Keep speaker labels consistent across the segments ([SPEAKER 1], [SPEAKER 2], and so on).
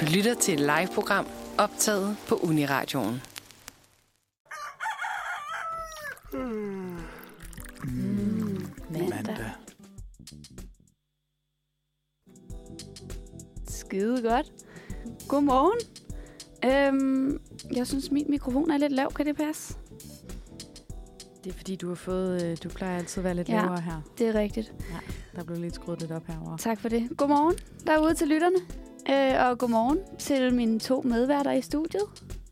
[SPEAKER 1] Du lytter til et live-program optaget på Uniradioen.
[SPEAKER 2] mandag. Skide godt. Godmorgen. Øhm, jeg synes, min mikrofon er lidt lav. Kan det passe?
[SPEAKER 3] Det er fordi, du har fået... øh, Du plejer altid at være lidt
[SPEAKER 2] Ja.
[SPEAKER 3] ja. lavere her.
[SPEAKER 2] Det er rigtigt.
[SPEAKER 3] Der blev lidt skruet lidt op herovre.
[SPEAKER 2] Tak for det. Godmorgen derude til lytterne. Øh, og godmorgen til mine to medværter i studiet.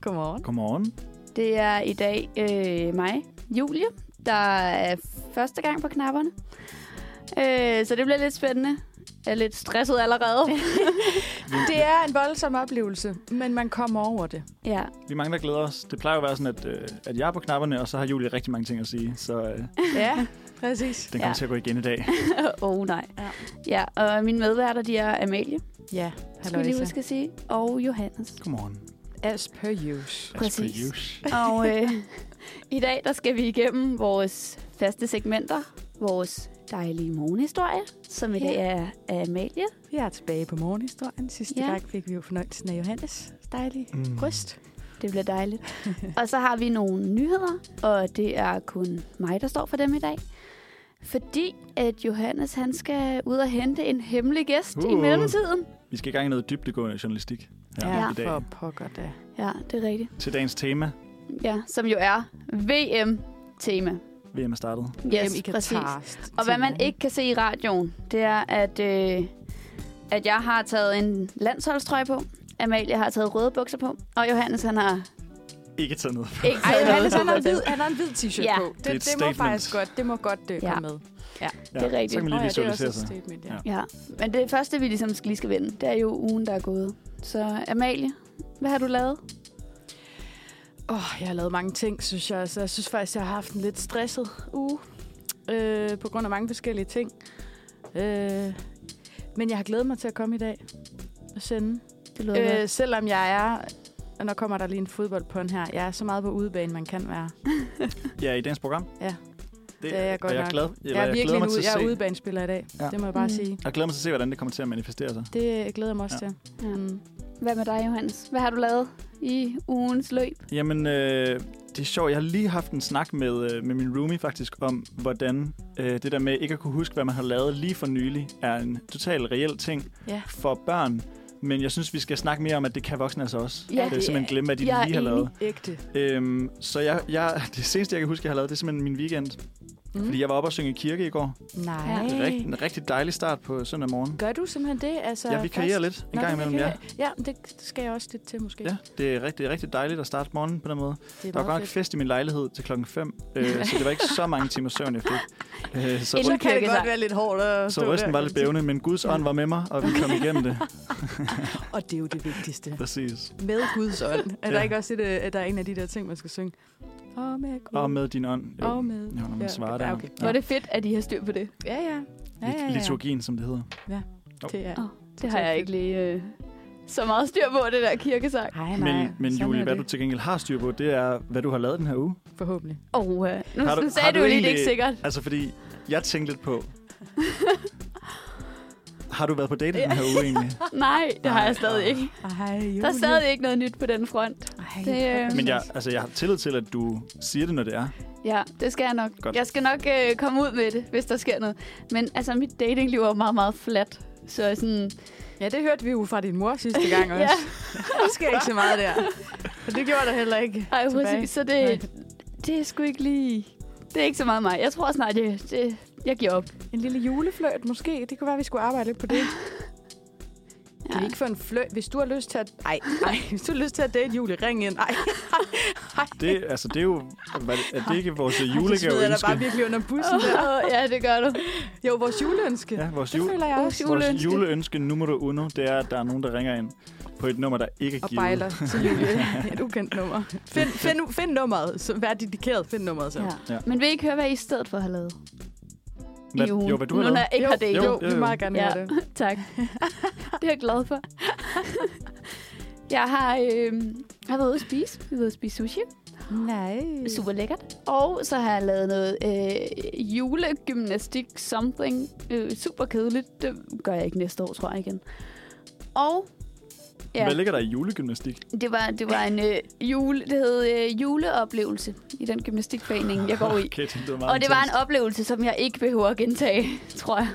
[SPEAKER 3] Godmorgen.
[SPEAKER 4] Godmorgen.
[SPEAKER 2] Det er i dag øh, mig, Julie, der er første gang på knapperne. Øh, så det bliver lidt spændende. Jeg er lidt stresset allerede.
[SPEAKER 3] Det er en voldsom oplevelse, men man kommer over det.
[SPEAKER 2] ja,
[SPEAKER 4] Vi er mange, der glæder os. Det plejer jo at være sådan, at, øh, at jeg er på knapperne, og så har Julie rigtig mange ting at sige. Så øh, den
[SPEAKER 3] Ja, præcis.
[SPEAKER 4] kommer
[SPEAKER 2] Ja.
[SPEAKER 4] ja. til at gå igen i dag.
[SPEAKER 2] åh oh, nej.
[SPEAKER 3] Ja.
[SPEAKER 2] Ja, og mine medværter, de er Amalie.
[SPEAKER 3] Ja,
[SPEAKER 2] Skal vi lige
[SPEAKER 3] halløjsa.
[SPEAKER 2] huske at sige. Og Johannes.
[SPEAKER 4] Godmorgen.
[SPEAKER 3] As per use.
[SPEAKER 4] As per
[SPEAKER 2] Præcis.
[SPEAKER 4] use.
[SPEAKER 2] Og øh, i dag, der skal vi igennem vores faste segmenter. Vores dejlige morgenhistorie, som i
[SPEAKER 3] Ja.
[SPEAKER 2] dag er af Amalie.
[SPEAKER 3] Vi er tilbage på morgenhistorien. Sidste
[SPEAKER 2] Ja.
[SPEAKER 3] ja. gang fik vi jo fornøjelsen af Johannes dejlige
[SPEAKER 4] Mm.
[SPEAKER 3] mm. bryst.
[SPEAKER 2] Det bliver dejligt. og så har vi nogle nyheder, og det er kun mig, der står for dem i dag. Fordi at Johannes, han skal ud og hente en hemmelig gæst uh. i
[SPEAKER 4] Uh.
[SPEAKER 2] mellemtiden.
[SPEAKER 4] Vi skal i gang i noget dybdegående journalistik her
[SPEAKER 3] Ja,
[SPEAKER 4] i dag.
[SPEAKER 3] for pokker da.
[SPEAKER 2] Ja, det er rigtigt.
[SPEAKER 4] Til dagens tema.
[SPEAKER 2] Ja, som jo er VM-tema.
[SPEAKER 4] VM er startet.
[SPEAKER 2] Yes, præcis. Og hvad man ikke kan se i radioen, det er, at, øh, at jeg har taget en landsholdstrøje på. Amalie har taget røde bukser på. Og Johannes, han har
[SPEAKER 4] Ikke taget noget.
[SPEAKER 2] ikke
[SPEAKER 3] Ej,
[SPEAKER 2] taget noget
[SPEAKER 3] Johannes, han har en
[SPEAKER 2] på.
[SPEAKER 3] hvid, han har en hvid t-shirt
[SPEAKER 2] Ja.
[SPEAKER 3] på.
[SPEAKER 4] Det er et
[SPEAKER 3] Det, det må
[SPEAKER 4] statement.
[SPEAKER 3] faktisk godt, det må godt det
[SPEAKER 2] Ja.
[SPEAKER 3] komme med.
[SPEAKER 4] Ja,
[SPEAKER 2] Det er rigtigt.
[SPEAKER 4] Så kan man
[SPEAKER 3] Nå
[SPEAKER 4] lige
[SPEAKER 3] ja, det er også
[SPEAKER 4] visualisere
[SPEAKER 3] et
[SPEAKER 4] sig.
[SPEAKER 3] statement, ja.
[SPEAKER 4] Ja.
[SPEAKER 2] Ja, men det første, vi ligesom skal lige skal vende, det er jo ugen, der er gået. Så Amalie, hvad har du lavet?
[SPEAKER 3] Åh, oh, jeg har lavet mange ting, synes jeg. Så jeg synes faktisk, jeg har haft en lidt stresset uge. Øh, på grund af mange forskellige ting. Øh, men jeg har glædet mig til at komme i dag og sende.
[SPEAKER 2] Det lyder øh,
[SPEAKER 3] Øh, selvom jeg er... Og nu kommer der lige en fodboldpånd her. Jeg er så meget på udebane, man kan være.
[SPEAKER 4] ja, i dagens program.
[SPEAKER 3] Ja.
[SPEAKER 4] Det,
[SPEAKER 3] Det er jeg godt
[SPEAKER 4] og jeg
[SPEAKER 3] nok.
[SPEAKER 4] glad, eller,
[SPEAKER 3] jeg er
[SPEAKER 4] jeg glæder
[SPEAKER 3] virkelig
[SPEAKER 4] mig
[SPEAKER 3] en ude,
[SPEAKER 4] til at
[SPEAKER 3] jeg
[SPEAKER 4] se,
[SPEAKER 3] er udebanespiller i dag.
[SPEAKER 4] Ja.
[SPEAKER 3] Ja. Det må jeg bare
[SPEAKER 2] Mm.
[SPEAKER 3] mm. sige.
[SPEAKER 4] jeg glæder mig til at se, hvordan det kommer til at manifestere sig.
[SPEAKER 3] Det glæder jeg mig også
[SPEAKER 4] Ja.
[SPEAKER 3] ja. til.
[SPEAKER 2] Ja.
[SPEAKER 3] Mm.
[SPEAKER 2] Hvad med dig, Johannes? Hvad har du lavet i ugens løb?
[SPEAKER 4] Jamen, øh, det er sjovt. Jeg har lige haft en snak med, øh, med min roomie faktisk om, hvordan øh, det der med ikke at kunne huske, hvad man har lavet lige for nylig, er en total reel ting
[SPEAKER 3] Ja.
[SPEAKER 4] for børn. Men jeg synes, vi skal snakke mere om, at det kan voksne altså også.
[SPEAKER 2] Ja,
[SPEAKER 4] det er
[SPEAKER 3] det
[SPEAKER 4] simpelthen
[SPEAKER 3] er-
[SPEAKER 4] glemme, hvad de
[SPEAKER 2] jeg er
[SPEAKER 4] lige har
[SPEAKER 2] enig.
[SPEAKER 4] lavet.
[SPEAKER 3] Ægte.
[SPEAKER 4] Øhm, så jeg, jeg, det seneste, jeg kan huske, jeg har lavet, det er simpelthen min weekend. Mm.
[SPEAKER 3] Mm.
[SPEAKER 4] Fordi jeg var oppe og synge i kirke i går.
[SPEAKER 3] Nej.
[SPEAKER 2] Ja.
[SPEAKER 4] Det er rigtig, en rigtig dejlig start på søndag morgen.
[SPEAKER 3] Gør du simpelthen det? Altså,
[SPEAKER 4] Jeg vikarierer
[SPEAKER 3] fast?
[SPEAKER 4] lidt en
[SPEAKER 3] Nå,
[SPEAKER 4] gang
[SPEAKER 3] du
[SPEAKER 4] imellem, ja.
[SPEAKER 3] vikarierer. Ja, men det skal jeg også lidt til, måske.
[SPEAKER 4] Ja, det er rigtig, rigtig dejligt at starte morgenen på den måde.
[SPEAKER 3] Det er
[SPEAKER 4] Der var
[SPEAKER 3] meget
[SPEAKER 4] godt nok
[SPEAKER 3] fedt.
[SPEAKER 4] fest i min lejlighed til klokken 5, øh, så det var ikke så mange timer søvn, jeg fik. Øh, så,
[SPEAKER 2] Inden-
[SPEAKER 4] så,
[SPEAKER 3] Så kan det
[SPEAKER 2] Kirkesang.
[SPEAKER 3] godt være lidt hårdt at stå
[SPEAKER 4] så rysten
[SPEAKER 3] der. altså,
[SPEAKER 4] var lidt bævende, men Guds ånd var med mig, og vi kom igennem det.
[SPEAKER 3] Og det er jo det vigtigste.
[SPEAKER 4] Præcis.
[SPEAKER 3] Med Guds ånd. Er der
[SPEAKER 4] Ja.
[SPEAKER 3] ikke også et, øh, at der er en af de der ting, man skal synge? Og med Gud.
[SPEAKER 4] Og med din ånd. Jo,
[SPEAKER 3] Og med.
[SPEAKER 4] jo når man svarer
[SPEAKER 3] ja,
[SPEAKER 4] der.
[SPEAKER 3] okay.
[SPEAKER 2] Ja. Var det fedt, at I har styr på det?
[SPEAKER 3] Ja, ja. Ja, ja,
[SPEAKER 4] Lit-
[SPEAKER 3] ja.
[SPEAKER 4] Liturgien, som det hedder.
[SPEAKER 3] Det er.
[SPEAKER 2] Åh, Det har jeg ikke lige øh, så meget styr på, det der kirkesang.
[SPEAKER 3] Nej, nej.
[SPEAKER 4] Men, men
[SPEAKER 3] sådan
[SPEAKER 4] Julie,
[SPEAKER 3] er
[SPEAKER 4] hvad du
[SPEAKER 3] det.
[SPEAKER 4] til gengæld har styr på, det er, hvad du har lavet den her uge.
[SPEAKER 3] Forhåbentlig.
[SPEAKER 2] Og oh, øh, nu,
[SPEAKER 4] Har du-
[SPEAKER 2] nu
[SPEAKER 4] har
[SPEAKER 2] sagde du, lige, det
[SPEAKER 4] du
[SPEAKER 2] er
[SPEAKER 4] egentlig-
[SPEAKER 2] ikke sikkert.
[SPEAKER 4] Altså, fordi jeg tænkte lidt på... Har du været på date den her uge egentlig?
[SPEAKER 2] Nej, det har
[SPEAKER 4] Nej,
[SPEAKER 2] jeg stadig
[SPEAKER 4] nej.
[SPEAKER 2] ikke.
[SPEAKER 3] Ej, Julie.
[SPEAKER 2] Der er stadig ikke noget nyt på den front.
[SPEAKER 3] Ej,
[SPEAKER 2] Det, øh,
[SPEAKER 3] hvor
[SPEAKER 4] Men jeg, altså, jeg har tillid til, at du siger det, når det er.
[SPEAKER 2] Ja, det skal jeg nok.
[SPEAKER 4] Godt.
[SPEAKER 2] Jeg skal nok øh, komme ud med det, hvis der sker noget. Men altså, mit datingliv er jo meget, meget flat. Så sådan...
[SPEAKER 3] Ja, det hørte vi jo fra din mor sidste gang også. Der sker ikke så meget der. Og det gjorde der heller ikke.
[SPEAKER 2] Ej,
[SPEAKER 3] tilbage.
[SPEAKER 2] præcis. Så det, det er sgu ikke lige... Det er ikke så meget mig. Jeg tror snart, det, det, jeg giver op.
[SPEAKER 3] En lille julefløjt måske. Det kunne være, vi skulle arbejde lidt på det. Ja. Kan vi ikke få en fløjt? Hvis du har lyst til at... Ej, ej. Hvis du har lyst til at date Julie, ring ind. Ej,
[SPEAKER 4] Det, altså, det er jo... hvad- Er det ikke vores
[SPEAKER 3] det smider jeg da bare
[SPEAKER 4] julegaveønske?
[SPEAKER 3] virkelig under bussen
[SPEAKER 2] Åh,
[SPEAKER 3] der.
[SPEAKER 2] ja, det gør du.
[SPEAKER 3] Jo, vores juleønske. Ja.
[SPEAKER 4] Ja, vores
[SPEAKER 3] Det
[SPEAKER 4] jul,
[SPEAKER 3] føler jeg
[SPEAKER 2] Vores
[SPEAKER 3] også.
[SPEAKER 4] Vores
[SPEAKER 2] juleønske.
[SPEAKER 4] juleønske nummer uno, det er, at der er nogen, der ringer ind på et nummer, der ikke er
[SPEAKER 3] Og
[SPEAKER 4] givet.
[SPEAKER 3] bejler til Julie. Et ukendt nummer. Find, find, find nummeret. Så vær dedikeret. Find nummeret så. Ja.
[SPEAKER 2] Ja.
[SPEAKER 4] Ja.
[SPEAKER 2] Men vil I ikke høre, hvad I i stedet for har lavet
[SPEAKER 4] Hvad,
[SPEAKER 2] i ugen?
[SPEAKER 4] jo, hvad du har
[SPEAKER 2] nu, når
[SPEAKER 4] lavet?
[SPEAKER 2] jeg ikke har datet.
[SPEAKER 3] jo, jo, jo, vi
[SPEAKER 4] jo.
[SPEAKER 3] vil meget gerne
[SPEAKER 2] Ja.
[SPEAKER 3] ja. det.
[SPEAKER 2] Tak. Det er jeg glad for. jeg har, øh, har været ude at spise. Jeg har været ude at spise sushi.
[SPEAKER 3] Nej.
[SPEAKER 2] Super lækkert. Mm. Og så har jeg lavet noget øh, julegymnastik something. Øh, super kedeligt. Det gør jeg ikke næste år, tror jeg igen. Og Ja.
[SPEAKER 4] Ja. Hvad ligger der i julegymnastik?
[SPEAKER 2] Det var, det var en øh, jule, det hed øh, juleoplevelse i den gymnastikforening, jeg går i.
[SPEAKER 4] Okay, det lyder meget
[SPEAKER 2] Og det var
[SPEAKER 4] intenst.
[SPEAKER 2] en oplevelse, som jeg ikke behøver at gentage, tror jeg,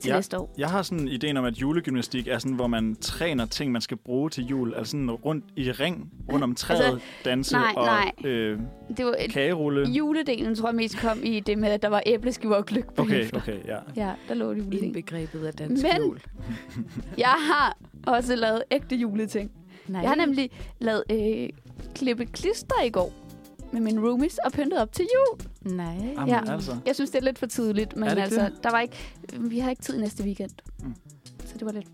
[SPEAKER 2] til
[SPEAKER 4] Ja.
[SPEAKER 2] næste år.
[SPEAKER 4] Jeg har sådan ideen om, at julegymnastik er sådan, hvor man træner ting, man skal bruge til jul. Altså sådan rundt i ring, rundt om træet, altså, danse
[SPEAKER 2] nej,
[SPEAKER 4] og
[SPEAKER 2] nej.
[SPEAKER 4] Øh,
[SPEAKER 2] Det var et,
[SPEAKER 4] kagerulle.
[SPEAKER 2] juledelen, tror jeg mest kom i det med, at der var æbleskiver og gløk på
[SPEAKER 4] Okay,
[SPEAKER 2] hæfter.
[SPEAKER 4] okay, ja.
[SPEAKER 2] Ja, der lå det juledelen.
[SPEAKER 3] Indbegrebet af dansk
[SPEAKER 2] Men-
[SPEAKER 3] jul.
[SPEAKER 2] Jeg har også lavet ægte juleting.
[SPEAKER 3] Nej.
[SPEAKER 2] Jeg har nemlig lavet øh, klippe klister i går med mine roomies og pyntet op til jul.
[SPEAKER 3] Nej.
[SPEAKER 4] Jamen, ja. altså.
[SPEAKER 2] Jeg synes, det er lidt for tidligt, men
[SPEAKER 4] Er det
[SPEAKER 2] altså, der var ikke, vi har ikke tid næste weekend.
[SPEAKER 4] Mm.
[SPEAKER 2] Så det var lidt...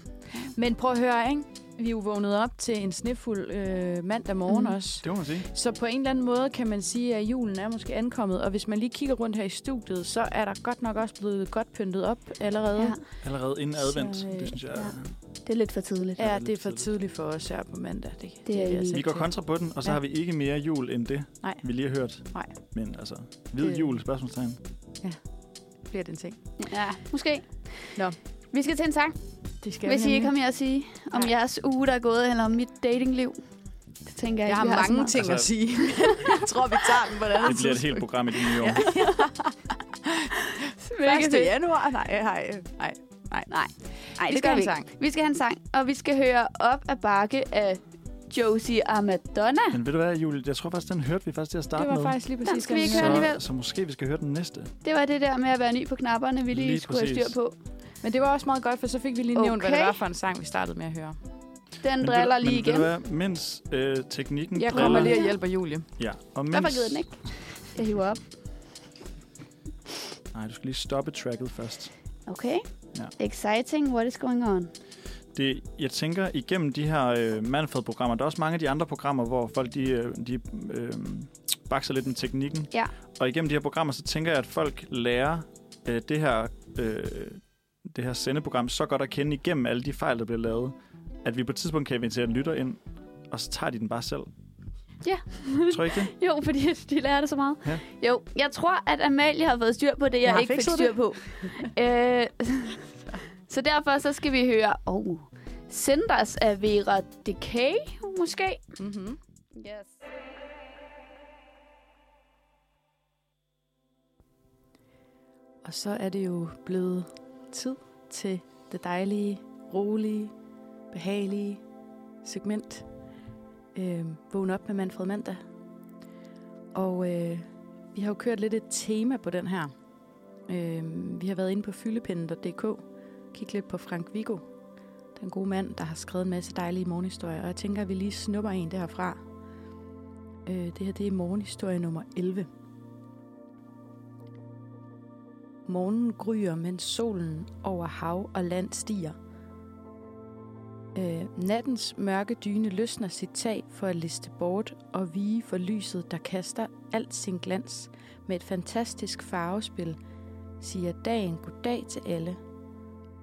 [SPEAKER 3] Men prøv at høre, ikke? Vi er jo vågnet op til en snefuld øh, mandag morgen
[SPEAKER 2] Mhm.
[SPEAKER 3] mm. også.
[SPEAKER 4] Det må man sige.
[SPEAKER 3] Så på en eller anden måde kan man sige, at julen er måske ankommet. Og hvis man lige kigger rundt her i studiet, så er der godt nok også blevet godt pyntet op allerede.
[SPEAKER 2] Ja,
[SPEAKER 3] Ja,
[SPEAKER 4] Allerede inden
[SPEAKER 3] Så,
[SPEAKER 4] advent,
[SPEAKER 3] øh,
[SPEAKER 4] det synes jeg.
[SPEAKER 2] ja.
[SPEAKER 4] Ja.
[SPEAKER 2] det er lidt for tidligt.
[SPEAKER 3] ja
[SPEAKER 4] er
[SPEAKER 3] det,
[SPEAKER 4] lidt
[SPEAKER 3] er for
[SPEAKER 4] tidligt.
[SPEAKER 3] tidligt for os her på mandag. Det,
[SPEAKER 2] er
[SPEAKER 3] det, vi
[SPEAKER 2] jeg
[SPEAKER 3] altså
[SPEAKER 2] enig
[SPEAKER 4] Vi
[SPEAKER 2] i.
[SPEAKER 3] ikke
[SPEAKER 4] går
[SPEAKER 3] til.
[SPEAKER 4] kontra på den, og så
[SPEAKER 3] Ja.
[SPEAKER 4] ja. har vi ikke mere jul end det,
[SPEAKER 3] Nej.
[SPEAKER 4] vi lige har hørt.
[SPEAKER 3] Nej.
[SPEAKER 4] Men altså, hvid
[SPEAKER 3] Det-
[SPEAKER 4] jul, spørgsmålstegn.
[SPEAKER 3] Bliver det en ting?
[SPEAKER 2] Ja, måske.
[SPEAKER 3] Nå.
[SPEAKER 2] Vi skal til en sang,
[SPEAKER 3] Det skal
[SPEAKER 2] Skal hvis
[SPEAKER 3] vi
[SPEAKER 2] I ikke
[SPEAKER 3] nemlig.
[SPEAKER 2] har mere at sige om
[SPEAKER 3] Nej.
[SPEAKER 2] jeres uge, der er gået, eller om mit datingliv. Det tænker jeg, ikke,
[SPEAKER 3] Jeg har
[SPEAKER 2] vi så
[SPEAKER 3] mange
[SPEAKER 2] meget.
[SPEAKER 3] ting altså, at
[SPEAKER 4] Altså-
[SPEAKER 3] sige. jeg tror, vi tager den på det andet
[SPEAKER 4] Det bliver et helt program i det nye år. Ja.
[SPEAKER 2] Hvilket
[SPEAKER 3] tidspunkt. 1.
[SPEAKER 2] det-
[SPEAKER 3] januar? Nej, øh, nej, nej.
[SPEAKER 2] Nej, Nej
[SPEAKER 3] Vi
[SPEAKER 2] det
[SPEAKER 3] skal
[SPEAKER 2] gør
[SPEAKER 3] have
[SPEAKER 2] vi
[SPEAKER 3] en
[SPEAKER 2] ikke.
[SPEAKER 3] sang.
[SPEAKER 2] Vi skal have en sang, og vi skal høre op af bakke af Josie og Madonna.
[SPEAKER 4] Men ved du hvad, Julie? Jeg tror faktisk, den hørte vi faktisk til at starte
[SPEAKER 3] Det var
[SPEAKER 4] med.
[SPEAKER 3] faktisk lige præcis
[SPEAKER 2] Den skal vi
[SPEAKER 3] den
[SPEAKER 2] ikke
[SPEAKER 3] her.
[SPEAKER 2] høre alligevel.
[SPEAKER 4] så, så måske vi skal høre den næste.
[SPEAKER 2] Det var det der med at være ny på knapperne, vi lige,
[SPEAKER 4] Lige
[SPEAKER 2] skulle have
[SPEAKER 4] præcis.
[SPEAKER 2] styr på.
[SPEAKER 3] Men det var også meget godt, for så fik vi lige nævnt, hvad det
[SPEAKER 2] Okay.
[SPEAKER 3] var for en sang, vi startede med at høre.
[SPEAKER 2] Den
[SPEAKER 4] Men ved du-
[SPEAKER 2] driller lige
[SPEAKER 4] men ved
[SPEAKER 2] igen.
[SPEAKER 4] du hvad, mens øh, teknikken
[SPEAKER 3] Jeg
[SPEAKER 4] driller-
[SPEAKER 3] kommer lige og hjælper Julie.
[SPEAKER 4] Ja, og mens...
[SPEAKER 2] Derfor gider den ikke. Jeg hiver op.
[SPEAKER 4] Nej, du skal lige stoppe tracket først.
[SPEAKER 2] Okay.
[SPEAKER 4] Ja.
[SPEAKER 2] Exciting. What is going on?
[SPEAKER 4] Det, jeg tænker, igennem de her øh, Manfred-programmer, der er også mange af de andre programmer, hvor folk de, øh, de øh, bakser lidt med teknikken.
[SPEAKER 2] Ja.
[SPEAKER 4] Og igennem de her programmer, så tænker jeg, at folk lærer øh, det, her, øh, det her sendeprogram så godt at kende igennem alle de fejl, der bliver lavet, at vi på et tidspunkt kan invitere en lytter ind, og så tager de den bare selv.
[SPEAKER 2] Ja.
[SPEAKER 4] Tror I ikke det?
[SPEAKER 2] Jo, fordi de lærer det så meget.
[SPEAKER 4] Ja.
[SPEAKER 2] Jo, jeg tror, at Amalie har fået styr på det, jeg
[SPEAKER 3] har
[SPEAKER 2] ikke fik
[SPEAKER 3] fikset
[SPEAKER 2] styr på. øh, så derfor så skal vi høre... Oh, Senders af Vera Decay, måske?
[SPEAKER 3] Mm-hmm.
[SPEAKER 2] Yes.
[SPEAKER 3] Og så er det jo blevet tid til det dejlige, rolige, behagelige segment. Øh, Vågn op med Manfred Mandag. Og øh, vi har jo kørt lidt et tema på den her. Øh, vi har været inde på fyldepinden.dk. Kig lidt på Frank Viggo, den gode mand, der har skrevet en masse dejlige morgenhistorier. Og jeg tænker, at vi lige snupper en derfra. Øh, det her det er morgenhistorie nummer 11. Morgenen gryer, mens solen over hav og land stiger. Øh, nattens mørke dyne løsner sit tag for at liste bort og vige for lyset, der kaster alt sin glans med et fantastisk farvespil, siger dagen goddag til alle.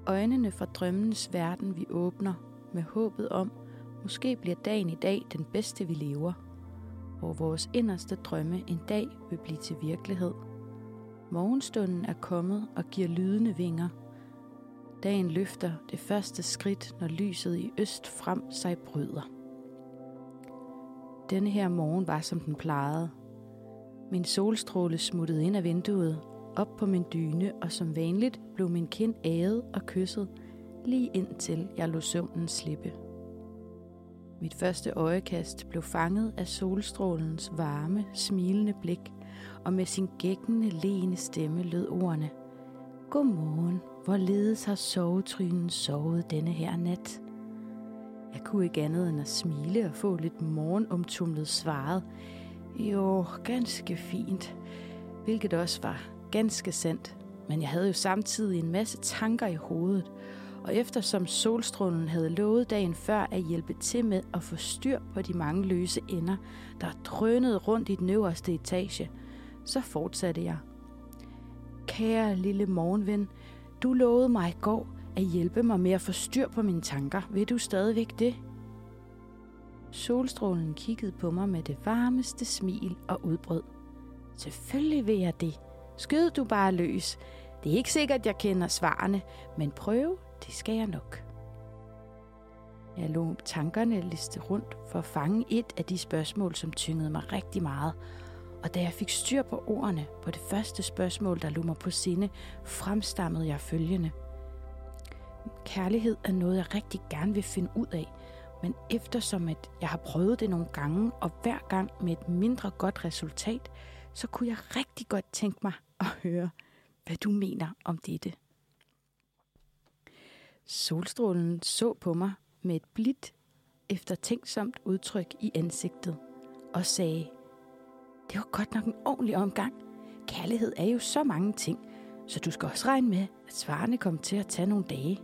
[SPEAKER 3] Øjnene fra drømmenes verden vi åbner med håbet om, måske bliver dagen i dag den bedste vi lever, hvor vores inderste drømme en dag vil blive til virkelighed. Morgenstunden er kommet og giver lydende vinger. Dagen løfter det første skridt, når lyset i øst frem sig bryder. Denne her morgen var, som den plejede. Min solstråle smuttede ind af vinduet, op på min dyne, og som vanligt blev min kind æget og kysset, lige indtil jeg lå søvnen slippe. Mit første øjekast blev fanget af solstrålens varme, smilende blik, og med sin gækkende, lene stemme lød ordene. Godmorgen, hvorledes har sovetrynen sovet denne her nat? Jeg kunne ikke andet end at smile og få lidt morgenomtumlet svaret. Jo, ganske fint. Hvilket også var ganske sandt. Men jeg havde jo samtidig en masse tanker i hovedet. Og eftersom solstrålen havde lovet dagen før at hjælpe til med at få styr på de mange løse ender, der drønede rundt i den øverste etage, så fortsatte jeg. Kære lille morgenven, du lovede mig i går at hjælpe mig med at få styr på mine tanker. Vil du stadigvæk det? Solstrålen kiggede på mig med det varmeste smil og udbrød. Selvfølgelig vil jeg det. Skyd du bare løs. Det er ikke sikkert, jeg kender svarene, men prøve, det skal jeg nok. Jeg lå tankerne liste rundt for at fange et af de spørgsmål, som tyngede mig rigtig meget. Og da jeg fik styr på ordene på det første spørgsmål, der lå mig på sinde, fremstammede jeg følgende. Kærlighed er noget, jeg rigtig gerne vil finde ud af, men eftersom at jeg har prøvet det nogle gange, og hver gang med et mindre godt resultat, så kunne jeg rigtig godt tænke mig at høre, hvad du mener om dette. Solstrålen så på mig med et blidt, eftertænksomt udtryk i ansigtet og sagde, det var godt nok en ordentlig omgang. Kærlighed er jo så mange ting, så du skal også regne med, at svarene kommer til at tage nogle dage.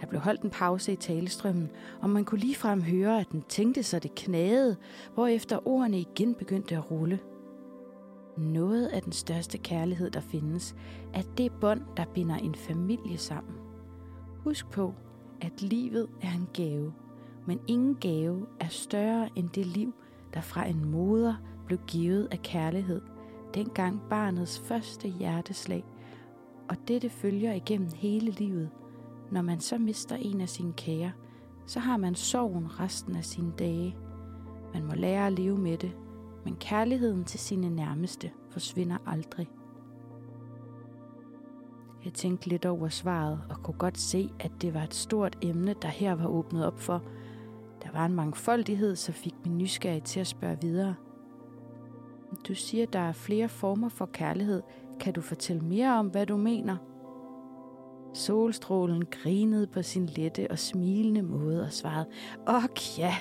[SPEAKER 3] Der blev holdt en pause i talestrømmen, og man kunne ligefrem høre, at den tænkte sig det knagede, hvorefter ordene igen begyndte at rulle. Noget af den største kærlighed, der findes, er det bånd, der binder en familie sammen. Husk på, at livet er en gave, men ingen gave er større end det liv, der fra en moder blev givet af kærlighed, dengang barnets første hjerteslag, og dette følger igennem hele livet. Når man så mister en af sine kære, så har man sorgen resten af sine dage. Man må lære at leve med det, men kærligheden til sine nærmeste forsvinder aldrig. Jeg tænkte lidt over svaret og kunne godt se, at det var et stort emne, der her var åbnet op for. Der var en mangfoldighed, som fik min nysgerrighed til at spørge videre. Du siger, der er flere former for kærlighed. Kan du fortælle mere om, hvad du mener? Solstrålen grinede på sin lette og smilende måde og svarede, Åh ja,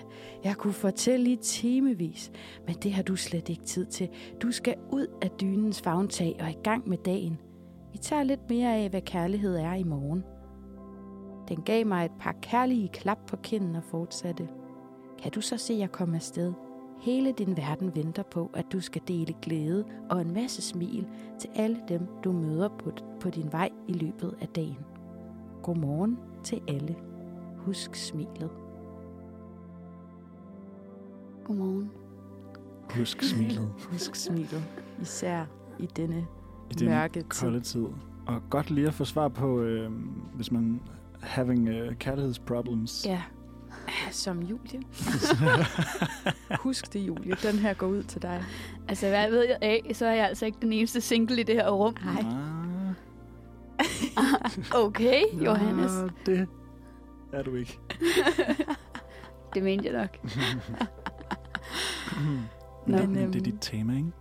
[SPEAKER 3] jeg kunne fortælle i timevis, men det har du slet ikke tid til. Du skal ud af dynens fagntag og i gang med dagen. Vi tager lidt mere af, hvad kærlighed er i morgen. Den gav mig et par kærlige klap på kinden og fortsatte. Kan du så se, jeg komme afsted? Hele din verden venter på, at du skal dele glæde og en masse smil til alle dem, du møder på, på din vej i løbet af dagen. Godmorgen til alle. Husk smilet.
[SPEAKER 2] Godmorgen.
[SPEAKER 4] Husk smilet
[SPEAKER 3] Husk smilet. Især i denne
[SPEAKER 4] i den
[SPEAKER 3] mørke tid.
[SPEAKER 4] kolde tid. Og godt lige at få svar på, øh, hvis man having uh, kærlighedsproblems.
[SPEAKER 3] Ja. Som Julie. Husk det, Julie. Den her går ud til dig.
[SPEAKER 2] Altså, hvad ved jeg af, så er jeg altså ikke den eneste single i det her rum.
[SPEAKER 3] Ej.
[SPEAKER 4] Ah,
[SPEAKER 2] Okay, Johannes.
[SPEAKER 4] ah, det er du ikke.
[SPEAKER 2] Det mente jeg nok. Nå,
[SPEAKER 4] Nå,
[SPEAKER 3] men,
[SPEAKER 4] men, det er
[SPEAKER 3] øhm,
[SPEAKER 4] dit tema, ikke?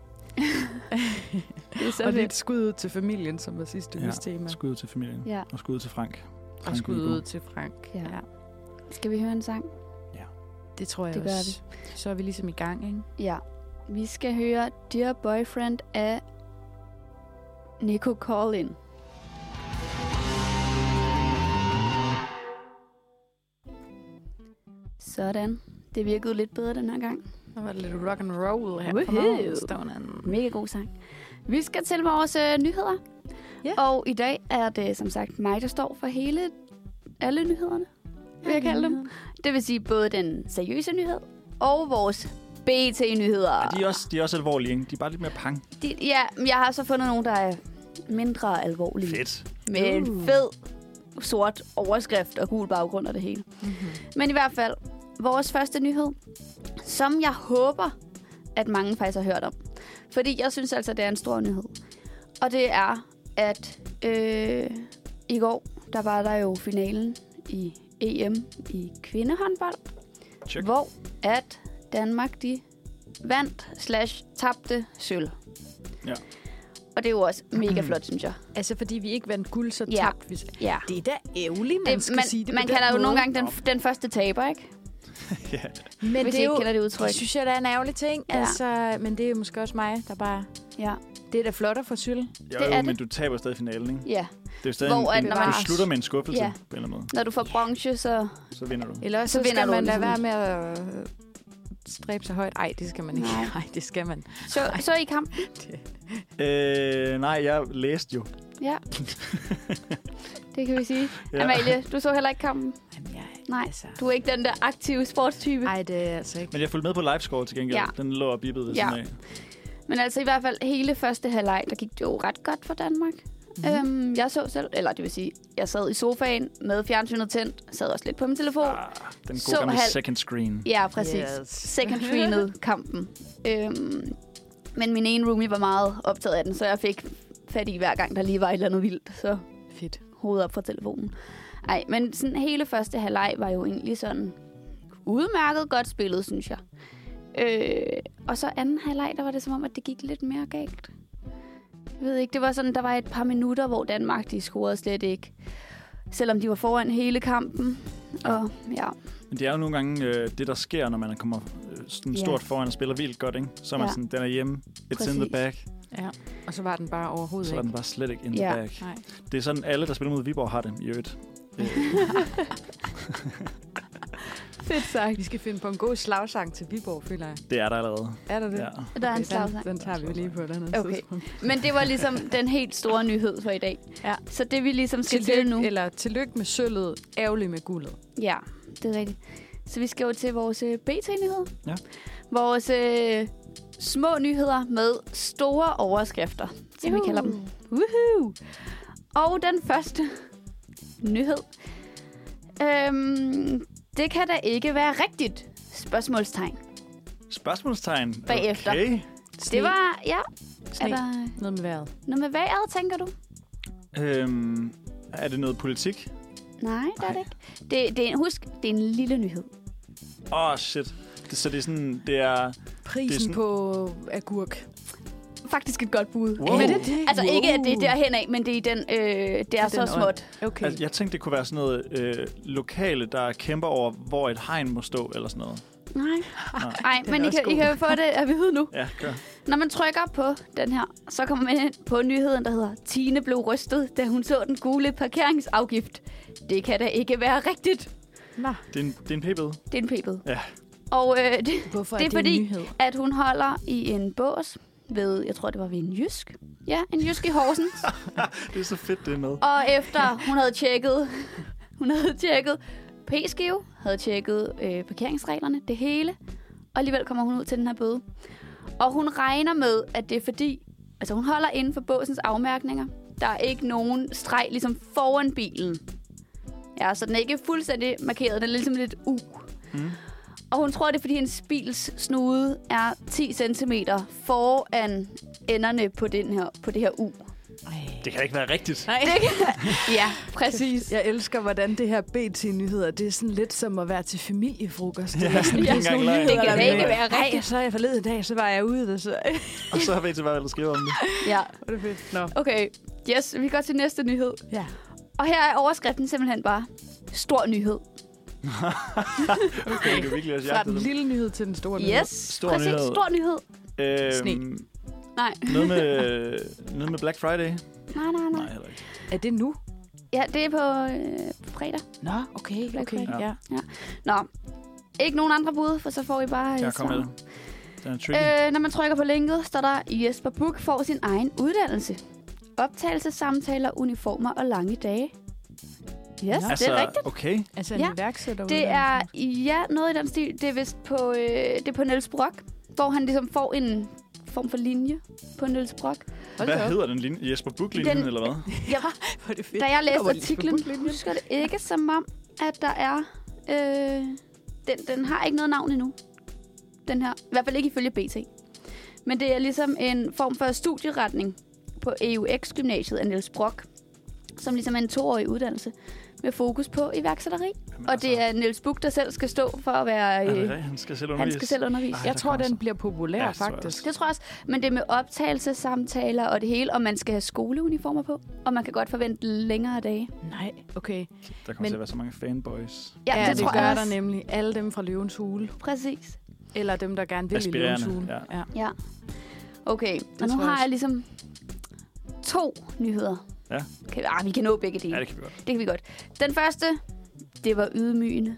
[SPEAKER 2] Det er så
[SPEAKER 3] Og det er et
[SPEAKER 2] fedt.
[SPEAKER 3] skud ud til familien, som var sidste uges tema.
[SPEAKER 4] Skud ud til familien.
[SPEAKER 2] Ja.
[SPEAKER 4] Og skud ud til Frank.
[SPEAKER 3] Og
[SPEAKER 4] Frank
[SPEAKER 3] skud
[SPEAKER 4] Viggo.
[SPEAKER 3] ud til Frank.
[SPEAKER 2] Ja. Skal vi høre en sang?
[SPEAKER 3] Det tror jeg
[SPEAKER 2] Det gør
[SPEAKER 3] også. Så er vi ligesom i gang, ikke?
[SPEAKER 2] Ja. Vi skal høre Dear Boyfriend af Nico Collin. Sådan. Det virkede lidt bedre den her gang.
[SPEAKER 3] Der var det lidt rock and roll her på
[SPEAKER 2] Woohoo!
[SPEAKER 3] morgenstunden.
[SPEAKER 2] Mega god sang. Vi skal til vores øh, nyheder.
[SPEAKER 3] Ja.
[SPEAKER 2] Og i dag er det som sagt mig, der står for hele alle nyhederne, vil jeg kalde dem. Det vil sige både den seriøse nyhed og vores BT-nyheder.
[SPEAKER 4] Ja, de, er også, de er også alvorlige, ikke? De er bare lidt mere pang.
[SPEAKER 2] De, ja, men jeg har så fundet nogle, der er mindre alvorlige.
[SPEAKER 4] Fedt.
[SPEAKER 2] Med en
[SPEAKER 3] Uh.
[SPEAKER 2] fed sort overskrift og gul baggrund og det hele.
[SPEAKER 3] Mhm.
[SPEAKER 2] Men i hvert fald, vores første nyhed, som jeg håber, at mange faktisk har hørt om. Fordi jeg synes altså, det er en stor nyhed. Og det er, at øh, i går, der var der jo finalen i EM i kvindehåndbold.
[SPEAKER 4] Check.
[SPEAKER 2] Hvor at Danmark, de vandt slash tabte sølv.
[SPEAKER 4] Ja.
[SPEAKER 2] Og det er jo også mega flot, synes jeg.
[SPEAKER 3] Altså, fordi vi ikke vandt guld, så
[SPEAKER 2] Ja.
[SPEAKER 3] tabte vi.
[SPEAKER 2] Ja.
[SPEAKER 3] Det er da ærgerligt, man
[SPEAKER 2] Det,
[SPEAKER 3] skal
[SPEAKER 2] man
[SPEAKER 3] sige det
[SPEAKER 2] man
[SPEAKER 3] på den
[SPEAKER 2] kalder jo
[SPEAKER 3] måde.
[SPEAKER 2] nogle gange den, den første taber, ikke?
[SPEAKER 4] ja.
[SPEAKER 3] Men
[SPEAKER 2] Hvis
[SPEAKER 3] det
[SPEAKER 2] I
[SPEAKER 3] er
[SPEAKER 2] ikke
[SPEAKER 3] jo,
[SPEAKER 2] kender det
[SPEAKER 4] det
[SPEAKER 2] udtryk.
[SPEAKER 3] synes jeg, der er en ærgerlig ting.
[SPEAKER 2] Ja.
[SPEAKER 3] Ja. Altså, men det er jo måske også mig, der bare...
[SPEAKER 2] Ja.
[SPEAKER 3] Det er da flot at få sølv.
[SPEAKER 4] Jo,
[SPEAKER 2] Det
[SPEAKER 4] det
[SPEAKER 2] er
[SPEAKER 4] jo,
[SPEAKER 2] det.
[SPEAKER 4] men du taber stadig finalen, ikke?
[SPEAKER 2] ja.
[SPEAKER 4] Det er jo stadig
[SPEAKER 2] Hvor
[SPEAKER 4] en,
[SPEAKER 2] at
[SPEAKER 4] en,
[SPEAKER 2] når
[SPEAKER 4] du
[SPEAKER 2] man-
[SPEAKER 4] slutter med en skuffelse,
[SPEAKER 2] Ja.
[SPEAKER 4] ja. på en eller anden måde.
[SPEAKER 2] Når du får bronze, så...
[SPEAKER 4] Så vinder du.
[SPEAKER 3] Eller også
[SPEAKER 2] Så
[SPEAKER 3] så,
[SPEAKER 2] vinder
[SPEAKER 3] skal
[SPEAKER 2] du
[SPEAKER 3] man lade
[SPEAKER 2] ligesom.
[SPEAKER 3] være med at øh, stræbe sig højt. Ej, det skal man ikke.
[SPEAKER 2] Nej.
[SPEAKER 3] Nej, det skal man.
[SPEAKER 2] Så, så i kamp.
[SPEAKER 4] Øh, nej, jeg læste jo.
[SPEAKER 2] Ja. Det kan vi sige.
[SPEAKER 4] Ja.
[SPEAKER 2] Amalie, du så heller ikke kampen.
[SPEAKER 3] Jamen, jeg,
[SPEAKER 2] Nej.
[SPEAKER 3] Altså,
[SPEAKER 2] Du er ikke den der aktive sportstype.
[SPEAKER 3] ej, det er altså ikke.
[SPEAKER 4] Men jeg fulgte med på livescore til gengæld.
[SPEAKER 2] Ja.
[SPEAKER 4] Ja. Den lå og bippede ved
[SPEAKER 2] Ja.
[SPEAKER 4] siden af.
[SPEAKER 2] Men altså i hvert fald hele første halvleg, der gik det jo ret godt for Danmark.
[SPEAKER 3] Mhm.
[SPEAKER 2] Mm-hmm. Øhm, jeg så selv, eller det vil sige, jeg sad i sofaen med fjernsynet tændt, sad også lidt på min telefon.
[SPEAKER 4] Ah, den gode
[SPEAKER 2] Så
[SPEAKER 4] gamle
[SPEAKER 2] halv-
[SPEAKER 4] second screen.
[SPEAKER 2] Ja, præcis. Yes. Second screenede kampen. Øhm, men min ene roomie var meget optaget af den, så jeg fik fat i hver gang, der lige var et eller andet vildt. Så
[SPEAKER 3] Fedt.
[SPEAKER 2] hovedet op fra telefonen. Nej, men sådan hele første halvleg var jo egentlig sådan udmærket godt spillet, synes jeg. Øh, og så anden halvleg, der var det som om, at det gik lidt mere galt. Jeg ved ikke, det var sådan, der var et par minutter, hvor Danmark, de scorede slet ikke. Selvom de var foran hele kampen. Og ja,
[SPEAKER 4] Men det er jo nogle gange øh, det, der sker, når man kommer øh, sådan
[SPEAKER 2] Ja.
[SPEAKER 4] stort foran og spiller vildt godt, ikke? Så er man
[SPEAKER 2] Ja.
[SPEAKER 4] sådan, den er hjemme, it's Præcis. in the
[SPEAKER 2] Præcis.
[SPEAKER 4] back,
[SPEAKER 3] Ja. Og så var den bare overhovedet
[SPEAKER 4] så er den
[SPEAKER 3] ikke.
[SPEAKER 4] bare slet ikke in the
[SPEAKER 2] Ja.
[SPEAKER 4] back.
[SPEAKER 3] Nej.
[SPEAKER 4] Det er sådan, alle, der spiller mod Viborg, har det i øvrigt. Øh,
[SPEAKER 3] Fedt sagt. Vi skal finde på en god slagsang til Viborg, føler jeg.
[SPEAKER 4] det er der allerede.
[SPEAKER 2] Mm.
[SPEAKER 3] Er der det?
[SPEAKER 4] Ja.
[SPEAKER 2] der er en
[SPEAKER 3] den,
[SPEAKER 2] slagsang.
[SPEAKER 3] den tager vi jo lige på et andet
[SPEAKER 2] Okay.
[SPEAKER 3] tidspunkt.
[SPEAKER 2] Men det var ligesom den helt store nyhed for i dag.
[SPEAKER 3] Ja.
[SPEAKER 2] Så det vi ligesom skal til
[SPEAKER 3] Tillykke,
[SPEAKER 2] nu...
[SPEAKER 3] eller tillykke med sølvet, ærgerlig med guldet.
[SPEAKER 2] Ja, det er rigtigt. Så vi skal jo til vores øh, BT-nyheder.
[SPEAKER 4] Ja.
[SPEAKER 2] Vores øh, små nyheder med store overskrifter, som Juhu. vi kalder dem. Woohoo! Og den første nyhed. Øhm, det kan da ikke være rigtigt, spørgsmålstegn.
[SPEAKER 4] Spørgsmålstegn.
[SPEAKER 2] Bagefter.
[SPEAKER 4] Okay.
[SPEAKER 3] Sne.
[SPEAKER 2] Det var, ja, er
[SPEAKER 3] Sne.
[SPEAKER 2] der
[SPEAKER 3] noget med vejret.
[SPEAKER 2] noget med vejret, tænker du?
[SPEAKER 4] Øhm, er det noget politik?
[SPEAKER 2] Nej, det er
[SPEAKER 4] Ej.
[SPEAKER 2] det ikke. Det, det er, en- husk, det er en lille nyhed.
[SPEAKER 4] Åh, oh, shit. Det, så det er sådan, det er... Det er
[SPEAKER 3] Prisen
[SPEAKER 4] sådan-
[SPEAKER 3] på agurk.
[SPEAKER 2] Faktisk et godt bud.
[SPEAKER 4] Wow.
[SPEAKER 2] Men,
[SPEAKER 4] Er det
[SPEAKER 3] det?
[SPEAKER 2] Altså ikke, at det er
[SPEAKER 3] Wow.
[SPEAKER 2] derhen af, men det er i den, øh, det er
[SPEAKER 3] den
[SPEAKER 2] så
[SPEAKER 3] ånd.
[SPEAKER 2] småt.
[SPEAKER 3] Okay.
[SPEAKER 4] Altså, jeg tænkte, det kunne være sådan noget øh, lokale, der kæmper over, hvor et hegn må stå, eller sådan noget.
[SPEAKER 2] Nej.
[SPEAKER 4] Nej.
[SPEAKER 2] Nej,
[SPEAKER 3] Den
[SPEAKER 2] men I kan,
[SPEAKER 3] er også
[SPEAKER 2] I
[SPEAKER 3] god.
[SPEAKER 2] kan jo få det at vide nu.
[SPEAKER 4] Ja, gør.
[SPEAKER 2] Når man trykker på den her, så kommer man ind på nyheden, der hedder Tine blev rystet, da hun så den gule parkeringsafgift. Det kan da ikke være rigtigt.
[SPEAKER 3] Nå,
[SPEAKER 4] Det er en, det er en p-bøde.
[SPEAKER 2] Det er en pebet.
[SPEAKER 4] Ja.
[SPEAKER 2] Og øh, det,
[SPEAKER 3] hvorfor
[SPEAKER 2] Det er
[SPEAKER 3] er det
[SPEAKER 2] fordi-
[SPEAKER 3] en nyhed?
[SPEAKER 2] at hun holder i en bås ved, jeg tror det var ved en jysk. Ja, en jysk i Horsens.
[SPEAKER 4] Det er så fedt, det er med.
[SPEAKER 2] Og efter hun havde tjekket, hun havde tjekket p-skive, havde tjekket øh, parkeringsreglerne, det hele. Og alligevel kommer hun ud til den her bøde. Og hun regner med, at det er fordi, altså hun holder inden for båsens afmærkninger. Der er ikke nogen streg ligesom foran bilen. Ja, så den er ikke fuldstændig markeret, den er ligesom lidt u.
[SPEAKER 4] Mm.
[SPEAKER 2] Og hun tror, det er, fordi hendes bils snude er 10 cm foran enderne på, den her, på det her u.
[SPEAKER 4] Det kan ikke være rigtigt.
[SPEAKER 3] Nej.
[SPEAKER 2] Ja, præcis.
[SPEAKER 3] Jeg elsker, hvordan det her BT-nyheder, det er sådan lidt som at være til familiefrokost. Ja, sådan,
[SPEAKER 4] ikke engang løgn.
[SPEAKER 2] Det kan da ikke
[SPEAKER 3] være
[SPEAKER 2] være rigtigt.
[SPEAKER 3] Ej, så er jeg forleden dag, så var jeg ude, og så
[SPEAKER 4] Og så har vi til hvad der skriver om det.
[SPEAKER 2] Ja,
[SPEAKER 3] var det fedt. Nå.
[SPEAKER 2] okay. Yes, vi går til næste nyhed.
[SPEAKER 4] Altså,
[SPEAKER 3] Ja.
[SPEAKER 2] Og her er overskriften simpelthen bare, stor nyhed.
[SPEAKER 4] Okay. Det kan virkelig også
[SPEAKER 3] Fra
[SPEAKER 4] jagte
[SPEAKER 3] den
[SPEAKER 4] dem.
[SPEAKER 3] lille nyhed til den store
[SPEAKER 2] Yes,
[SPEAKER 4] Stor
[SPEAKER 2] præcis,
[SPEAKER 4] nyhed.
[SPEAKER 2] stor nyhed.
[SPEAKER 4] Øhm,
[SPEAKER 2] Nej.
[SPEAKER 4] Noget med, noget med Black Friday?
[SPEAKER 2] Nej, nej,
[SPEAKER 4] Nej,
[SPEAKER 2] nej.
[SPEAKER 4] heller ikke.
[SPEAKER 3] nyhed. Er det nu?
[SPEAKER 2] Ja, det er på, øh, på fredag.
[SPEAKER 3] Nå, okay,
[SPEAKER 2] Black
[SPEAKER 3] okay.
[SPEAKER 2] Friday.
[SPEAKER 3] Ja.
[SPEAKER 2] Nå, ikke nogen andre bud, for så får I bare øh,
[SPEAKER 4] Jeg kom med
[SPEAKER 2] svaret.
[SPEAKER 4] det. Den er tricky. Øh.
[SPEAKER 2] Øh, når man trykker på linket, står der, Jesper Buch får sin egen uddannelse. Optagelsessamtaler, uniformer og lange dage. Yes,
[SPEAKER 3] Nå.
[SPEAKER 2] altså, det er rigtigt.
[SPEAKER 4] okay.
[SPEAKER 3] Altså en
[SPEAKER 2] Ja.
[SPEAKER 3] ja. iværksætter
[SPEAKER 2] Det er ja, noget i den stil. Det er vist på, øh, det er på Niels Brock, hvor han ligesom får en form for linje på Niels Brock.
[SPEAKER 4] Hvad hedder den linje? Jesper Buch-linjen,
[SPEAKER 2] Den- Øh,
[SPEAKER 4] eller hvad?
[SPEAKER 3] Hvor er det fedt.
[SPEAKER 2] Da jeg læste
[SPEAKER 3] Kommer lige på
[SPEAKER 2] artiklen,
[SPEAKER 3] bundlinjen.
[SPEAKER 2] husker det ikke som om, at der er... Øh, den, den har ikke noget navn endnu. Den her. I hvert fald ikke ifølge BT. Men det er ligesom en form for studieretning på E EUX-gymnasiet af Niels Brock, som ligesom er en toårig uddannelse med fokus på iværksætteri.
[SPEAKER 4] Jamen, altså.
[SPEAKER 2] Og det er Niels Buch, der selv skal stå for at være...
[SPEAKER 4] Er det
[SPEAKER 2] Øh,
[SPEAKER 4] rigtigt? Han skal selv
[SPEAKER 2] han
[SPEAKER 4] undervise.
[SPEAKER 2] skal selv undervise.
[SPEAKER 4] Ej,
[SPEAKER 3] Jeg
[SPEAKER 4] der
[SPEAKER 3] tror,
[SPEAKER 4] kommer
[SPEAKER 3] den
[SPEAKER 4] så-
[SPEAKER 3] bliver populær,
[SPEAKER 4] Ja,
[SPEAKER 3] ja,
[SPEAKER 4] det tror jeg
[SPEAKER 3] faktisk.
[SPEAKER 2] Det tror jeg også. Men det er med optagelsessamtaler og det hele, og man skal have skoleuniformer på, og man kan godt forvente længere dage.
[SPEAKER 3] Nej, okay.
[SPEAKER 4] Der kommer
[SPEAKER 3] Men-
[SPEAKER 4] til at være så mange fanboys.
[SPEAKER 2] Ja,
[SPEAKER 3] Ja,
[SPEAKER 2] det,
[SPEAKER 3] det,
[SPEAKER 2] tror
[SPEAKER 3] gør
[SPEAKER 2] jeg
[SPEAKER 3] der
[SPEAKER 2] også.
[SPEAKER 3] nemlig. Alle dem fra Løvens Hule.
[SPEAKER 2] Præcis.
[SPEAKER 3] Eller dem, der gerne vil i
[SPEAKER 4] Aspirerende,
[SPEAKER 3] Løvens Hule.
[SPEAKER 4] ja.
[SPEAKER 3] ja.
[SPEAKER 2] Ja. Okay, og nu
[SPEAKER 3] tror jeg
[SPEAKER 2] har
[SPEAKER 3] også.
[SPEAKER 2] jeg ligesom to nyheder.
[SPEAKER 4] Ja.
[SPEAKER 2] Kan, ah, vi kan nå begge dele.
[SPEAKER 4] Ja,
[SPEAKER 2] Ja,
[SPEAKER 4] det
[SPEAKER 2] det...
[SPEAKER 4] kan vi godt.
[SPEAKER 2] det kan vi godt. Den første, det var ydmygende.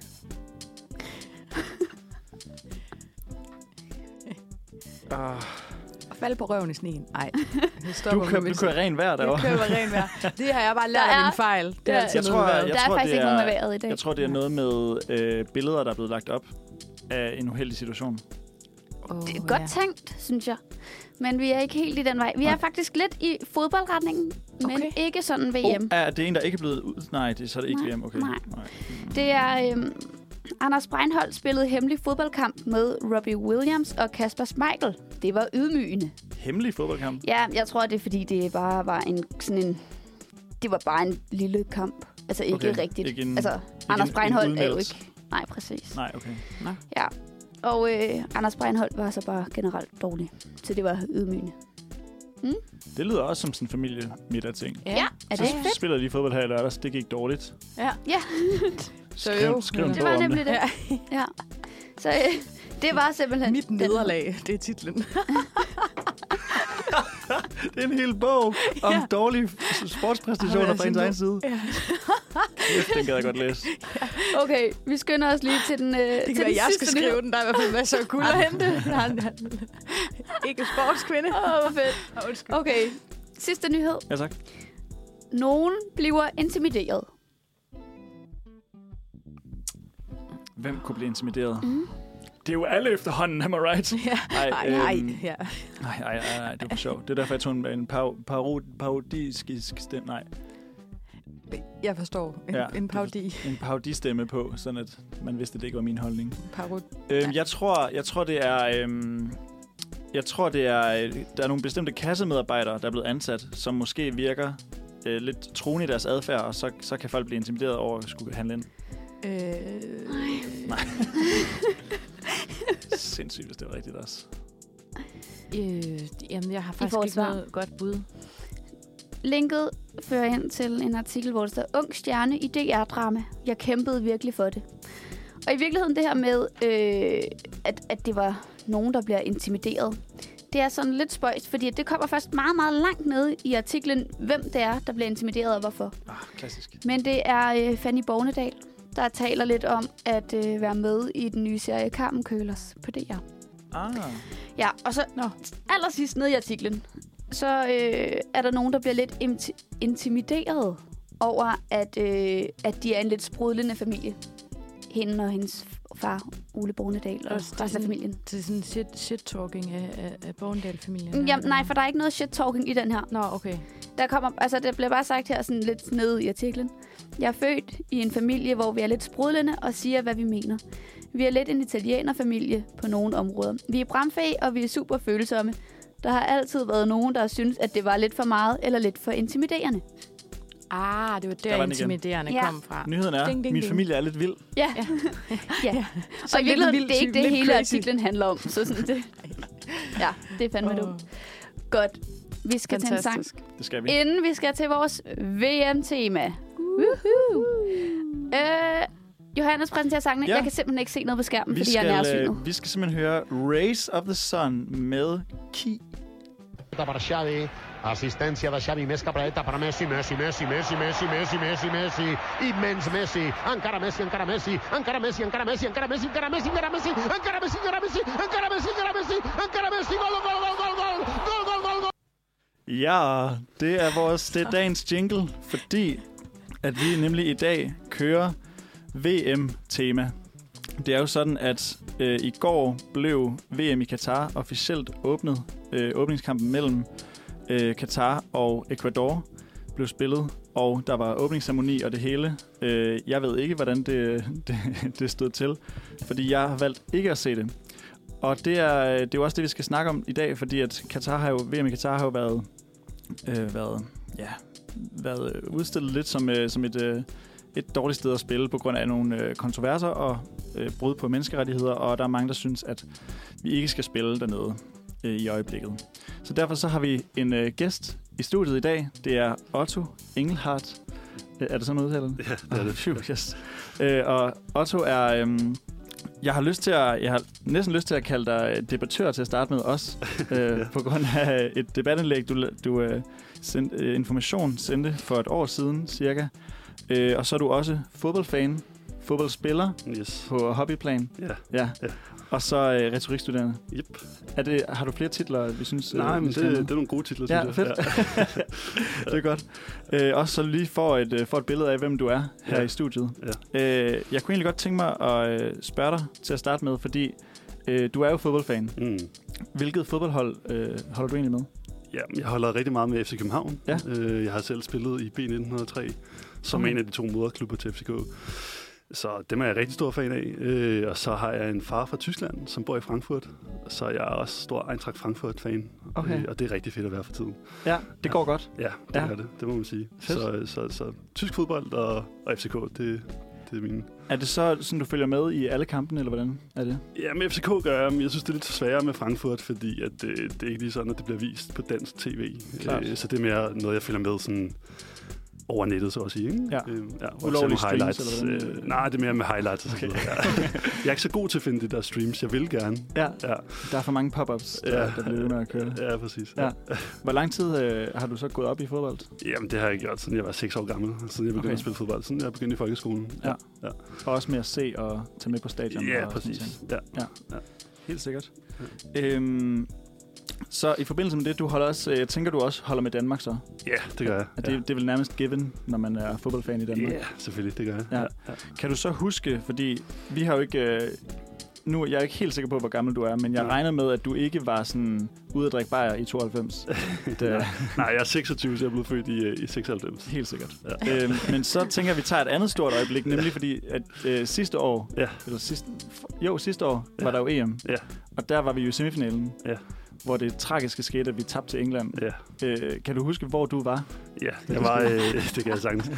[SPEAKER 4] Uh,
[SPEAKER 3] Og falde på røven i sneen. Nej.
[SPEAKER 4] du kører, du kører ren vejr
[SPEAKER 3] Jeg
[SPEAKER 4] derovre.
[SPEAKER 3] køber rent vejr. Det har jeg bare lært
[SPEAKER 2] Der
[SPEAKER 3] af
[SPEAKER 2] er-
[SPEAKER 3] min fejl. Det er
[SPEAKER 2] der-
[SPEAKER 3] altid
[SPEAKER 4] Jeg tror,
[SPEAKER 3] noget med
[SPEAKER 4] jeg,
[SPEAKER 3] vejret.
[SPEAKER 2] Der er
[SPEAKER 4] tror,
[SPEAKER 2] faktisk
[SPEAKER 4] det
[SPEAKER 2] ikke nogen med vejret i dag.
[SPEAKER 4] Jeg tror, det er noget med øh, billeder, der er blevet lagt op af en uheldig situation.
[SPEAKER 1] Oh,
[SPEAKER 2] Det er godt tænkt, synes jeg. Men vi er ikke helt i den vej. Vi
[SPEAKER 4] Nej.
[SPEAKER 2] er faktisk lidt i fodboldretningen, men
[SPEAKER 3] Okay.
[SPEAKER 2] ikke sådan VM.
[SPEAKER 4] Oh, er det en, der ikke er blevet ud? Nej, det, så er det ikke
[SPEAKER 2] Nej,
[SPEAKER 4] VM, okay.
[SPEAKER 2] nej.
[SPEAKER 4] nej.
[SPEAKER 2] Det er øhm, Anders Breinholt spillede hemmelig fodboldkamp med Robbie Williams og Kasper Schmeichel. Det var ydmygende.
[SPEAKER 4] Hemmelig fodboldkamp?
[SPEAKER 2] Ja, jeg tror, det er fordi, det bare var en sådan en... Det var bare en lille kamp. Altså ikke
[SPEAKER 4] Okay,
[SPEAKER 2] rigtigt.
[SPEAKER 4] ikke en-
[SPEAKER 2] altså,
[SPEAKER 4] en-
[SPEAKER 2] Anders
[SPEAKER 4] en
[SPEAKER 2] Breinholt er jo
[SPEAKER 4] udmeldelse.
[SPEAKER 2] ikke... Nej, præcis.
[SPEAKER 4] Nej, okay.
[SPEAKER 2] Ja. Og øh, Anders Breinholt var så bare generelt dårlig. Så det var ydmygende.
[SPEAKER 4] Det lyder også som sådan en familiemiddag-ting.
[SPEAKER 2] Ja, er det
[SPEAKER 4] Så
[SPEAKER 2] ikke fedt?
[SPEAKER 4] spiller de fodbold her i lørdags. Det gik dårligt.
[SPEAKER 2] Ja,
[SPEAKER 3] Så
[SPEAKER 4] Skriv-
[SPEAKER 3] jo.
[SPEAKER 4] skriv en
[SPEAKER 3] Ja.
[SPEAKER 2] det
[SPEAKER 4] bog
[SPEAKER 2] var
[SPEAKER 4] om
[SPEAKER 2] nemlig det.
[SPEAKER 3] Ja.
[SPEAKER 2] Ja. Så øh, det var simpelthen...
[SPEAKER 3] Mit
[SPEAKER 2] den-
[SPEAKER 3] nederlag, det er titlen.
[SPEAKER 4] Det er en hel bog om ja. dårlige s-
[SPEAKER 3] Ej,
[SPEAKER 4] sportspræstationer
[SPEAKER 3] jeg
[SPEAKER 4] fra
[SPEAKER 3] synes,
[SPEAKER 4] ens egen side.
[SPEAKER 3] Ja.
[SPEAKER 4] Kæft, den gad jeg godt læse.
[SPEAKER 2] Okay, vi skynder os lige til den, øh,
[SPEAKER 3] Det
[SPEAKER 2] til
[SPEAKER 3] kan være,
[SPEAKER 2] den
[SPEAKER 3] jeg skal
[SPEAKER 2] sidste nyhed.
[SPEAKER 3] skrive den. Der er i hvert fald masser af guld at hente. Han er ikke sportskvinde.
[SPEAKER 2] Åh, hvor fedt.
[SPEAKER 3] Åh, Undskyld.
[SPEAKER 2] Okay, sidste nyhed.
[SPEAKER 4] Ja, tak.
[SPEAKER 2] Nogen bliver intimideret.
[SPEAKER 4] Hvem kunne blive intimideret? Mm. Det er jo alle efterhånden, am I right?
[SPEAKER 3] Ja.
[SPEAKER 4] Ej,
[SPEAKER 3] Ej,
[SPEAKER 4] øhm,
[SPEAKER 3] ej, ja.
[SPEAKER 4] Nej, nej, nej, nej, det var for sjovt. Det er derfor, jeg tog en, en par, paro- parodistisk stemme. Nej,
[SPEAKER 3] Jeg forstår. En,
[SPEAKER 4] Ja,
[SPEAKER 3] ja, en
[SPEAKER 4] det
[SPEAKER 3] parodi.
[SPEAKER 4] en parodistemme på, sådan at man vidste, at det ikke var min holdning.
[SPEAKER 3] Parodi.
[SPEAKER 4] Øhm, jeg, tror, jeg tror, det er... Øhm, jeg tror, det er, øh, der er nogle bestemte kassemedarbejdere, der er blevet ansat, som måske virker øh, lidt truende i deres adfærd, og så, så kan folk blive intimideret over at skulle handle ind.
[SPEAKER 3] Øh,
[SPEAKER 4] Sindssygt, hvis det var rigtigt også.
[SPEAKER 3] øh, jamen, jeg har faktisk
[SPEAKER 2] får et
[SPEAKER 3] ikke
[SPEAKER 2] svar.
[SPEAKER 3] noget godt bud.
[SPEAKER 2] Linket fører hen til en artikel, hvor der står, Ung stjerne i DR-drama. Jeg kæmpede virkelig for det. Og i virkeligheden det her med, øh, at, at det var nogen, der bliver intimideret. Det er sådan lidt spøjst, fordi det kommer først meget, meget langt nede i artiklen, hvem det er, der bliver intimideret og hvorfor.
[SPEAKER 4] Ah, klassisk.
[SPEAKER 2] Men det er øh, Fanny Bornedal, der taler lidt om at øh, være med i den nye serie Carmen Køhlers på DR.
[SPEAKER 4] Ah,
[SPEAKER 2] Ja, og så
[SPEAKER 3] Nå.
[SPEAKER 2] allersidst nede i artiklen, så øh, er der nogen, der bliver lidt imti- intimideret over, at, øh, at de er en lidt sprudlende familie. Hende og hendes far, Ole Bornedal, og
[SPEAKER 3] Også det
[SPEAKER 2] resten
[SPEAKER 3] er
[SPEAKER 2] af
[SPEAKER 3] sådan-
[SPEAKER 2] familien.
[SPEAKER 3] Det er sådan shit, shit-talking af, af, af Borgendal-familien.
[SPEAKER 2] Mm, Jamen, nej, for der er ikke noget shit-talking i den her.
[SPEAKER 3] Nå, okay.
[SPEAKER 2] Der kommer, altså, det bliver bare sagt her sådan lidt nede i artiklen. Jeg er født i en familie, hvor vi er lidt sprudlende og siger, hvad vi mener. Vi er lidt en italienerfamilie på nogle områder. Vi er bramfag, og vi er super følsomme. Der har altid været nogen, der har syntes, at det var lidt for meget eller lidt for intimiderende.
[SPEAKER 3] Ah, det var der,
[SPEAKER 4] Der var den igen.
[SPEAKER 3] intimiderende
[SPEAKER 2] Ja.
[SPEAKER 3] kom fra.
[SPEAKER 4] nyheden er,
[SPEAKER 3] Ding, ding,
[SPEAKER 4] min
[SPEAKER 3] ding.
[SPEAKER 4] familie er lidt vild.
[SPEAKER 2] Ja. ja. ja. Så og i
[SPEAKER 3] lidt
[SPEAKER 2] virkeligheden,
[SPEAKER 3] vild
[SPEAKER 2] det er ikke
[SPEAKER 3] type,
[SPEAKER 2] det,
[SPEAKER 3] lidt
[SPEAKER 2] hele
[SPEAKER 3] crazy.
[SPEAKER 2] artiklen handler om. Så sådan det. Ja, det er fandme
[SPEAKER 3] Åh.
[SPEAKER 2] oh. dumt. Godt. Vi skal Fantastisk. til en sang.
[SPEAKER 3] Fantastisk.
[SPEAKER 4] Det skal vi.
[SPEAKER 2] Inden vi skal til vores VM-tema. Woohoo. Øh, Johannes præsenterer sangene.
[SPEAKER 4] Ja.
[SPEAKER 2] Ja. Jeg kan simpelthen ikke se noget på skærmen,
[SPEAKER 4] Vi
[SPEAKER 2] fordi jeg er
[SPEAKER 4] skal,
[SPEAKER 2] nærsynet.
[SPEAKER 4] øh, vi skal simpelthen høre Race of the Sun med Ki.
[SPEAKER 5] Paradeta per Xavi, assistència de Xavi, més que paradeta per Messi, Messi, Messi, Messi, Messi, Messi, Messi, Messi, immens Messi, encara Messi, encara Messi, encara Messi, encara Messi, encara Messi, encara Messi, encara Messi, encara Messi, encara Messi, encara Messi, encara Messi, encara Messi, gol, gol, gol, gol, gol, gol, gol, gol, gol.
[SPEAKER 4] Ja, det er vores det er dagens jingle, fordi at vi nemlig i dag kører VM-tema. Det er jo sådan, at øh, i går blev VM i Katar officielt åbnet. Øh, åbningskampen mellem øh, Katar og Ecuador blev spillet, og der var åbningsceremoni og det hele. Øh, jeg ved ikke, hvordan det, det, det stod til, fordi jeg har valgt ikke at se det. Og det er, det er jo også det, vi skal snakke om i dag, fordi at Katar har jo, VM i Katar har jo været, øh, været, ja, været øh, udstillet lidt som, øh, som et, øh, et dårligt sted at spille på grund af nogle øh, kontroverser og øh, brud på menneskerettigheder, og der er mange, der synes, at vi ikke skal spille dernede øh, i øjeblikket. Så derfor så har vi en øh, gæst i studiet i dag. Det er Otto Engelhardt. Øh, Er det sådan udtalen? Ja, det er det. Phew, yes. øh, og Otto er... Øhm, jeg har lyst til at, jeg har næsten lyst til at kalde dig øh, debattør til at starte med os, øh, ja. på grund af øh, et debatindlæg, du, la- du øh, sendte, øh, information sendte for et år siden cirka. Øh, og så er du også fodboldfan, fodboldspiller
[SPEAKER 6] Yes.
[SPEAKER 4] på hobbyplan.
[SPEAKER 6] Ja.
[SPEAKER 4] Ja.
[SPEAKER 6] Ja.
[SPEAKER 4] Og så øh, retorikstuderende.
[SPEAKER 6] Yep.
[SPEAKER 4] Er det, har du flere titler, vi synes?
[SPEAKER 6] Nej,
[SPEAKER 4] øh,
[SPEAKER 6] men
[SPEAKER 4] vi
[SPEAKER 6] det,
[SPEAKER 4] skal have med?
[SPEAKER 6] det er nogle gode titler,
[SPEAKER 4] Ja,
[SPEAKER 6] synes
[SPEAKER 4] fedt. det er godt. Øh, også så lige får et, øh, får et billede af, hvem du er her
[SPEAKER 6] Ja.
[SPEAKER 4] i studiet. Øh, jeg kunne egentlig godt tænke mig at øh, spørge dig til at starte med, fordi Øh, du er jo fodboldfan.
[SPEAKER 6] Mm.
[SPEAKER 4] Hvilket fodboldhold øh, holder du egentlig med?
[SPEAKER 6] Ja, jeg holder rigtig meget med FC København.
[SPEAKER 4] Ja. Mm.
[SPEAKER 6] Øh, jeg har selv spillet i B1903, som
[SPEAKER 4] Okay.
[SPEAKER 6] en af de to moderklubber til FCK. Så dem er jeg rigtig stor fan af. Øh, og så har jeg en far fra Tyskland, som bor i Frankfurt. Så jeg er også stor Eintracht Frankfurt-fan. Øh,
[SPEAKER 4] Okay.
[SPEAKER 6] og det er rigtig fedt at være for tiden.
[SPEAKER 4] Ja, det går godt.
[SPEAKER 6] Ja, det
[SPEAKER 4] Ja.
[SPEAKER 6] ja. er det. Det må man sige.
[SPEAKER 4] Fedt.
[SPEAKER 6] Så, så, så, tysk fodbold og, og FCK, det, det er mine.
[SPEAKER 4] Er det så sådan, du følger med i alle kampene, eller hvordan er det?
[SPEAKER 6] Ja, med FCK gør jeg, men jeg synes, det er lidt sværere med Frankfurt, fordi at, øh, det er ikke lige sådan, at det bliver vist på dansk tv.
[SPEAKER 4] Klart.
[SPEAKER 6] så det er mere noget, jeg følger med sådan over nettet, så at sige. Ikke?
[SPEAKER 4] Ja.
[SPEAKER 6] Øh, ja og
[SPEAKER 4] Ulovlige
[SPEAKER 6] nogle
[SPEAKER 4] streams,
[SPEAKER 6] highlights.
[SPEAKER 4] eller hvordan?
[SPEAKER 6] øh, nej, det er mere med highlights. Okay. Og sådan noget. Ja. jeg er ikke så god til at finde de der streams. Jeg vil gerne.
[SPEAKER 4] Ja,
[SPEAKER 6] Ja,
[SPEAKER 4] der er for mange pop-ups, der, ja. der bliver ved med at køre.
[SPEAKER 6] ja præcis.
[SPEAKER 4] Ja. Hvor lang tid øh, har du så gået op i fodbold?
[SPEAKER 6] Jamen, det har jeg gjort, siden jeg var 6 år gammel, siden jeg begyndte
[SPEAKER 4] Okay.
[SPEAKER 6] okay. at spille fodbold. Siden jeg begyndte i folkeskolen.
[SPEAKER 4] Ja. Og også med at se og tage med på stadion?
[SPEAKER 6] Ja,
[SPEAKER 4] og sådan ting.
[SPEAKER 6] præcis. Ja.
[SPEAKER 4] Helt sikkert. Øhm, så i forbindelse med det, du holder også, øh, jeg tænker, du også holder med Danmark så?
[SPEAKER 6] ja, det gør jeg.
[SPEAKER 4] At det, ja. det er vel nærmest given, når man er fodboldfan i Danmark?
[SPEAKER 6] Ja, yeah, selvfølgelig, det gør jeg.
[SPEAKER 4] Ja.
[SPEAKER 6] Ja. Ja.
[SPEAKER 4] Kan du så huske, fordi vi har jo ikke... Øh, nu, jeg er ikke helt sikker på, hvor gammel du er, men jeg
[SPEAKER 6] Ja.
[SPEAKER 4] regner med, at du ikke var sådan ude at drikke bajer i 92. Det er
[SPEAKER 6] Nej, jeg er 26, så jeg blev født i, øh, i 96.
[SPEAKER 4] helt sikkert.
[SPEAKER 6] Ja.
[SPEAKER 4] øhm, men så tænker jeg, at vi tager et andet stort øjeblik, nemlig fordi, at øh, sidste år,
[SPEAKER 6] Ja.
[SPEAKER 4] eller sidste, jo, sidste år ja. var der jo EM,
[SPEAKER 6] Ja.
[SPEAKER 4] og der var vi jo i semifinalen,
[SPEAKER 6] Ja.
[SPEAKER 4] hvor det tragiske skete, at vi tabte til England.
[SPEAKER 6] Ja,
[SPEAKER 4] Øh, kan du huske, hvor du var?
[SPEAKER 6] ja jeg var, øh, det kan jeg sagtens.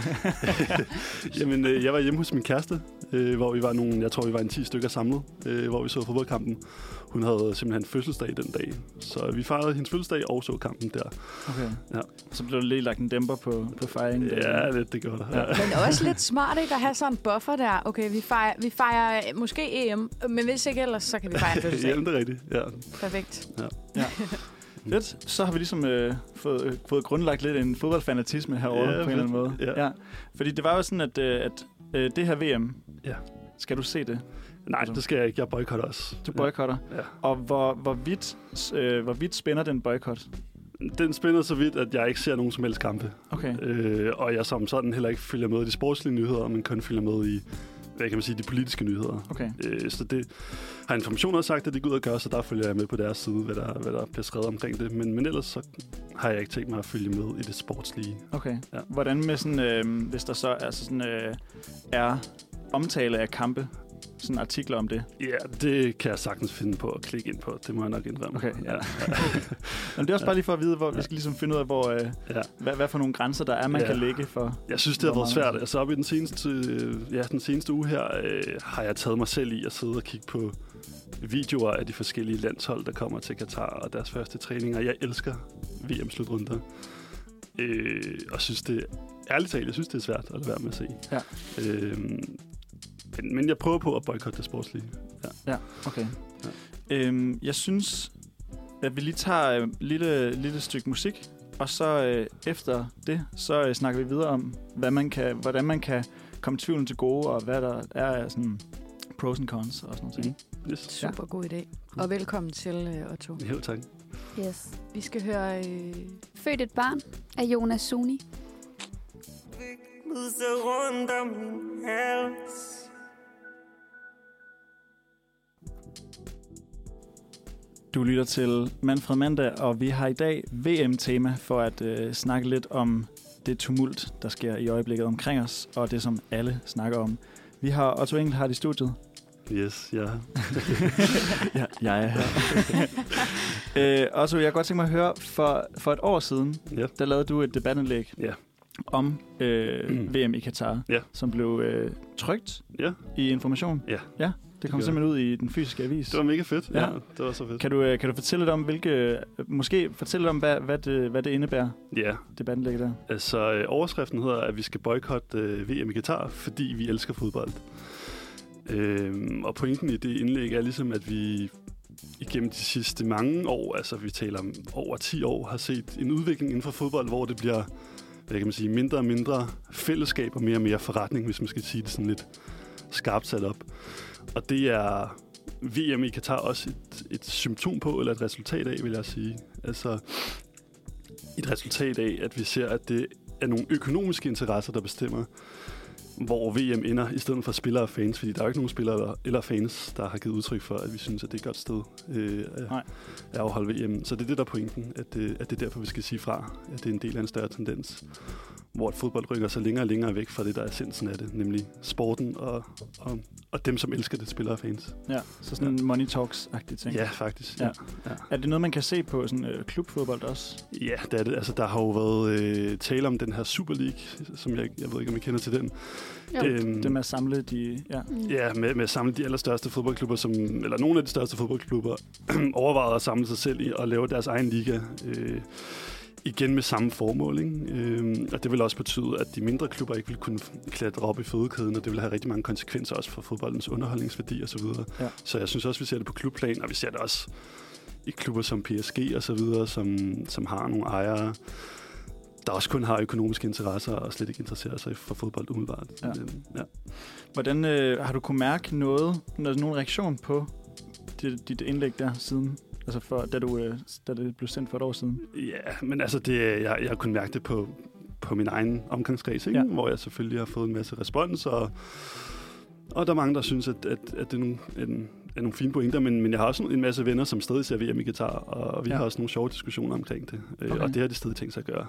[SPEAKER 6] Jamen, øh, jeg var hjemme hos min kæreste, øh, hvor vi var nogle, jeg tror, vi var en 10 stykker samlet, øh, hvor vi så fodboldkampen. Hun havde simpelthen fødselsdag den dag, så vi fejrede hendes fødselsdag og så kampen der.
[SPEAKER 4] Okay.
[SPEAKER 6] Ja.
[SPEAKER 4] Så blev der lige lagt en dæmper på, på fejringen.
[SPEAKER 6] Ja, det, det gjorde der.
[SPEAKER 4] Ja.
[SPEAKER 6] Ja.
[SPEAKER 3] Men også lidt smart, ikke? At have sådan en buffer der. Okay, vi fejrer, vi fejrer øh, måske EM, men hvis ikke ellers, så kan vi fejre en fødselsdag.
[SPEAKER 6] Jamen, det er rigtigt. Ja.
[SPEAKER 3] Perfekt.
[SPEAKER 4] Fedt. Så har vi ligesom øh, fået, øh, fået grundlagt lidt en fodboldfanatisme herovre
[SPEAKER 6] Ja,
[SPEAKER 4] på en eller anden måde.
[SPEAKER 6] fedt. Ja.
[SPEAKER 4] Fordi det var jo sådan, at, øh, at øh, det her VM,
[SPEAKER 6] Ja.
[SPEAKER 4] skal du se det?
[SPEAKER 6] Nej, det skal jeg ikke. Jeg boykotter også.
[SPEAKER 4] Altså. Du boykotter.
[SPEAKER 6] Ja.
[SPEAKER 4] Og hvor, hvor, vidt, øh, hvor vidt spænder den boykot?
[SPEAKER 6] Øh, Den spænder så vidt, at jeg ikke ser nogen som helst kampe.
[SPEAKER 4] Okay.
[SPEAKER 6] Øh, og jeg som sådan heller ikke følger med i de sportslige nyheder, men kun følger med i, hvad kan man sige, de politiske nyheder.
[SPEAKER 4] Okay.
[SPEAKER 6] Øh, så det har information også sagt, at de går ud og gør, så der følger jeg med på deres side, hvad der, hvad der bliver skrevet omkring det. Men, men ellers så har jeg ikke tænkt mig at følge med i det sportslige.
[SPEAKER 4] Okay. Ja.
[SPEAKER 6] Ja.
[SPEAKER 4] Hvordan med sådan, øh, hvis der så er, så sådan, øh, er omtale af kampe, sådan artikler om det.
[SPEAKER 6] Ja, det kan jeg sagtens finde på at klikke ind på. Det må jeg nok indrømme.
[SPEAKER 4] Okay, ja.
[SPEAKER 6] ja.
[SPEAKER 4] Men det er også bare lige for at vide, hvor vi skal ligesom finde ud af, hvor, øh,
[SPEAKER 6] ja.
[SPEAKER 4] hvad, hvad for nogle grænser der er, man ja.
[SPEAKER 6] Ja.
[SPEAKER 4] kan lægge for.
[SPEAKER 6] Jeg synes, det har
[SPEAKER 4] Hvor
[SPEAKER 6] været
[SPEAKER 4] mange?
[SPEAKER 6] svært. Altså op i den seneste, øh, ja, den seneste uge her, øh, har jeg taget mig selv i at sidde og kigge på videoer af de forskellige landshold, der kommer til Katar og deres første træninger. Jeg elsker VM-slutrunder. Øh, og synes det, ærligt talt, jeg synes det er svært at lade være med at se.
[SPEAKER 4] Ja.
[SPEAKER 6] Øh, men, men jeg prøver på at boykotte det sportslige.
[SPEAKER 4] Ja, okay. Ja. Øhm, jeg synes, at vi lige tager et lille, lille stykke musik, og så øh, efter det, så øh, snakker vi videre om, hvad man kan, hvordan man kan komme tvivlen til gode, og hvad der er af sådan pros and cons og sådan noget. Mm.
[SPEAKER 6] Yes.
[SPEAKER 3] Super god idé. Og velkommen til, øh, Otto.
[SPEAKER 6] Jo, tak.
[SPEAKER 2] Yes.
[SPEAKER 3] Vi skal høre... Øh,
[SPEAKER 2] Født et barn af Jonas Suni.
[SPEAKER 7] Lyse rundt om min hals
[SPEAKER 4] Du lytter til Manfred Mandag, og vi har i dag VM-tema for at øh, snakke lidt om det tumult, der sker i øjeblikket omkring os, og det, som alle snakker om. Vi har Otto Engelhardt i studiet.
[SPEAKER 6] Yes, ja.
[SPEAKER 4] ja, jeg er her. øh, Otto, jeg kunne godt tænke mig at høre, for, for et år siden,
[SPEAKER 6] Ja.
[SPEAKER 4] der lavede du et debatindlæg
[SPEAKER 6] Ja.
[SPEAKER 4] om øh,
[SPEAKER 6] Mm.
[SPEAKER 4] VM i Katar,
[SPEAKER 6] Ja.
[SPEAKER 4] som blev øh, trygt
[SPEAKER 6] Ja.
[SPEAKER 4] i Information.
[SPEAKER 6] Ja.
[SPEAKER 4] ja det kom
[SPEAKER 6] gjorde
[SPEAKER 4] simpelthen ud i den fysiske avis.
[SPEAKER 6] Det var mega fedt.
[SPEAKER 4] Ja.
[SPEAKER 6] Ja, det var så fedt.
[SPEAKER 4] Kan du, øh, kan du fortælle lidt om, hvilke, øh, måske fortælle lidt om, hvad, hvad, det, hvad det indebærer,
[SPEAKER 6] Ja,
[SPEAKER 4] debatindlæg der?
[SPEAKER 6] Altså, øh, overskriften hedder, at vi skal boykotte øh, VM i Katar, fordi vi elsker fodbold. Øhm, og pointen i det indlæg er ligesom, at vi igennem de sidste mange år, altså vi taler om over 10 år, har set en udvikling inden for fodbold, hvor det bliver hvad kan man sige, mindre og mindre fællesskab og mere og mere forretning, hvis man skal sige det sådan lidt skarpt sat op. Og det er VM i Katar også et, et symptom på, eller et resultat af, vil jeg sige. Altså, et resultat af, at vi ser, at det er nogle økonomiske interesser, der bestemmer, hvor VM ender, i stedet for spillere og fans, fordi der er jo ikke nogen spillere eller, eller fans, der har givet udtryk for, at vi synes, at det er et godt sted øh, at,
[SPEAKER 4] Nej.
[SPEAKER 6] at afholde VM. Så det er det, der er pointen, at, øh, at det er derfor, vi skal sige fra, at det er en del af en større tendens, hvor at fodbold rykker sig længere og længere væk fra det, der er essensen af det, nemlig sporten og, og, og dem, som elsker det, spillere og fans.
[SPEAKER 4] Ja, så sådan en money talks-agtig ting.
[SPEAKER 6] Ja, faktisk.
[SPEAKER 4] Ja.
[SPEAKER 6] Ja.
[SPEAKER 4] Er det noget, man kan se på sådan øh, klubfodbold også?
[SPEAKER 6] Ja, det er det. Altså, der har jo været øh, tale om den her Super League, som jeg, jeg ved ikke, om I kender til den.
[SPEAKER 2] Jo.
[SPEAKER 6] Øhm,
[SPEAKER 4] Det med at samle de... Ja.
[SPEAKER 6] Ja, med, med at samle de allerstørste fodboldklubber, som, eller nogle af de største fodboldklubber, overvejede at samle sig selv i og lave deres egen liga. Øh, igen med samme formål, ikke? Øh, og det vil også betyde, at de mindre klubber ikke vil kunne klatre op i fødekæden, og det vil have rigtig mange konsekvenser også for fodboldens underholdningsværdi osv. Så,
[SPEAKER 4] Ja.
[SPEAKER 6] ja. så jeg synes også, vi ser det på klubplan, og vi ser det også i klubber som PSG og så videre, som, som har nogle ejere, der også kun har økonomiske interesser og slet ikke interesserer sig for fodbold umiddelbart.
[SPEAKER 4] Ja.
[SPEAKER 6] Øh, ja.
[SPEAKER 4] Hvordan øh, har du kunne mærke noget, noget, nogen reaktion på dit, dit indlæg der siden? Altså for, da, du, øh, da det blev sendt for et år siden?
[SPEAKER 6] Ja, men altså, det, jeg, jeg har kunnet mærke det på, på min egen omgangskreds, ikke?
[SPEAKER 4] Ja.
[SPEAKER 6] Ja. hvor jeg selvfølgelig har fået en masse respons, og, og der er mange, der synes, at, at, at det er nogle, en, er nogle fine pointer, men, men jeg har også en masse venner, som stadig ser VM i guitar, og vi
[SPEAKER 4] Ja.
[SPEAKER 6] ja. har også nogle sjove diskussioner omkring det, okay.
[SPEAKER 4] Okay.
[SPEAKER 6] og det har de stadig tænkt sig at gøre.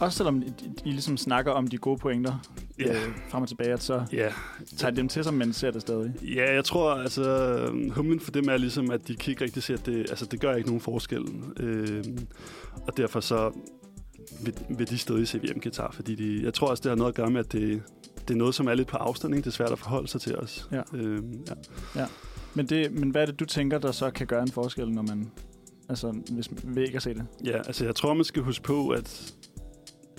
[SPEAKER 4] Også selvom I, I ligesom snakker om de gode pointer
[SPEAKER 6] Ja.
[SPEAKER 4] øh, frem og tilbage, at så
[SPEAKER 6] Ja,
[SPEAKER 4] tager I dem til sig, men ser det stadig.
[SPEAKER 6] ja jeg tror, altså, humlen for dem er ligesom, at de kan ikke rigtig se, at det, altså, det gør ikke nogen forskel, øh, og derfor så vil, vil de stadig se VM guitar, fordi de, jeg tror også, det har noget at gøre med, at det, det er noget, som er lidt på afstand, ikke? Det er svært at forholde sig til os.
[SPEAKER 4] Ja.
[SPEAKER 6] Øhm, ja.
[SPEAKER 4] Men, det, men hvad er det, du tænker, der så kan gøre en forskel, når man... Altså, hvis man ved ikke at se det.
[SPEAKER 6] ja, altså jeg tror, man skal huske på, at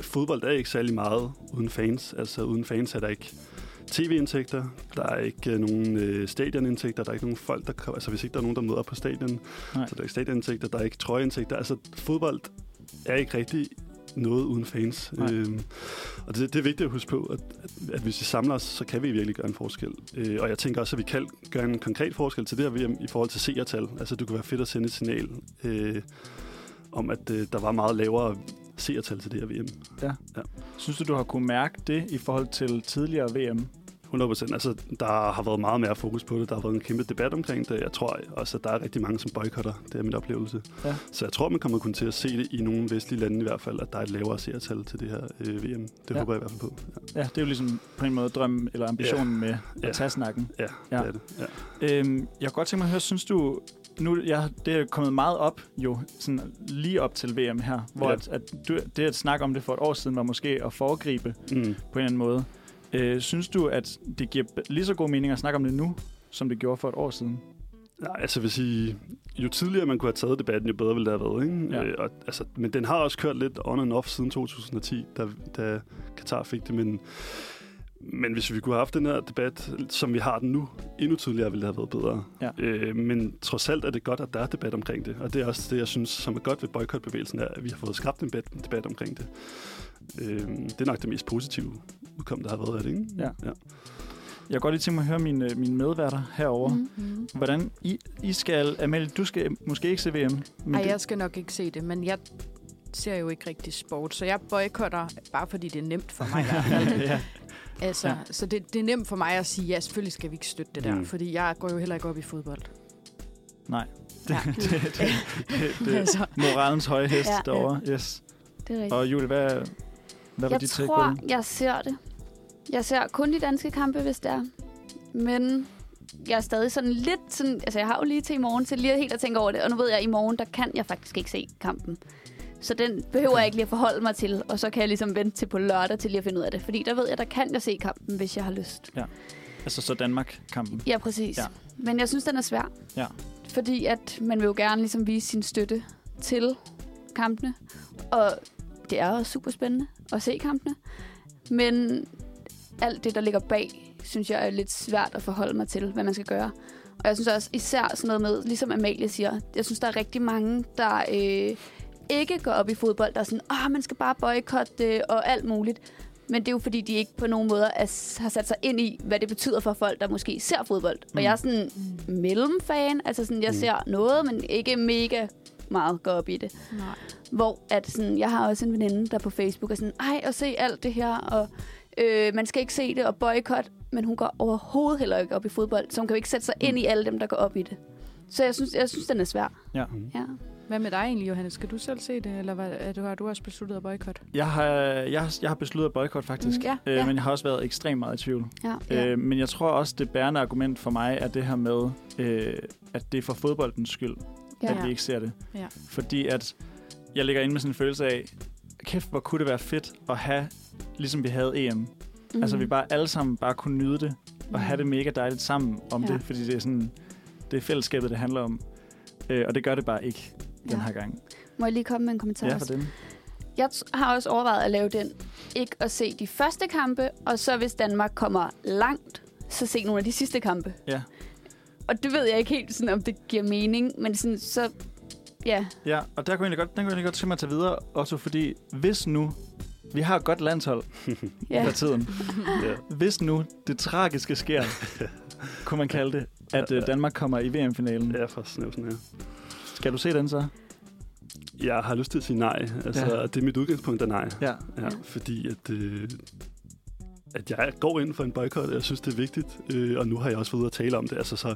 [SPEAKER 6] fodbold er ikke særlig meget uden fans. Altså uden fans er der ikke tv-indtægter, der er ikke øh, nogen øh, stadionindtægter, der er ikke nogen folk, der kommer. Altså hvis ikke der er nogen, der møder op på stadion,
[SPEAKER 4] Nej.
[SPEAKER 6] Nej. så er der ikke stadionindtægter, der er ikke trøjeindtægter. Altså fodbold er ikke rigtig noget uden fans.
[SPEAKER 4] Nej.
[SPEAKER 6] Øhm, og det, det er vigtigt at huske på, at, at hvis vi samler os, så kan vi virkelig gøre en forskel. Øh, og jeg tænker også, at vi kan gøre en konkret forskel til det her VM i forhold til seertal. Altså, det kunne være fedt at sende et signal øh, om, at øh, der var meget lavere seertal til det her VM.
[SPEAKER 4] Synes du, du har kunne mærke det i forhold til tidligere VM?
[SPEAKER 6] 100%. Altså, der har været meget mere fokus på det. Der har været en kæmpe debat omkring det. Jeg tror også, at der er rigtig mange, som boykotter. Det er min oplevelse.
[SPEAKER 4] Ja.
[SPEAKER 6] Så jeg tror, man kommer kun til at se det i nogle vestlige lande i hvert fald, at der er et lavere seertal til det her øh, VM. Det
[SPEAKER 4] Ja.
[SPEAKER 6] ja. håber jeg i hvert fald på.
[SPEAKER 4] Ja, det er jo ligesom på en måde drømmen eller ambitionen med at
[SPEAKER 6] Ja.
[SPEAKER 4] tage snakken.
[SPEAKER 6] Ja,
[SPEAKER 4] Ja.
[SPEAKER 6] ja. det er det. Ja.
[SPEAKER 4] Øhm, jeg kunne godt tænke mig at høre, synes du, nu ja, det er kommet meget op jo, sådan lige op til VM her, hvor ja.
[SPEAKER 6] Ja.
[SPEAKER 4] at, at du, det at snakke om det for et år siden var måske at foregribe
[SPEAKER 6] Mm.
[SPEAKER 4] på en eller anden måde. Øh, synes du, at det giver b- lige så god mening at snakke om det nu, som det gjorde for et år siden?
[SPEAKER 6] Nej, altså jeg vil sige, jo tidligere man kunne have taget debatten, jo bedre ville det have været. Ikke?
[SPEAKER 4] Ja.
[SPEAKER 6] Øh, og, altså, men den har også kørt lidt on and off siden 2010, da, da Katar fik det. Men, men hvis vi kunne have haft den her debat, som vi har den nu, endnu tidligere ville det have været bedre.
[SPEAKER 4] Ja.
[SPEAKER 6] Øh, men trods alt er det godt, at der er debat omkring det. Og det er også det, jeg synes, som er godt ved boykotbevægelsen, er, at vi har fået skabt en debat, en debat omkring det. Øh, det er nok det mest positive udkom, der har været af det. Ikke?
[SPEAKER 4] Ja.
[SPEAKER 6] ja.
[SPEAKER 4] Jeg kunne godt lige tænke mig at høre mine, øh, mine medværter herover. Mm.
[SPEAKER 3] Mm-hmm.
[SPEAKER 4] Hvordan I, I skal, Amalie, du skal måske ikke se VM, men
[SPEAKER 3] Ej,
[SPEAKER 4] det,
[SPEAKER 3] jeg skal nok ikke se det, men jeg ser jo ikke rigtig sport, så jeg boykotter, bare fordi det er nemt for mig i hvert fald.
[SPEAKER 4] ja,
[SPEAKER 3] Altså,
[SPEAKER 4] Ja.
[SPEAKER 3] ja. Så det, det er nemt for mig at sige, ja, selvfølgelig skal vi ikke støtte det der,
[SPEAKER 6] Mm.
[SPEAKER 3] mm. fordi jeg går jo heller ikke op i fodbold.
[SPEAKER 4] nej. Det,
[SPEAKER 3] Ja.
[SPEAKER 4] det, det, det, det,
[SPEAKER 3] Altså,
[SPEAKER 4] moralens høje hest ja,
[SPEAKER 2] Ja.
[SPEAKER 4] derovre, yes.
[SPEAKER 2] Det er rigtigt.
[SPEAKER 4] Og Julie, hvad, hvad var
[SPEAKER 2] Jeg
[SPEAKER 4] dit take på
[SPEAKER 2] tror,
[SPEAKER 4] det?
[SPEAKER 2] jeg ser det. Jeg ser kun de danske kampe, hvis det er. Men jeg er stadig sådan lidt sådan... Altså, jeg har jo lige til i morgen til lige helt at tænke over det. Og nu ved jeg, at i morgen, der kan jeg faktisk ikke se kampen. Så den behøver jeg ikke lige at forholde mig til. Og så kan jeg ligesom vente til på lørdag til lige at finde ud af det. Fordi der ved jeg, der kan jeg se kampen, hvis jeg har lyst.
[SPEAKER 4] Altså så Danmark-kampen.
[SPEAKER 2] Ja, præcis.
[SPEAKER 4] Ja.
[SPEAKER 2] Ja. Men jeg synes, den er svær.
[SPEAKER 4] Ja.
[SPEAKER 2] Fordi at man vil jo gerne ligesom vise sin støtte til kampene. Og det er også super spændende at se kampene. Men alt det, der ligger bag, synes jeg er lidt svært at forholde mig til, hvad man skal gøre. Og jeg synes også især sådan noget med, ligesom Amalie siger, jeg synes, der er rigtig mange, der øh, ikke går op i fodbold, der er sådan, åh, man skal bare boykotte det og alt muligt. Men det er jo fordi, de ikke på nogen måder er, s- har sat sig ind i, hvad det betyder for folk, der måske ser fodbold. Mm.
[SPEAKER 4] Mm.
[SPEAKER 2] Og jeg er sådan mellemfan, altså sådan, jeg mm.
[SPEAKER 6] Mm.
[SPEAKER 2] ser noget, men ikke mega meget går op i det.
[SPEAKER 3] nej.
[SPEAKER 2] Hvor at sådan, jeg har også en veninde, der på Facebook er sådan, ej, og se alt det her, og Øh, man skal ikke se det og boykotte, men hun går overhovedet heller ikke op i fodbold, så hun kan jo ikke sætte sig ind i alle dem, der går op i det. Så jeg synes, jeg synes den er svær.
[SPEAKER 4] Mm. Ja.
[SPEAKER 2] ja.
[SPEAKER 3] Hvad med dig egentlig, Johannes? Skal du selv se det, eller hvad, er du, har du også besluttet at boykotte?
[SPEAKER 4] Jeg har, jeg, har- jeg har besluttet at boykotte, faktisk.
[SPEAKER 3] Mm, ja,
[SPEAKER 4] øh,
[SPEAKER 3] ja.
[SPEAKER 4] Men jeg har også været ekstremt meget i tvivl.
[SPEAKER 2] ja.
[SPEAKER 4] Ja. Øh, men jeg tror også, det bærende argument for mig er det her med, øh, at det er for fodboldens skyld, ja. at vi ikke ser det.
[SPEAKER 3] Ja.
[SPEAKER 4] Fordi at jeg ligger inde med sådan en følelse af, kæft, hvor kunne det være fedt at have, ligesom vi havde EM. Mm.
[SPEAKER 2] Mm.
[SPEAKER 4] Altså, vi bare alle sammen bare kunne nyde det,
[SPEAKER 3] Mhm.
[SPEAKER 4] og have det mega dejligt sammen om
[SPEAKER 2] Ja.
[SPEAKER 4] ja. det, fordi det er sådan, det er fællesskabet, det handler om. Øh, og det gør det bare ikke den
[SPEAKER 2] Ja.
[SPEAKER 4] her gang.
[SPEAKER 2] Må jeg lige komme med en kommentar?
[SPEAKER 4] Ja,
[SPEAKER 2] også?
[SPEAKER 4] for dem.
[SPEAKER 2] Jeg t- har også overvejet at lave den. Ikke at se de første kampe, og så hvis Danmark kommer langt, så se nogle af de sidste kampe.
[SPEAKER 4] Ja.
[SPEAKER 2] Og det ved jeg ikke helt, sådan, om det giver mening, men sådan, så... Ja,
[SPEAKER 4] Ja, og der kunne jeg egentlig godt, den kunne jeg egentlig godt tænke mig at tage videre, Otto, fordi hvis nu, vi har et godt landshold
[SPEAKER 2] ja.
[SPEAKER 4] for tiden,
[SPEAKER 6] Ja.
[SPEAKER 4] hvis nu det tragiske sker, kunne man kalde det, at øh, Danmark kommer i VM-finalen.
[SPEAKER 6] Ja, for snæv sådan her.
[SPEAKER 4] Skal du se den så?
[SPEAKER 6] Jeg har lyst til at sige nej. Altså,
[SPEAKER 4] Ja.
[SPEAKER 6] ja. det er mit udgangspunkt, er nej.
[SPEAKER 4] Ja.
[SPEAKER 6] Ja, fordi at, øh, at jeg går ind for en boykot, og jeg synes, det er vigtigt. Øh, og nu har jeg også været ude at tale om det. Altså, så,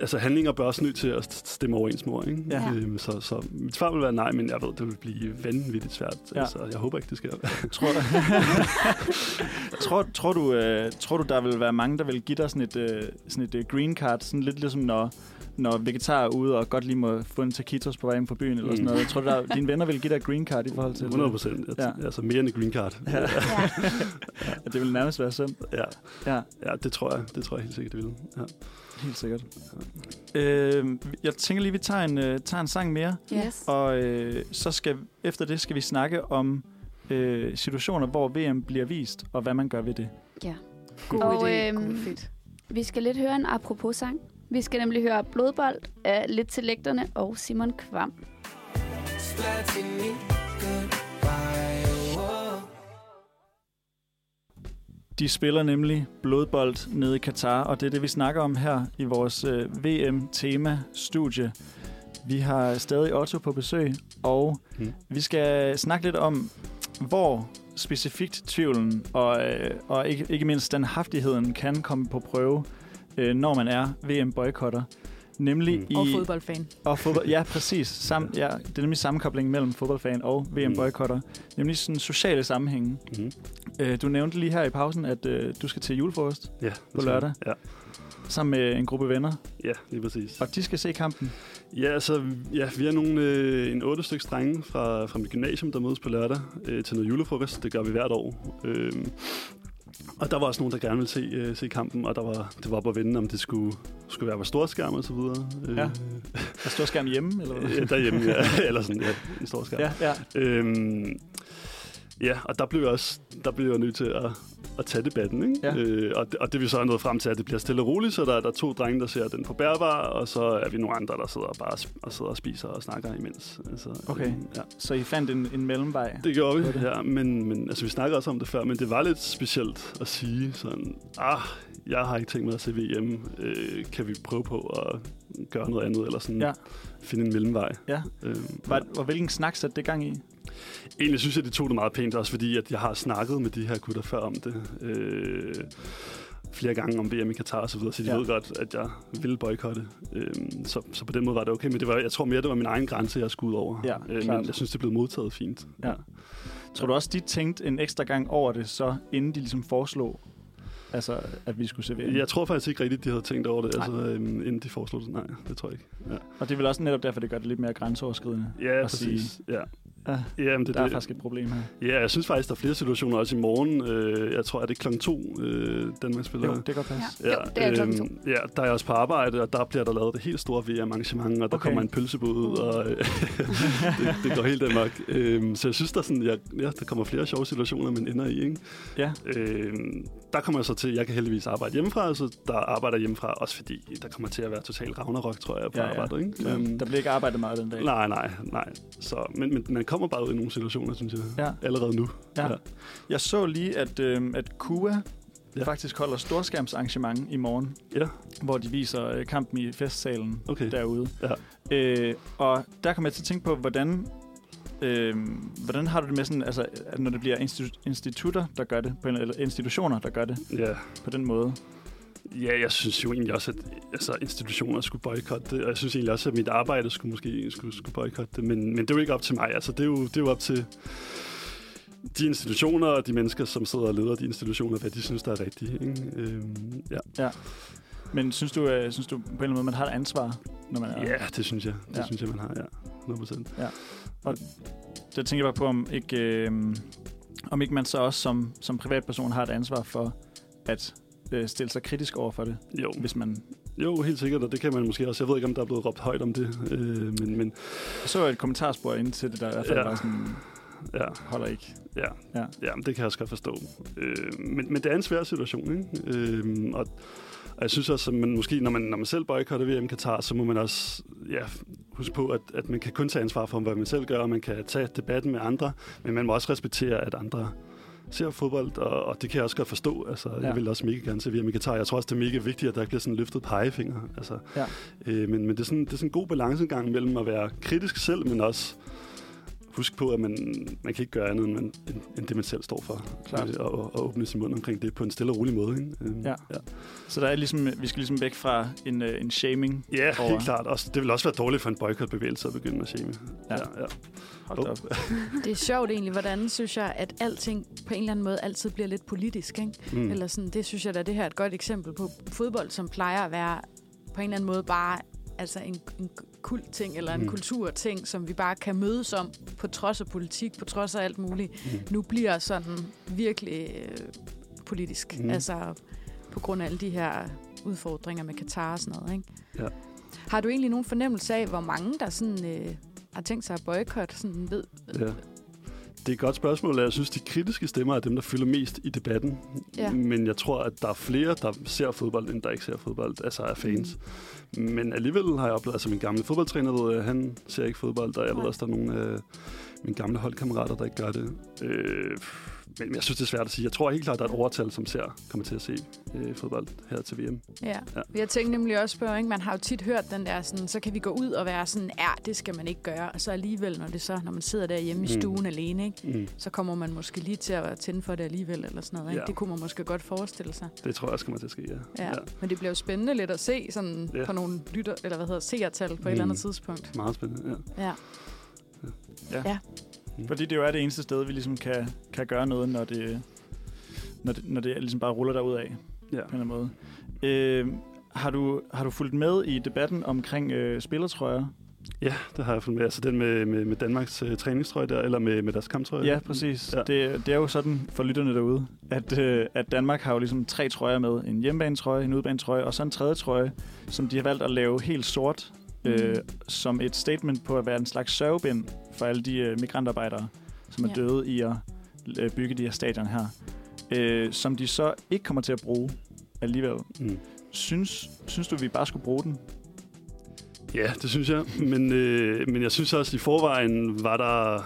[SPEAKER 6] altså handlinger bør også nødt til at st- stemme overens med ord, ikke?
[SPEAKER 4] Ja.
[SPEAKER 6] Øh, så, så mit svar vil være nej, men jeg ved, det vil blive vanvittigt svært.
[SPEAKER 4] Ja.
[SPEAKER 6] Ja. Altså, jeg håber ikke, det sker.
[SPEAKER 4] Tror, tror, tror, du, øh, tror du, der vil være mange, der vil give dig sådan et, øh, sådan et øh, green card, sådan lidt ligesom når, når vegetarer er ude og godt lige må få en taquitos på vej ind på byen eller sådan
[SPEAKER 6] Mm.
[SPEAKER 4] noget. Tror du, der, dine venner vil give dig et green card i forhold til
[SPEAKER 6] 100 procent.
[SPEAKER 4] Ja.
[SPEAKER 6] Ja. Altså mere end et green card.
[SPEAKER 4] Ja.
[SPEAKER 6] Ja.
[SPEAKER 2] ja.
[SPEAKER 4] at det vil nærmest være synd?
[SPEAKER 6] ja.
[SPEAKER 4] Ja.
[SPEAKER 6] ja, det tror jeg. Det tror jeg helt sikkert, det vil. Ja.
[SPEAKER 4] Helt sikkert. Øh, jeg tænker lige, vi tager en, øh, tager en sang mere,
[SPEAKER 2] Yes.
[SPEAKER 4] og øh, så skal efter det skal vi snakke om øh, situationer, hvor VM bliver vist, og hvad man gør ved det.
[SPEAKER 1] God
[SPEAKER 2] Og,
[SPEAKER 1] idé.
[SPEAKER 2] øhm,
[SPEAKER 1] God fedt.
[SPEAKER 2] Vi skal lidt høre en apropos-sang. Vi skal nemlig høre Blodbold af Lidt til Lægterne og Simon Kvam.
[SPEAKER 4] De spiller nemlig blodbold nede i Katar, og det er det, vi snakker om her i vores øh, VM-tema-studie. Vi har stadig Otto på besøg, og
[SPEAKER 6] Mm.
[SPEAKER 4] vi skal snakke lidt om, hvor specifikt tvivlen og, øh, og ikke, ikke mindst standhaftigheden kan komme på prøve, øh, når man er VM-boykotter. Nemlig
[SPEAKER 6] Mm.
[SPEAKER 4] i...
[SPEAKER 3] Og fodboldfan.
[SPEAKER 4] Og fodbold, ja, præcis. Sam, ja, det er nemlig sammenkobling mellem fodboldfan og VM-boykotter. Nemlig sådan sociale sammenhænge.
[SPEAKER 6] Mm.
[SPEAKER 4] Øh, du nævnte lige her i pausen, at øh, du skal til julefrokost
[SPEAKER 6] Ja,
[SPEAKER 4] På lørdag?
[SPEAKER 6] Ja.
[SPEAKER 4] sammen med en gruppe venner,
[SPEAKER 6] ja, lige præcis.
[SPEAKER 4] og de skal se kampen.
[SPEAKER 6] Ja, altså, ja, vi er nogle, øh, en otte stykke drenge fra, fra mit gymnasium, der mødes på lørdag øh, til noget julefrokost. Det gør vi hvert år. Øh, og der var også nogen, der gerne ville se, øh, se kampen, og der var, det var på at vende, om det skulle, skulle være på storskærm og så videre. Øh,
[SPEAKER 4] Ja. Der står skærm hjemme, eller hvad?
[SPEAKER 6] øh, derhjemme, ja. Eller sådan, ja, en stor skærm.
[SPEAKER 4] Ja, ja.
[SPEAKER 6] Øhm, ja, og der blev jeg også der blev jeg nødt til at, at tage debatten, ikke?
[SPEAKER 4] Ja.
[SPEAKER 6] Øh, og, det, og det vi så er nået frem til, at det bliver stille og roligt, så der, der er to drenge, der ser den på bærbar, og så er vi nogle andre, der sidder og bare sp- og sidder og spiser og snakker imens. Altså,
[SPEAKER 4] Okay.
[SPEAKER 6] øhm, ja.
[SPEAKER 4] Så I fandt en, en mellemvej.
[SPEAKER 6] Det gjorde vi,
[SPEAKER 4] Okay.
[SPEAKER 6] ja, men, men altså, vi snakkede også om det før, men det var lidt specielt at sige sådan, ah, jeg har ikke tænkt mig at se VM, øh, kan vi prøve på at gøre noget andet, eller sådan
[SPEAKER 4] Ja.
[SPEAKER 6] finde en mellemvej.
[SPEAKER 4] Ja.
[SPEAKER 6] Øhm,
[SPEAKER 4] Var, og hvilken snak satte det gang i?
[SPEAKER 6] Egentlig synes jeg, de tog det meget pænt, også fordi at jeg har snakket med de her gutter før om det. Øh, flere gange om VM i Katar og så videre, så de
[SPEAKER 4] Ja.
[SPEAKER 6] ja. ved godt, at jeg ville boykotte. Øh, så, så på den måde var det okay, men det var, jeg tror mere, det var min egen grænse, jeg skulle ud over. Øh,
[SPEAKER 4] Ja, klart.
[SPEAKER 6] men jeg synes, det blev modtaget fint.
[SPEAKER 4] Ja. Tror du også, de tænkte en ekstra gang over det, så inden de ligesom foreslog, altså, at vi skulle se VM?
[SPEAKER 6] Jeg tror faktisk ikke rigtigt, de havde tænkt over det,
[SPEAKER 4] Nej.
[SPEAKER 6] altså, øhm, inden de foreslog det. Nej, det tror jeg ikke. Ja,
[SPEAKER 4] Og det er vel også netop derfor, det gør det lidt mere grænseoverskridende.
[SPEAKER 6] ja
[SPEAKER 4] At sige-
[SPEAKER 6] præcis. Ja.
[SPEAKER 4] Ja,
[SPEAKER 6] Ja, men det,
[SPEAKER 4] der er
[SPEAKER 6] det,
[SPEAKER 4] faktisk et problem her.
[SPEAKER 6] ja, jeg synes faktisk, der er flere situationer også i morgen. Øh, jeg tror, at det er klokken to, øh, Danmark spiller.
[SPEAKER 4] Jo, det kan godt passe.
[SPEAKER 2] Ja. Jo, det er klokken to.
[SPEAKER 6] Ja, øhm, der er jeg også på arbejde, og der bliver der lavet det helt store VM-arrangement, og der
[SPEAKER 4] Okay.
[SPEAKER 6] okay. kommer en pølsebod ud, og øh, det, det går helt amok. Øhm, så jeg synes, der, er sådan, jeg, ja, der kommer flere sjove situationer, man ender i. Ikke?
[SPEAKER 4] Ja.
[SPEAKER 6] Øhm, der kommer jeg så til, jeg kan heldigvis arbejde hjemmefra, så der arbejder hjemmefra, også fordi der kommer til at være total ragnarok, tror jeg, på
[SPEAKER 4] Ja,
[SPEAKER 6] ja,
[SPEAKER 4] ja.
[SPEAKER 6] arbejdet. Ikke? Øhm,
[SPEAKER 4] Så der bliver ikke arbejdet meget den dag.
[SPEAKER 6] Nej, nej, nej. Så, men, men man kommer bare ud i nogle situationer, synes jeg.
[SPEAKER 4] Ja.
[SPEAKER 6] Allerede nu.
[SPEAKER 4] Ja.
[SPEAKER 6] Ja.
[SPEAKER 4] Jeg så lige, at, øh, at KUA ja.
[SPEAKER 6] Ja.
[SPEAKER 4] faktisk holder storskærmsarrangement i morgen,
[SPEAKER 6] Ja.
[SPEAKER 4] hvor de viser øh, kampen i festsalen
[SPEAKER 6] Okay.
[SPEAKER 4] derude.
[SPEAKER 6] Ja.
[SPEAKER 4] Øh, og der kom jeg til at tænke på, hvordan øh, hvordan har du det med sådan, altså, at når det bliver institu- institutter, der gør det, på en, eller institutioner, der gør det
[SPEAKER 6] Ja.
[SPEAKER 4] på den måde?
[SPEAKER 6] ja, jeg synes jo egentlig også, at altså, institutioner skulle boykotte det, og jeg synes egentlig også, at mit arbejde skulle måske skulle, skulle boykotte det, men, men det er jo ikke op til mig. Altså, det, er jo, det er jo op til de institutioner og de mennesker, som sidder og leder de institutioner, hvad de synes, der er rigtigt. Ikke? Øhm, ja.
[SPEAKER 4] Men synes du, øh, synes du på en eller anden måde, man har et ansvar, når man er...
[SPEAKER 6] ja, det synes jeg. Det
[SPEAKER 4] Ja.
[SPEAKER 6] ja. synes jeg, man har, ja. 100%.
[SPEAKER 4] Så jeg tænker bare på, om ikke, øh, om ikke man så også som, som privatperson har et ansvar for at øh, stille sig kritisk over for det,
[SPEAKER 6] Jo.
[SPEAKER 4] hvis man
[SPEAKER 6] jo, helt sikkert, og det kan man måske også. Jeg ved ikke, om der er blevet råbt højt om det, øh, men, men
[SPEAKER 4] Jeg så et kommentarspor ind til det, der i hvert fald ja.
[SPEAKER 6] Ja.
[SPEAKER 4] var sådan,
[SPEAKER 6] ja.
[SPEAKER 4] holder ikke.
[SPEAKER 6] Ja,
[SPEAKER 4] Ja.
[SPEAKER 6] ja. ja men det kan jeg også godt forstå. Øh, men, men det er en svær situation, ikke? Øh, og, og jeg synes også, at man måske, når man, når man selv boykotter VM Katar, så må man også ja, huske på, at, at man kan kun tage ansvar for, hvad man selv gør, og man kan tage debatten med andre, men man må også respektere, at andre ser fodbold, og, og det kan jeg også godt forstå. Altså, ja.
[SPEAKER 4] Ja.
[SPEAKER 6] Jeg vil også mega gerne se VM i Katar. Jeg tror også, det er mega vigtigt, at der ikke bliver sådan løftet pegefinger. Altså,
[SPEAKER 4] Ja.
[SPEAKER 6] øh, men, men det er sådan, det er sådan en god balancegang mellem at være kritisk selv, men også husk på, at man, man kan ikke gøre andet, end, man, end, end det, man selv står for.
[SPEAKER 4] Klart.
[SPEAKER 6] Øh, Og, og, og åbne sin mund omkring det på en stille og rolig måde. Ikke? Øhm,
[SPEAKER 4] Ja.
[SPEAKER 6] ja.
[SPEAKER 4] Så der er ligesom, vi skal ligesom væk fra en, øh, en shaming.
[SPEAKER 6] Ja, helt
[SPEAKER 4] Over.
[SPEAKER 6] klart. Også, det vil også være dårligt for en boykotbevægelse at begynde at shame.
[SPEAKER 4] Ja.
[SPEAKER 6] ja.
[SPEAKER 4] Hold da
[SPEAKER 6] Jo.
[SPEAKER 4] op.
[SPEAKER 3] Det er sjovt egentlig, hvordan synes jeg, at alting på en eller anden måde altid bliver lidt politisk, ikke? Mm. Eller sådan, det synes jeg da, det her er et godt eksempel på fodbold, som plejer at være på en eller anden måde bare altså en, en kult ting eller en mm.
[SPEAKER 6] Mm.
[SPEAKER 3] kulturting, som vi bare kan mødes om på trods af politik, på trods af alt muligt. Mm. Nu bliver sådan virkelig øh, politisk, mm.
[SPEAKER 6] Mm.
[SPEAKER 3] altså på grund af alle de her udfordringer med Katar og sådan noget, ikke?
[SPEAKER 6] Ja.
[SPEAKER 3] Har du egentlig nogen fornemmelse af, hvor mange der sådan øh, har tænkt sig at boykotte, sådan ved,
[SPEAKER 6] Ja. Det er et godt spørgsmål, og jeg synes, de kritiske stemmer er dem, der fylder mest i debatten.
[SPEAKER 3] Ja.
[SPEAKER 6] Men jeg tror, at der er flere, der ser fodbold, end der ikke ser fodbold, altså er fans. Men alligevel har jeg oplevet, altså min gamle fodboldtræner ved, at han ser ikke fodbold, og jeg ved
[SPEAKER 3] Nej.
[SPEAKER 6] også, der er nogle af mine gamle holdkammerater, der ikke gør det. Øh, men jeg synes, det er svært at sige. Jeg tror helt klart, der er et overtal, som ser, kommer til at se øh, fodbold her til VM.
[SPEAKER 3] Ja. ja.
[SPEAKER 6] Ja.
[SPEAKER 3] Jeg tænkte nemlig også på, ikke? man har jo tit hørt den der, sådan, så kan vi gå ud og være sådan, ja, det skal man ikke gøre. Og så alligevel, når det så, når man sidder derhjemme mm. i
[SPEAKER 6] Mm.
[SPEAKER 3] stuen alene, ikke?
[SPEAKER 6] Mm.
[SPEAKER 3] så kommer man måske lige til at tænde for det alligevel, eller sådan noget. Ikke? Ja.
[SPEAKER 6] Ja.
[SPEAKER 3] Det kunne man måske godt forestille sig.
[SPEAKER 6] Det tror jeg også kommer til at ske, ja.
[SPEAKER 3] Ja. Ja. Men det bliver jo spændende lidt at se sådan ja.
[SPEAKER 6] Ja.
[SPEAKER 3] på nogle lytter, eller hvad hedder, seertal på mm. et eller
[SPEAKER 6] Mm.
[SPEAKER 3] andet tidspunkt.
[SPEAKER 6] Meget spændende, ja.
[SPEAKER 3] Ja.
[SPEAKER 4] Fordi det jo er det eneste sted, vi ligesom kan, kan gøre noget, når det, når det, når det ligesom bare ruller derud af
[SPEAKER 6] ja.
[SPEAKER 4] på en eller anden måde. Øh, har, du, har du fulgt med i debatten omkring øh, spillertrøjer?
[SPEAKER 6] Ja, det har jeg fundet med. Altså den med, med, med Danmarks øh, træningstrøje der, eller med, med deres kamptrøje.
[SPEAKER 4] Ja, præcis. Ja.
[SPEAKER 6] Ja.
[SPEAKER 4] Det, det er jo sådan for lytterne derude, at, øh, at Danmark har jo ligesom tre trøjer med. En hjemmebanetrøje, en udebanetrøje og så en tredje trøje, som de har valgt at lave helt sort, øh, som et statement på at være en slags sørgebind for alle de øh, migrantarbejdere, som er
[SPEAKER 3] Ja.
[SPEAKER 4] døde i at øh, bygge de her stadion her. Øh, som de så ikke kommer til at bruge alligevel.
[SPEAKER 6] Mm.
[SPEAKER 4] Synes, synes du, vi bare skulle bruge den?
[SPEAKER 6] Ja, det synes jeg. Men, øh, men jeg synes også, i forvejen var der...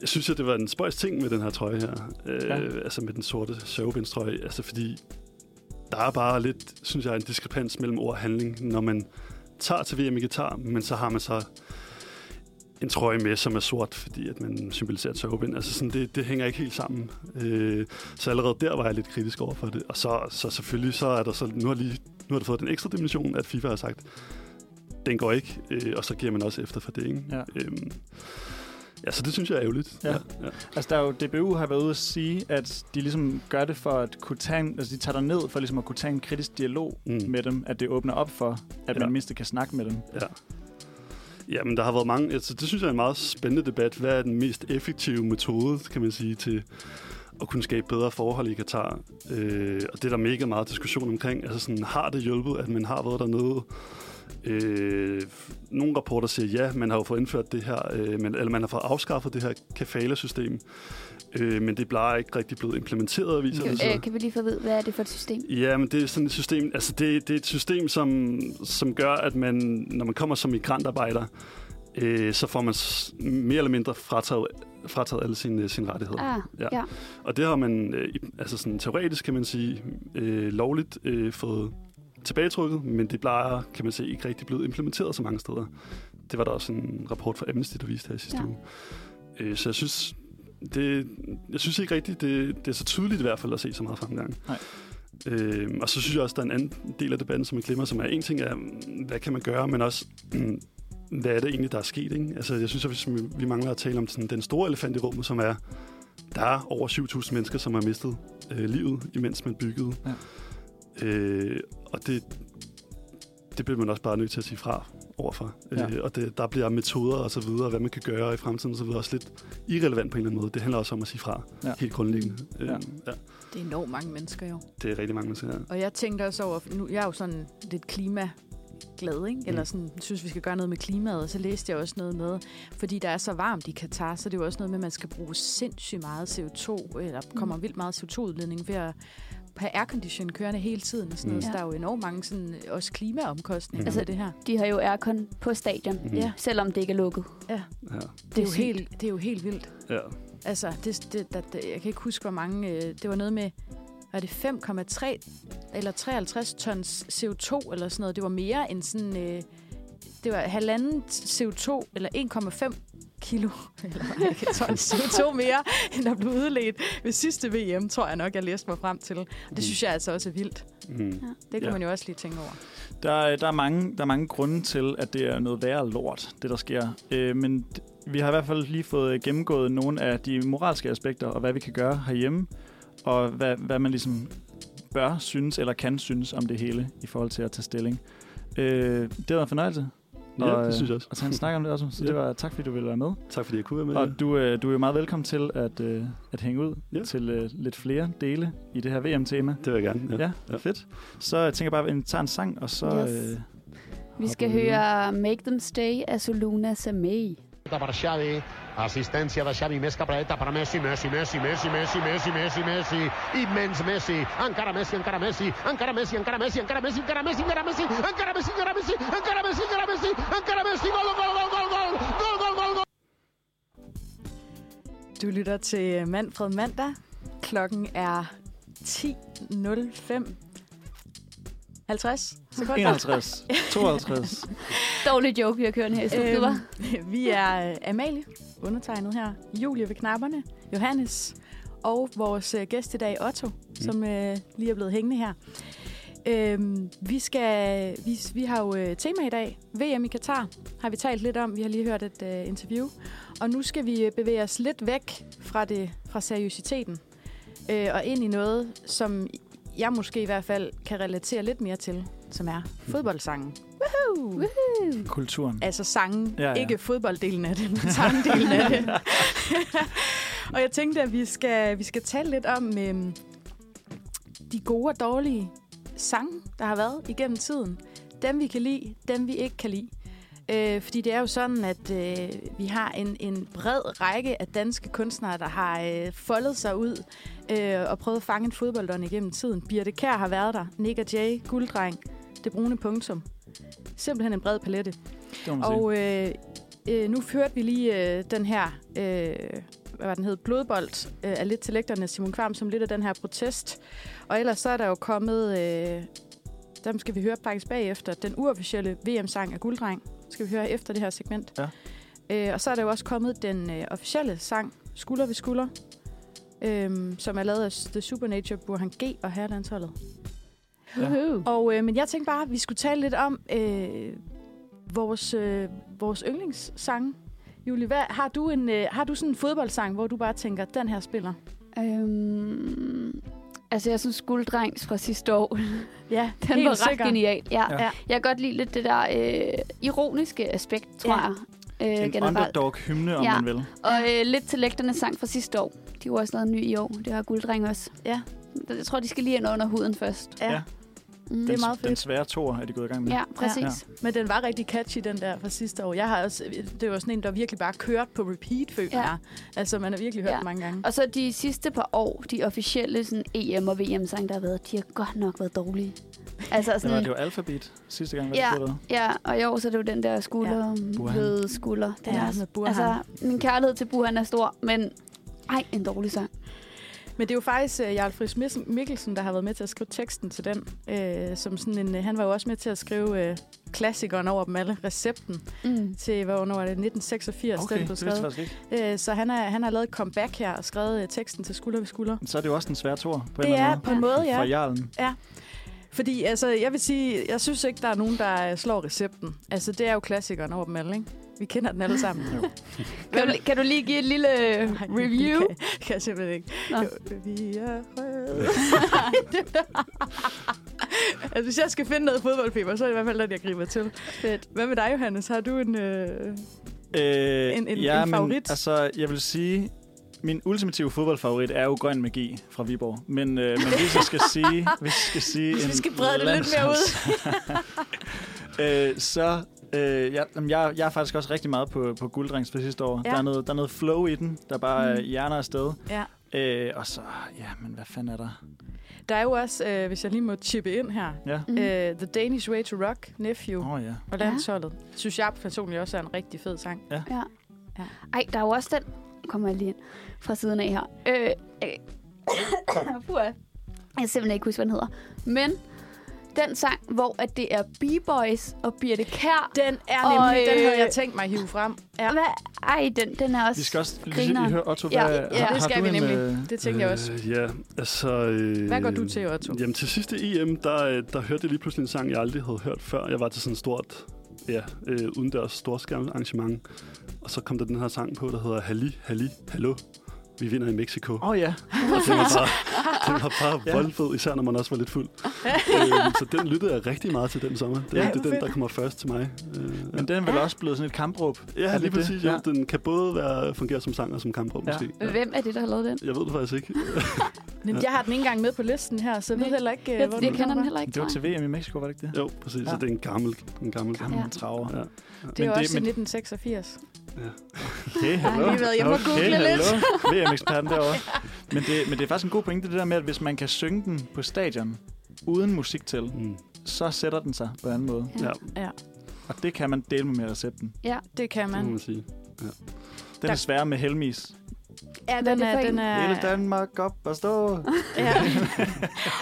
[SPEAKER 6] Jeg synes, at det var en spøjs ting med den her trøje her. Øh,
[SPEAKER 4] Ja.
[SPEAKER 6] ja. Altså med den sorte sørgebindstrøje. Altså fordi der er bare lidt, synes jeg, en diskrepans mellem ord og handling, når man tager til VM i Qatar, men så har man så en trøje med, som er sort, fordi at man symboliserer et sørgebind. Altså sådan, det, det hænger ikke helt sammen. Øh, så allerede der var jeg lidt kritisk over for det. Og så, så selvfølgelig, så er der så, nu har, lige, nu har det fået den ekstra dimension, at FIFA har sagt, den går ikke, øh, og så giver man også efter for det, ikke?
[SPEAKER 4] Ja.
[SPEAKER 6] Øhm, ja, så det synes jeg er ærgerligt.
[SPEAKER 4] Ja.
[SPEAKER 6] Ja, ja.
[SPEAKER 4] Altså, der er jo, DBU har været ude at sige, at de ligesom gør det for at kunne tage en, altså de tager dig ned for ligesom at kunne tage en kritisk dialog mm.
[SPEAKER 6] Mm.
[SPEAKER 4] med dem, at det åbner op for, at ja.
[SPEAKER 6] Ja.
[SPEAKER 4] man mindst kan snakke med dem.
[SPEAKER 6] ja. ja men der har været mange... Altså, det synes jeg er en meget spændende debat. Hvad er den mest effektive metode, kan man sige, til at kunne skabe bedre forhold i Katar? Øh, og det er der mega meget diskussion omkring. Altså, sådan, har det hjulpet, at man har været dernede? Øh, nogle rapporter siger, ja, man har jo fået indført det her, øh, men, eller man har fået afskaffet det her kafala-system, øh, men det er bare ikke rigtig blevet implementeret, viser det sig.
[SPEAKER 2] Kan, øh, kan vi lige få ved, hvad er det for et system?
[SPEAKER 6] Ja, men det er sådan et system, altså det, det er et system, som, som gør, at man, når man kommer som migrantarbejder, øh, så får man s- mere eller mindre frataget, frataget alle sine, sine rettigheder.
[SPEAKER 2] Ah,
[SPEAKER 6] Ja.
[SPEAKER 2] ja.
[SPEAKER 6] Og det har man, øh, i- altså sådan teoretisk kan man sige, øh, lovligt øh, fået tilbagetrukket, men det plejer, kan man se, ikke rigtig blevet implementeret så mange steder. Det var der også en rapport fra Amnesty, der viste her i sidste
[SPEAKER 2] Ja.
[SPEAKER 6] ja. uge. Øh, så jeg synes, det, jeg synes ikke rigtigt, det, det er så tydeligt i hvert fald at se så meget fremgang.
[SPEAKER 4] Nej.
[SPEAKER 6] Øh, og så synes jeg også, der er en anden del af debatten, som jeg glemmer, som er en ting er, hvad kan man gøre, men også, mm, hvad er det egentlig, der er sket? Ikke? Altså, jeg synes, at hvis vi- vi mangler at tale om sådan, den store elefant i rummet, som er, der er over 7.000 mennesker, som har mistet øh, livet, imens man byggede. Ja. Øh, og det, det bliver man også bare nødt til at sige fra overfor. Ja.
[SPEAKER 4] Ja.
[SPEAKER 6] Øh, og det, der bliver metoder og så videre, hvad man kan gøre i fremtiden og så videre, også lidt irrelevant på en eller anden måde. Det handler også om at sige fra,
[SPEAKER 4] Ja.
[SPEAKER 6] ja. helt grundlæggende. Øh,
[SPEAKER 4] Ja.
[SPEAKER 6] ja. ja.
[SPEAKER 3] Det er enormt mange mennesker jo.
[SPEAKER 6] Det er rigtig mange mennesker, ja.
[SPEAKER 3] Og jeg tænkte også over, nu jeg er jo sådan lidt klima glad, ikke? Eller
[SPEAKER 6] Mm.
[SPEAKER 3] sådan, synes, vi skal gøre noget med klimaet, og så læste jeg også noget med, fordi der er så varmt i Katar, så det er jo også noget med, at man skal bruge sindssygt meget CO2, eller kommer vildt meget CO2-udledning ved at have aircondition kørende hele tiden og sådan noget.
[SPEAKER 2] Mm.
[SPEAKER 3] Så der
[SPEAKER 2] Ja.
[SPEAKER 3] er jo enormt mange sådan, også klimaomkostninger
[SPEAKER 6] Mm.
[SPEAKER 3] altså, det her.
[SPEAKER 2] De har jo aircon på stadion,
[SPEAKER 6] Mhm.
[SPEAKER 3] Ja.
[SPEAKER 2] selvom det ikke er lukket.
[SPEAKER 6] ja.
[SPEAKER 3] Det er, jo
[SPEAKER 2] sygt.
[SPEAKER 3] helt, det er jo helt vildt.
[SPEAKER 6] ja.
[SPEAKER 3] Altså, det, det, der, der, jeg kan ikke huske, hvor mange... Øh, det var noget med, var det 5,3 eller 53 tons CO2 eller sådan noget. Det var mere end sådan... Øh, det var halvanden CO2, eller 1,5 kilo, eller var det ikke, ton CO2 mere, end der blev udledt ved sidste VM, tror jeg nok, jeg læste mig frem til. Det synes jeg altså også er vildt.
[SPEAKER 6] Mm.
[SPEAKER 3] Det kan
[SPEAKER 6] Ja.
[SPEAKER 3] man jo også lige tænke over.
[SPEAKER 4] Der, er- der, er mange, der er mange grunde til, at det er noget værre lort, det der sker. Øh, men d- vi har i hvert fald lige fået gennemgået nogle af de moralske aspekter, og hvad vi kan gøre herhjemme, og hvad, hvad man ligesom bør synes eller kan synes om det hele i forhold til at tage stilling. Øh, det var en fornøjelse
[SPEAKER 6] ja, det synes jeg også.
[SPEAKER 4] at tage en snak om det også, så
[SPEAKER 6] Ja.
[SPEAKER 4] det var tak, fordi du ville være med.
[SPEAKER 6] Tak fordi jeg kunne være med.
[SPEAKER 4] Og du, øh, du er jo meget velkommen til at, øh, at hænge ud
[SPEAKER 6] Ja.
[SPEAKER 4] til øh, lidt flere dele i det her VM-tema.
[SPEAKER 6] Det vil jeg gerne. Ja.
[SPEAKER 4] Ja, ja, fedt. Så jeg tænker bare, at vi tager en sang, og så...
[SPEAKER 2] Yes.
[SPEAKER 4] Øh,
[SPEAKER 2] Vi skal
[SPEAKER 4] hopper videre.
[SPEAKER 2] høre Make Them Stay af Soluna Samei.
[SPEAKER 5] Per Xavi, assistència de Xavi més cap a dreta per Messi, Messi, Messi, Messi, Messi, Messi, Messi, Messi, immens Messi, encara Messi, encara Messi, encara Messi, encara Messi, encara Messi, encara Messi, encara Messi, encara Messi, encara Messi, encara Messi, encara Messi, encara Messi, gol, gol, gol, gol, gol, gol, gol, gol, gol.
[SPEAKER 3] Du lytter til Manfred Mandag. Klokken er 10.05. 50 sekunder.
[SPEAKER 4] 51, 52.
[SPEAKER 2] Dårlig joke, vi har kørt her i studiet, var.
[SPEAKER 3] Øhm, vi er øh, Amalie, undertegnet her, Julie ved knapperne, Johannes og vores øh, gæst i dag, Otto, mm. som øh, lige er blevet hængende her. Øhm, vi, skal, vi, vi har jo øh, tema i dag. VM i Katar har vi talt lidt om. Vi har lige hørt et øh, interview. Og nu skal vi øh, bevæge os lidt væk fra, det, fra seriøsiteten øh, og ind i noget, som jeg måske i hvert fald kan relatere lidt mere til, som er fodboldsangen. Woohoo!
[SPEAKER 6] Øhm.
[SPEAKER 3] Woohoo!
[SPEAKER 4] Kulturen.
[SPEAKER 3] Altså sangen, ja,
[SPEAKER 4] Mm. Ja,
[SPEAKER 3] ja.
[SPEAKER 4] ja.
[SPEAKER 3] ikke fodbolddelen af det, men sangdelen af det. og jeg tænkte, at vi skal, vi skal tale lidt om øhm, de gode og dårlige sange, der har været igennem tiden. Dem, vi kan lide, dem, vi ikke kan lide. Øh, fordi det er jo sådan, at øh, vi har en, en bred række af danske kunstnere, der har øh, foldet sig ud øh, og prøvet at fange en fodboldånd igennem tiden. Birte Kær har været der. Nick og Jay, Gulddreng, Det Brune Punktum. Simpelthen en bred palette.
[SPEAKER 4] Det må man sige.
[SPEAKER 3] Og øh, øh, nu hørte vi lige øh, den her, øh, hvad var den hed, blodbold øh, af lidt til lægterne Simon Kvam, som lidt af den her protest. Og ellers så er der jo kommet, øh, dem skal vi høre faktisk bagefter, den uofficielle VM-sang af Gulddreng, skal vi høre efter det her segment.
[SPEAKER 4] Ja.
[SPEAKER 3] Øh, og så er der jo også kommet den øh, officielle sang, Skulder ved skulder, øh, som er lavet af The Supernature Burhan G og Herrelandsholdet.
[SPEAKER 4] Ja.
[SPEAKER 2] Woohoo.
[SPEAKER 3] Og, øh, men jeg tænkte bare, at vi skulle tale lidt om øh, vores, øh, vores yndlingssange. Julie, hvad, har, du en, øh, har du sådan en fodboldsang, hvor du bare tænker, den her spiller?
[SPEAKER 2] Øhm, altså, jeg synes Gulddrengs fra sidste år,
[SPEAKER 3] Ja,
[SPEAKER 2] den var ret genial. Ja.
[SPEAKER 4] Ja.
[SPEAKER 2] Ja. Jeg kan godt lide lidt det der øh, ironiske aspekt, tror
[SPEAKER 3] Ja.
[SPEAKER 2] ja. jeg. Øh,
[SPEAKER 4] en underdog-hymne, om
[SPEAKER 2] Ja.
[SPEAKER 4] ja. man vil.
[SPEAKER 2] Og øh, lidt til lægternes sang fra sidste år. De var også noget ny i år. Det har Gulddreng også.
[SPEAKER 3] Ja.
[SPEAKER 2] Jeg tror, de skal lige ind under huden først.
[SPEAKER 3] Ja.
[SPEAKER 4] Ja.
[SPEAKER 2] Mm.
[SPEAKER 3] Det er
[SPEAKER 4] Den-
[SPEAKER 3] meget fedt.
[SPEAKER 4] Den svære tor er de gået i gang med.
[SPEAKER 2] Ja, præcis.
[SPEAKER 3] Men den var rigtig catchy, den der fra sidste år. Jeg har også, det var sådan en, der virkelig bare kørt på repeat, føler
[SPEAKER 2] Ja.
[SPEAKER 3] jeg. Altså, man har virkelig hørt
[SPEAKER 2] Ja.
[SPEAKER 3] den mange gange.
[SPEAKER 2] Og så de sidste par år, de officielle sådan, EM- og VM-sange, der har været, de har godt nok været dårlige. Altså
[SPEAKER 4] Det var det
[SPEAKER 2] sådan,
[SPEAKER 4] jo Alphabet sidste gang, hvad
[SPEAKER 2] Ja.
[SPEAKER 4] ja. det
[SPEAKER 2] ja, og i år så er det jo den der skulder,
[SPEAKER 4] Burhan.
[SPEAKER 2] ja. ved skulder. Den
[SPEAKER 3] Ja,
[SPEAKER 2] er
[SPEAKER 3] med
[SPEAKER 2] også,
[SPEAKER 3] Burhan.
[SPEAKER 2] altså, min kærlighed til Burhan er stor, men ej, en dårlig sang.
[SPEAKER 3] Men det er jo faktisk øh, Jarl Friis Mis- Mikkelsen, der har været med til at skrive teksten til den. Øh, som sådan en, øh, han var jo også med til at skrive øh, klassikeren over dem alle, recepten
[SPEAKER 2] Mm.
[SPEAKER 3] til, hvornår er det, 1986,
[SPEAKER 4] Okay,
[SPEAKER 3] den
[SPEAKER 4] det
[SPEAKER 3] blev
[SPEAKER 4] vidste jeg
[SPEAKER 3] skrevet.
[SPEAKER 4] faktisk ikke.
[SPEAKER 3] Øh, så han, er, han har lavet et comeback her og skrevet øh, teksten til Skulder ved Skulder.
[SPEAKER 4] Men Så er det jo også en svær tor på en
[SPEAKER 3] Det
[SPEAKER 4] eller
[SPEAKER 3] er
[SPEAKER 4] anden
[SPEAKER 3] på en måde,
[SPEAKER 4] måde.
[SPEAKER 3] ja.
[SPEAKER 4] For jarlen.
[SPEAKER 3] Fordi altså, jeg vil sige, jeg synes ikke, der er nogen, der øh, slår recepten. Altså, det er jo klassikeren over dem alle, ikke? Vi kender den alle sammen.
[SPEAKER 2] Kan, du, kan du lige give et lille
[SPEAKER 3] Nej,
[SPEAKER 2] review?
[SPEAKER 3] Det kan, kan jeg simpelthen ikke.
[SPEAKER 2] Nå.
[SPEAKER 3] Jo, Vi er røde. altså, hvis jeg skal finde noget fodboldfeber, så er det i hvert fald den, jeg griber til.
[SPEAKER 2] Fedt.
[SPEAKER 3] Hvad med dig, Johannes? Har du en... Øh...
[SPEAKER 4] Øh,
[SPEAKER 3] En- en-
[SPEAKER 4] ja,
[SPEAKER 3] en
[SPEAKER 4] Men,
[SPEAKER 3] favorit?
[SPEAKER 4] altså, jeg vil sige, min ultimative fodboldfavorit er jo Grøn Magi fra Viborg. Men, øh, men hvis jeg skal sige... Hvis jeg skal sige
[SPEAKER 2] Hvis vi
[SPEAKER 4] en
[SPEAKER 2] skal brede det lidt mere ud.
[SPEAKER 4] landsholds- øh, så... Øh, jeg, jamen, jeg, jeg er faktisk også rigtig meget på, på gulddrengs fra sidste år.
[SPEAKER 3] Ja.
[SPEAKER 4] Ja. Der, er noget, der er noget flow i den, der bare mm. hjerner afsted.
[SPEAKER 3] Ja.
[SPEAKER 4] Øh, og så, ja, men hvad fanden er der?
[SPEAKER 3] Der er jo også, øh, hvis jeg lige må chippe ind her,
[SPEAKER 4] Ja.
[SPEAKER 3] mm. øh, The Danish Way to Rock, Nephew
[SPEAKER 4] Åh, oh, ja.
[SPEAKER 3] og Landsholdet. Ja. Synes jeg personligt også er en rigtig fed sang.
[SPEAKER 2] Ja. Ej, der er jo også den... Nu Kommer jeg lige ind fra siden af her. Øh, øh. Puh, jeg kan simpelthen ikke huske, hvad den hedder. Men den sang, hvor at det er B-Boys og Birte Kær.
[SPEAKER 3] Den er
[SPEAKER 2] Og,
[SPEAKER 3] nemlig, den havde
[SPEAKER 2] øh,
[SPEAKER 3] jeg tænkt mig at hive frem.
[SPEAKER 2] Ja. Hvad? Ej, den, den er også...
[SPEAKER 4] Vi skal også lige,
[SPEAKER 2] Grineren.
[SPEAKER 4] lige høre, Otto,
[SPEAKER 2] Ja,
[SPEAKER 4] hvad,
[SPEAKER 2] ja,
[SPEAKER 4] har,
[SPEAKER 3] det skal
[SPEAKER 4] har du
[SPEAKER 3] vi
[SPEAKER 4] en,
[SPEAKER 3] nemlig.
[SPEAKER 4] øh,
[SPEAKER 3] Det tænkte jeg også.
[SPEAKER 6] Øh, ja, altså... Øh,
[SPEAKER 3] Hvad går du til, Otto?
[SPEAKER 6] Jamen, til sidste EM, der, øh, der hørte jeg lige pludselig en sang, jeg aldrig havde hørt før. Jeg var til sådan et stort, ja, øh, udendørs storskærmet arrangement. Og så kom der den her sang på, der hedder Halli, Halli, Hallo. Vi vinder i Mexico.
[SPEAKER 4] Åh, oh, ja.
[SPEAKER 6] Og det var bare, det var bare
[SPEAKER 4] Ja.
[SPEAKER 6] ja. voldfed, især når man også var lidt fuld. øhm, så den lyttede jeg rigtig meget til den sommer. Det,
[SPEAKER 4] Ja,
[SPEAKER 6] ja, det
[SPEAKER 3] hvor
[SPEAKER 6] er den,
[SPEAKER 3] fedt.
[SPEAKER 6] der kommer først til mig. Øh,
[SPEAKER 4] Men den er vel også blevet sådan et kampråb. Er
[SPEAKER 6] ja,
[SPEAKER 4] det
[SPEAKER 6] lige
[SPEAKER 4] det?
[SPEAKER 6] præcis. Ja. Den kan både være, fungere som sang og som kamprum,
[SPEAKER 4] Ja.
[SPEAKER 6] ja. måske. Ja.
[SPEAKER 2] Hvem er det, der har lavet
[SPEAKER 4] Øh,
[SPEAKER 2] den?
[SPEAKER 6] Jeg ved det faktisk ikke.
[SPEAKER 3] Jamen, jeg har den ikke engang med på listen her, så jeg ved
[SPEAKER 2] Nej.
[SPEAKER 3] heller ikke, øh,
[SPEAKER 2] Jeg,
[SPEAKER 3] hvor
[SPEAKER 2] jeg
[SPEAKER 3] den
[SPEAKER 2] kender
[SPEAKER 3] kommer
[SPEAKER 2] den
[SPEAKER 3] fra.
[SPEAKER 2] heller ikke,
[SPEAKER 4] Det var
[SPEAKER 2] tror jeg.
[SPEAKER 4] til VM i Mexico, var det ikke det?
[SPEAKER 6] Jo, præcis. Ja.
[SPEAKER 4] Ja.
[SPEAKER 6] Så det er en gammel, en gammel
[SPEAKER 4] Gammel
[SPEAKER 2] Ja.
[SPEAKER 4] ja. traver.
[SPEAKER 6] Ja.
[SPEAKER 3] Det er
[SPEAKER 4] Men
[SPEAKER 3] jo
[SPEAKER 4] det-
[SPEAKER 3] også i
[SPEAKER 4] men-
[SPEAKER 3] 1986.
[SPEAKER 4] Okay,
[SPEAKER 2] har
[SPEAKER 4] hallo.
[SPEAKER 2] lige været hjemme og googlet lidt.
[SPEAKER 4] VM-eksperten derovre. Men det, men det er faktisk en god pointe, det der med, at hvis man kan synge den på stadion, uden musik til,
[SPEAKER 6] Mm.
[SPEAKER 4] så sætter den sig på en anden måde.
[SPEAKER 6] Ja,
[SPEAKER 4] Og det kan man dele med, med recepten.
[SPEAKER 3] Det kan
[SPEAKER 6] det må
[SPEAKER 3] man.
[SPEAKER 6] man sige.
[SPEAKER 4] Den
[SPEAKER 3] Der-
[SPEAKER 4] er svær med helmis.
[SPEAKER 3] Ja,
[SPEAKER 2] Hvad er
[SPEAKER 3] den
[SPEAKER 2] det
[SPEAKER 3] er,
[SPEAKER 2] for en?
[SPEAKER 3] den
[SPEAKER 4] Ja. Hele
[SPEAKER 3] er,
[SPEAKER 4] Danmark op og stå.
[SPEAKER 3] ja.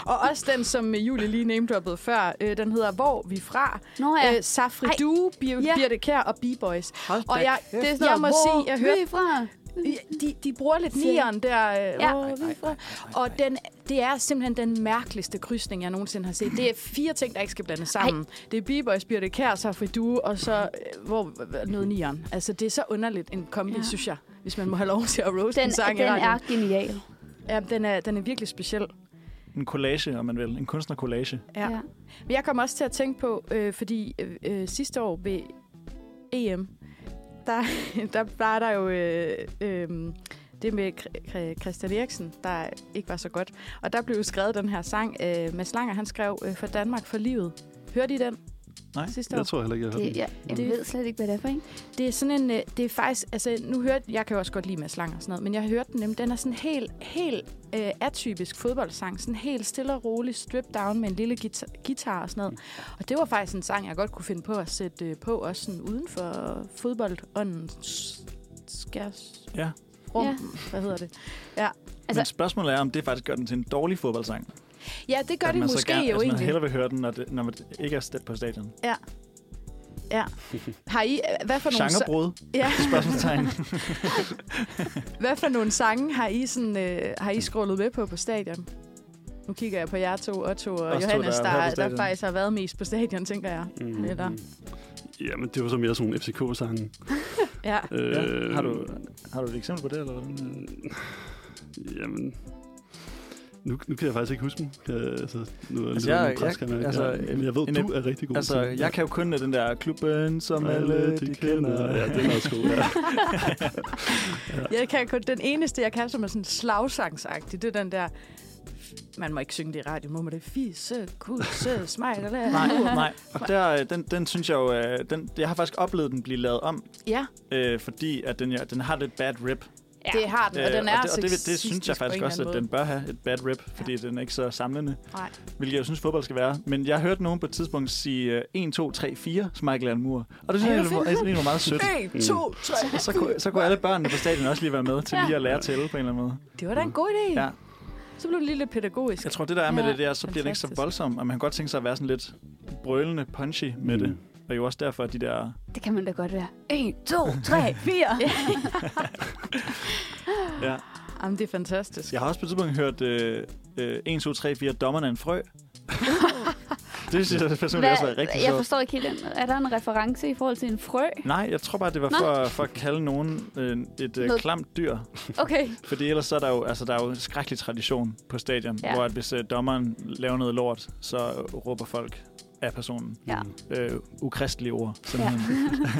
[SPEAKER 3] Og også den, som øh, Julie lige namedroppede før, øh, den hedder Hvor vi fra?
[SPEAKER 2] Nå ja.
[SPEAKER 3] Øh, Safri
[SPEAKER 2] Ej.
[SPEAKER 3] Due, Bir-
[SPEAKER 2] Ja.
[SPEAKER 3] Birte Kær og B-Boys.
[SPEAKER 4] Hold
[SPEAKER 3] Og
[SPEAKER 4] da
[SPEAKER 3] jeg,
[SPEAKER 4] kæft.
[SPEAKER 3] det, jeg må sige, jeg hørte,
[SPEAKER 2] Hvor er I fra?
[SPEAKER 3] de, de bruger lidt
[SPEAKER 2] Siger-
[SPEAKER 3] nieren der. Øh,
[SPEAKER 2] Ja.
[SPEAKER 3] ja. Hvor vi fra? Og den, det er simpelthen den mærkeligste krydsning, jeg nogensinde har set. Det er fire ting, der ikke skal blandes sammen. Det er B-Boys, Birte Kær, Safri Due, og så øh, hvor, h- noget nieren. Altså, det er så underligt en kombi,
[SPEAKER 2] Ja.
[SPEAKER 3] ja. synes jeg, hvis man må have lov til at roaste
[SPEAKER 2] Den,
[SPEAKER 3] en sang i
[SPEAKER 2] den
[SPEAKER 3] radioen.
[SPEAKER 2] er genial.
[SPEAKER 3] Ja, den er, den er virkelig speciel.
[SPEAKER 4] En collage, om man vil. En kunstnercollage.
[SPEAKER 3] Ja. ja. Men jeg kom også til at tænke på, øh, fordi øh, øh, sidste år ved EM, der, der var der jo øh, øh, det med Kr- Kr- Christian Eriksen, der ikke var så godt. Og der blev jo skrevet den her sang. Øh, Mads Langer, han skrev øh, For Danmark for livet. Hørte I den?
[SPEAKER 4] Nej,
[SPEAKER 3] sidste år?
[SPEAKER 6] Jeg tror heller ikke, jeg har hørt
[SPEAKER 2] Det,
[SPEAKER 6] den.
[SPEAKER 2] jeg, jeg
[SPEAKER 3] Det-
[SPEAKER 2] ved slet ikke, hvad det er for en.
[SPEAKER 3] Det er sådan en, øh, det er faktisk, altså nu hørte, jeg kan jo også godt lide Mads Lang og sådan noget, men jeg hørte den nemlig, den er sådan helt, helt øh, atypisk fodboldsang, sådan helt stille og rolig, strip down med en lille guitar, guitar og sådan noget. Og det var faktisk en sang, jeg godt kunne finde på at sætte øh, på, også sådan uden for fodboldåndens skærs...
[SPEAKER 4] Ja.
[SPEAKER 3] Rum,
[SPEAKER 2] Ja.
[SPEAKER 3] ja. hvad hedder det?
[SPEAKER 4] Altså,
[SPEAKER 2] Altså-
[SPEAKER 4] Men spørgsmålet er, om det faktisk gør den til en dårlig fodboldsang.
[SPEAKER 3] Ja, det gør
[SPEAKER 4] at
[SPEAKER 3] det
[SPEAKER 4] man
[SPEAKER 3] måske
[SPEAKER 4] så gerne,
[SPEAKER 3] jo
[SPEAKER 4] altså, man
[SPEAKER 3] egentlig.
[SPEAKER 4] hellere vil høre den, når, det, når man ikke er stedt på stadion.
[SPEAKER 3] Har I, øh, hvad for nogle, sa-
[SPEAKER 4] Genrebrud?
[SPEAKER 3] Ja.
[SPEAKER 4] Spørgsmålstegn.
[SPEAKER 3] hvad for nogle sange har I, sådan, øh, har I scrollet med på på stadion? Nu kigger jeg på jer to, Otto og
[SPEAKER 4] Os to,
[SPEAKER 3] Johannes,
[SPEAKER 4] der
[SPEAKER 3] der,
[SPEAKER 4] har været
[SPEAKER 3] der,
[SPEAKER 4] på stadion.
[SPEAKER 3] der faktisk har været mest på stadion, tænker jeg.
[SPEAKER 6] Mm.
[SPEAKER 3] Eller-
[SPEAKER 6] Jamen, det var så mere sådan nogle FCK-sange.
[SPEAKER 3] Ja.
[SPEAKER 4] Ja. Har,
[SPEAKER 6] Øh,
[SPEAKER 4] du,
[SPEAKER 2] Altså,
[SPEAKER 4] har du et eksempel på det? Eller? hvad?
[SPEAKER 6] Mm, Jamen... Nu, nu kan jeg faktisk ikke huske dem. Kan jeg, altså, nu er
[SPEAKER 4] Altså,
[SPEAKER 6] altså,
[SPEAKER 4] jeg-
[SPEAKER 6] jeg,
[SPEAKER 4] jeg-
[SPEAKER 6] jeg, jeg,
[SPEAKER 4] altså,
[SPEAKER 6] altså, jeg, men jeg ved,
[SPEAKER 4] en-
[SPEAKER 6] du er rigtig god
[SPEAKER 4] Altså,
[SPEAKER 6] til det.
[SPEAKER 4] jeg kan jo kun den der klubben, som
[SPEAKER 6] Som
[SPEAKER 4] alle de kender.
[SPEAKER 6] Ja, den er også god. Ja.
[SPEAKER 3] Jeg kan kun, den eneste, jeg kan, som er sådan slagsangsagtig, det er den der... Man må ikke synge det i radio, må man det? Fise, kusse, smejl eller...
[SPEAKER 4] Nej, nej. Og der, øh, den, den synes jeg jo, øh, den, jeg har faktisk oplevet den blive lavet om,
[SPEAKER 3] Ja,
[SPEAKER 4] øh, fordi at den, ja, den har lidt bad rip.
[SPEAKER 3] ja, det har den, og
[SPEAKER 4] Øh,
[SPEAKER 3] den er
[SPEAKER 4] og det, og det, det, det
[SPEAKER 3] sexistisk
[SPEAKER 4] synes jeg
[SPEAKER 3] på
[SPEAKER 4] faktisk
[SPEAKER 3] en
[SPEAKER 4] også,
[SPEAKER 3] eller
[SPEAKER 4] at
[SPEAKER 3] anden
[SPEAKER 4] den bør have et bad rip, fordi ja. den er ikke så samlende,
[SPEAKER 3] måde. Nej.
[SPEAKER 4] hvilket jeg synes, fodbold skal være. Men jeg hørte nogen på et tidspunkt sige øh, 1, 2, 3, 4, som Michael Alan Moore. Og det synes jeg,
[SPEAKER 3] Ej,
[SPEAKER 4] egentlig
[SPEAKER 3] hvor
[SPEAKER 4] var- jeg synes egentlig var meget sødt.
[SPEAKER 3] 1, 2, 3.
[SPEAKER 4] Så kunne, så kunne alle børnene på stadion også lige være med til lige at lære at tælle på en eller anden måde.
[SPEAKER 3] Det var da en god idé.
[SPEAKER 4] Ja.
[SPEAKER 3] Så blev det lige lidt pædagogisk.
[SPEAKER 4] Jeg tror, det der er med
[SPEAKER 3] Ja,
[SPEAKER 4] ja, det, det er, så bliver den ikke så
[SPEAKER 3] fantastisk.
[SPEAKER 4] voldsom, og man kan godt tænke sig at være sådan lidt brølende punchy med mm. det. Og jo også derfor, at de der...
[SPEAKER 2] Det kan man da godt være. 1, 2, 3, 4.
[SPEAKER 4] Ja.
[SPEAKER 3] Jamen, det er fantastisk.
[SPEAKER 4] Jeg har også på et tidspunkt hørt øh, øh, 1, 2, 3, 4, dommeren er en frø. det synes jeg personligt også er rigtig
[SPEAKER 2] jeg
[SPEAKER 4] sjovt.
[SPEAKER 2] forstår ikke helt den. Er der en reference i forhold til en frø?
[SPEAKER 4] Nej, jeg tror bare, det var
[SPEAKER 2] Nå.
[SPEAKER 4] for, for at kalde nogen øh, et øh,
[SPEAKER 2] Noget-
[SPEAKER 4] klamt dyr.
[SPEAKER 2] Okay.
[SPEAKER 4] Fordi ellers så er der jo, altså, der er jo en skrækkelig tradition på stadion,
[SPEAKER 2] Ja.
[SPEAKER 4] ja. hvor at hvis øh, dommeren laver noget lort, så råber folk af personen.
[SPEAKER 2] Ja.
[SPEAKER 4] Øh, ukristelige ord, simpelthen. Ja.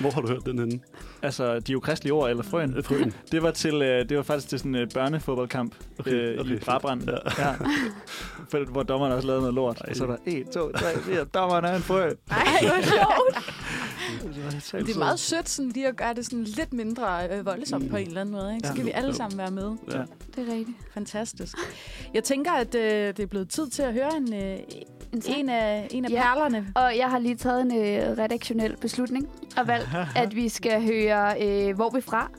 [SPEAKER 6] Hvor har du hørt den henne?
[SPEAKER 4] altså, de ukristelige ord, eller frøen.
[SPEAKER 6] Øh, Frøen.
[SPEAKER 4] Det var, til, øh, det var faktisk til sådan en øh, børnefodboldkamp okay, øh, okay, i
[SPEAKER 6] okay,
[SPEAKER 4] Brabrand,
[SPEAKER 6] fedt.
[SPEAKER 4] ja. Ja. For, hvor dommeren også lavede noget lort. Ej. Og så var der 1, 2, 3, 4, dommeren er en frø.
[SPEAKER 3] Nej, hvor sjovt.
[SPEAKER 4] Det, var totalt
[SPEAKER 3] Det er
[SPEAKER 4] sødt.
[SPEAKER 3] meget sødt sådan lige at gøre det sådan lidt mindre øh, voldsomt mm. på en eller anden måde. Ikke? Så
[SPEAKER 4] Ja.
[SPEAKER 3] kan vi alle sammen være med.
[SPEAKER 6] Ja.
[SPEAKER 2] Det er rigtigt.
[SPEAKER 3] Fantastisk. Jeg tænker, at øh, det er blevet tid til at høre en, øh,
[SPEAKER 2] En sang.
[SPEAKER 3] en af, en af
[SPEAKER 2] Ja.
[SPEAKER 3] ja. perlerne.
[SPEAKER 2] Og jeg har lige taget en øh, redaktionel beslutning og valgt, at vi skal høre øh, Hvor vi fra.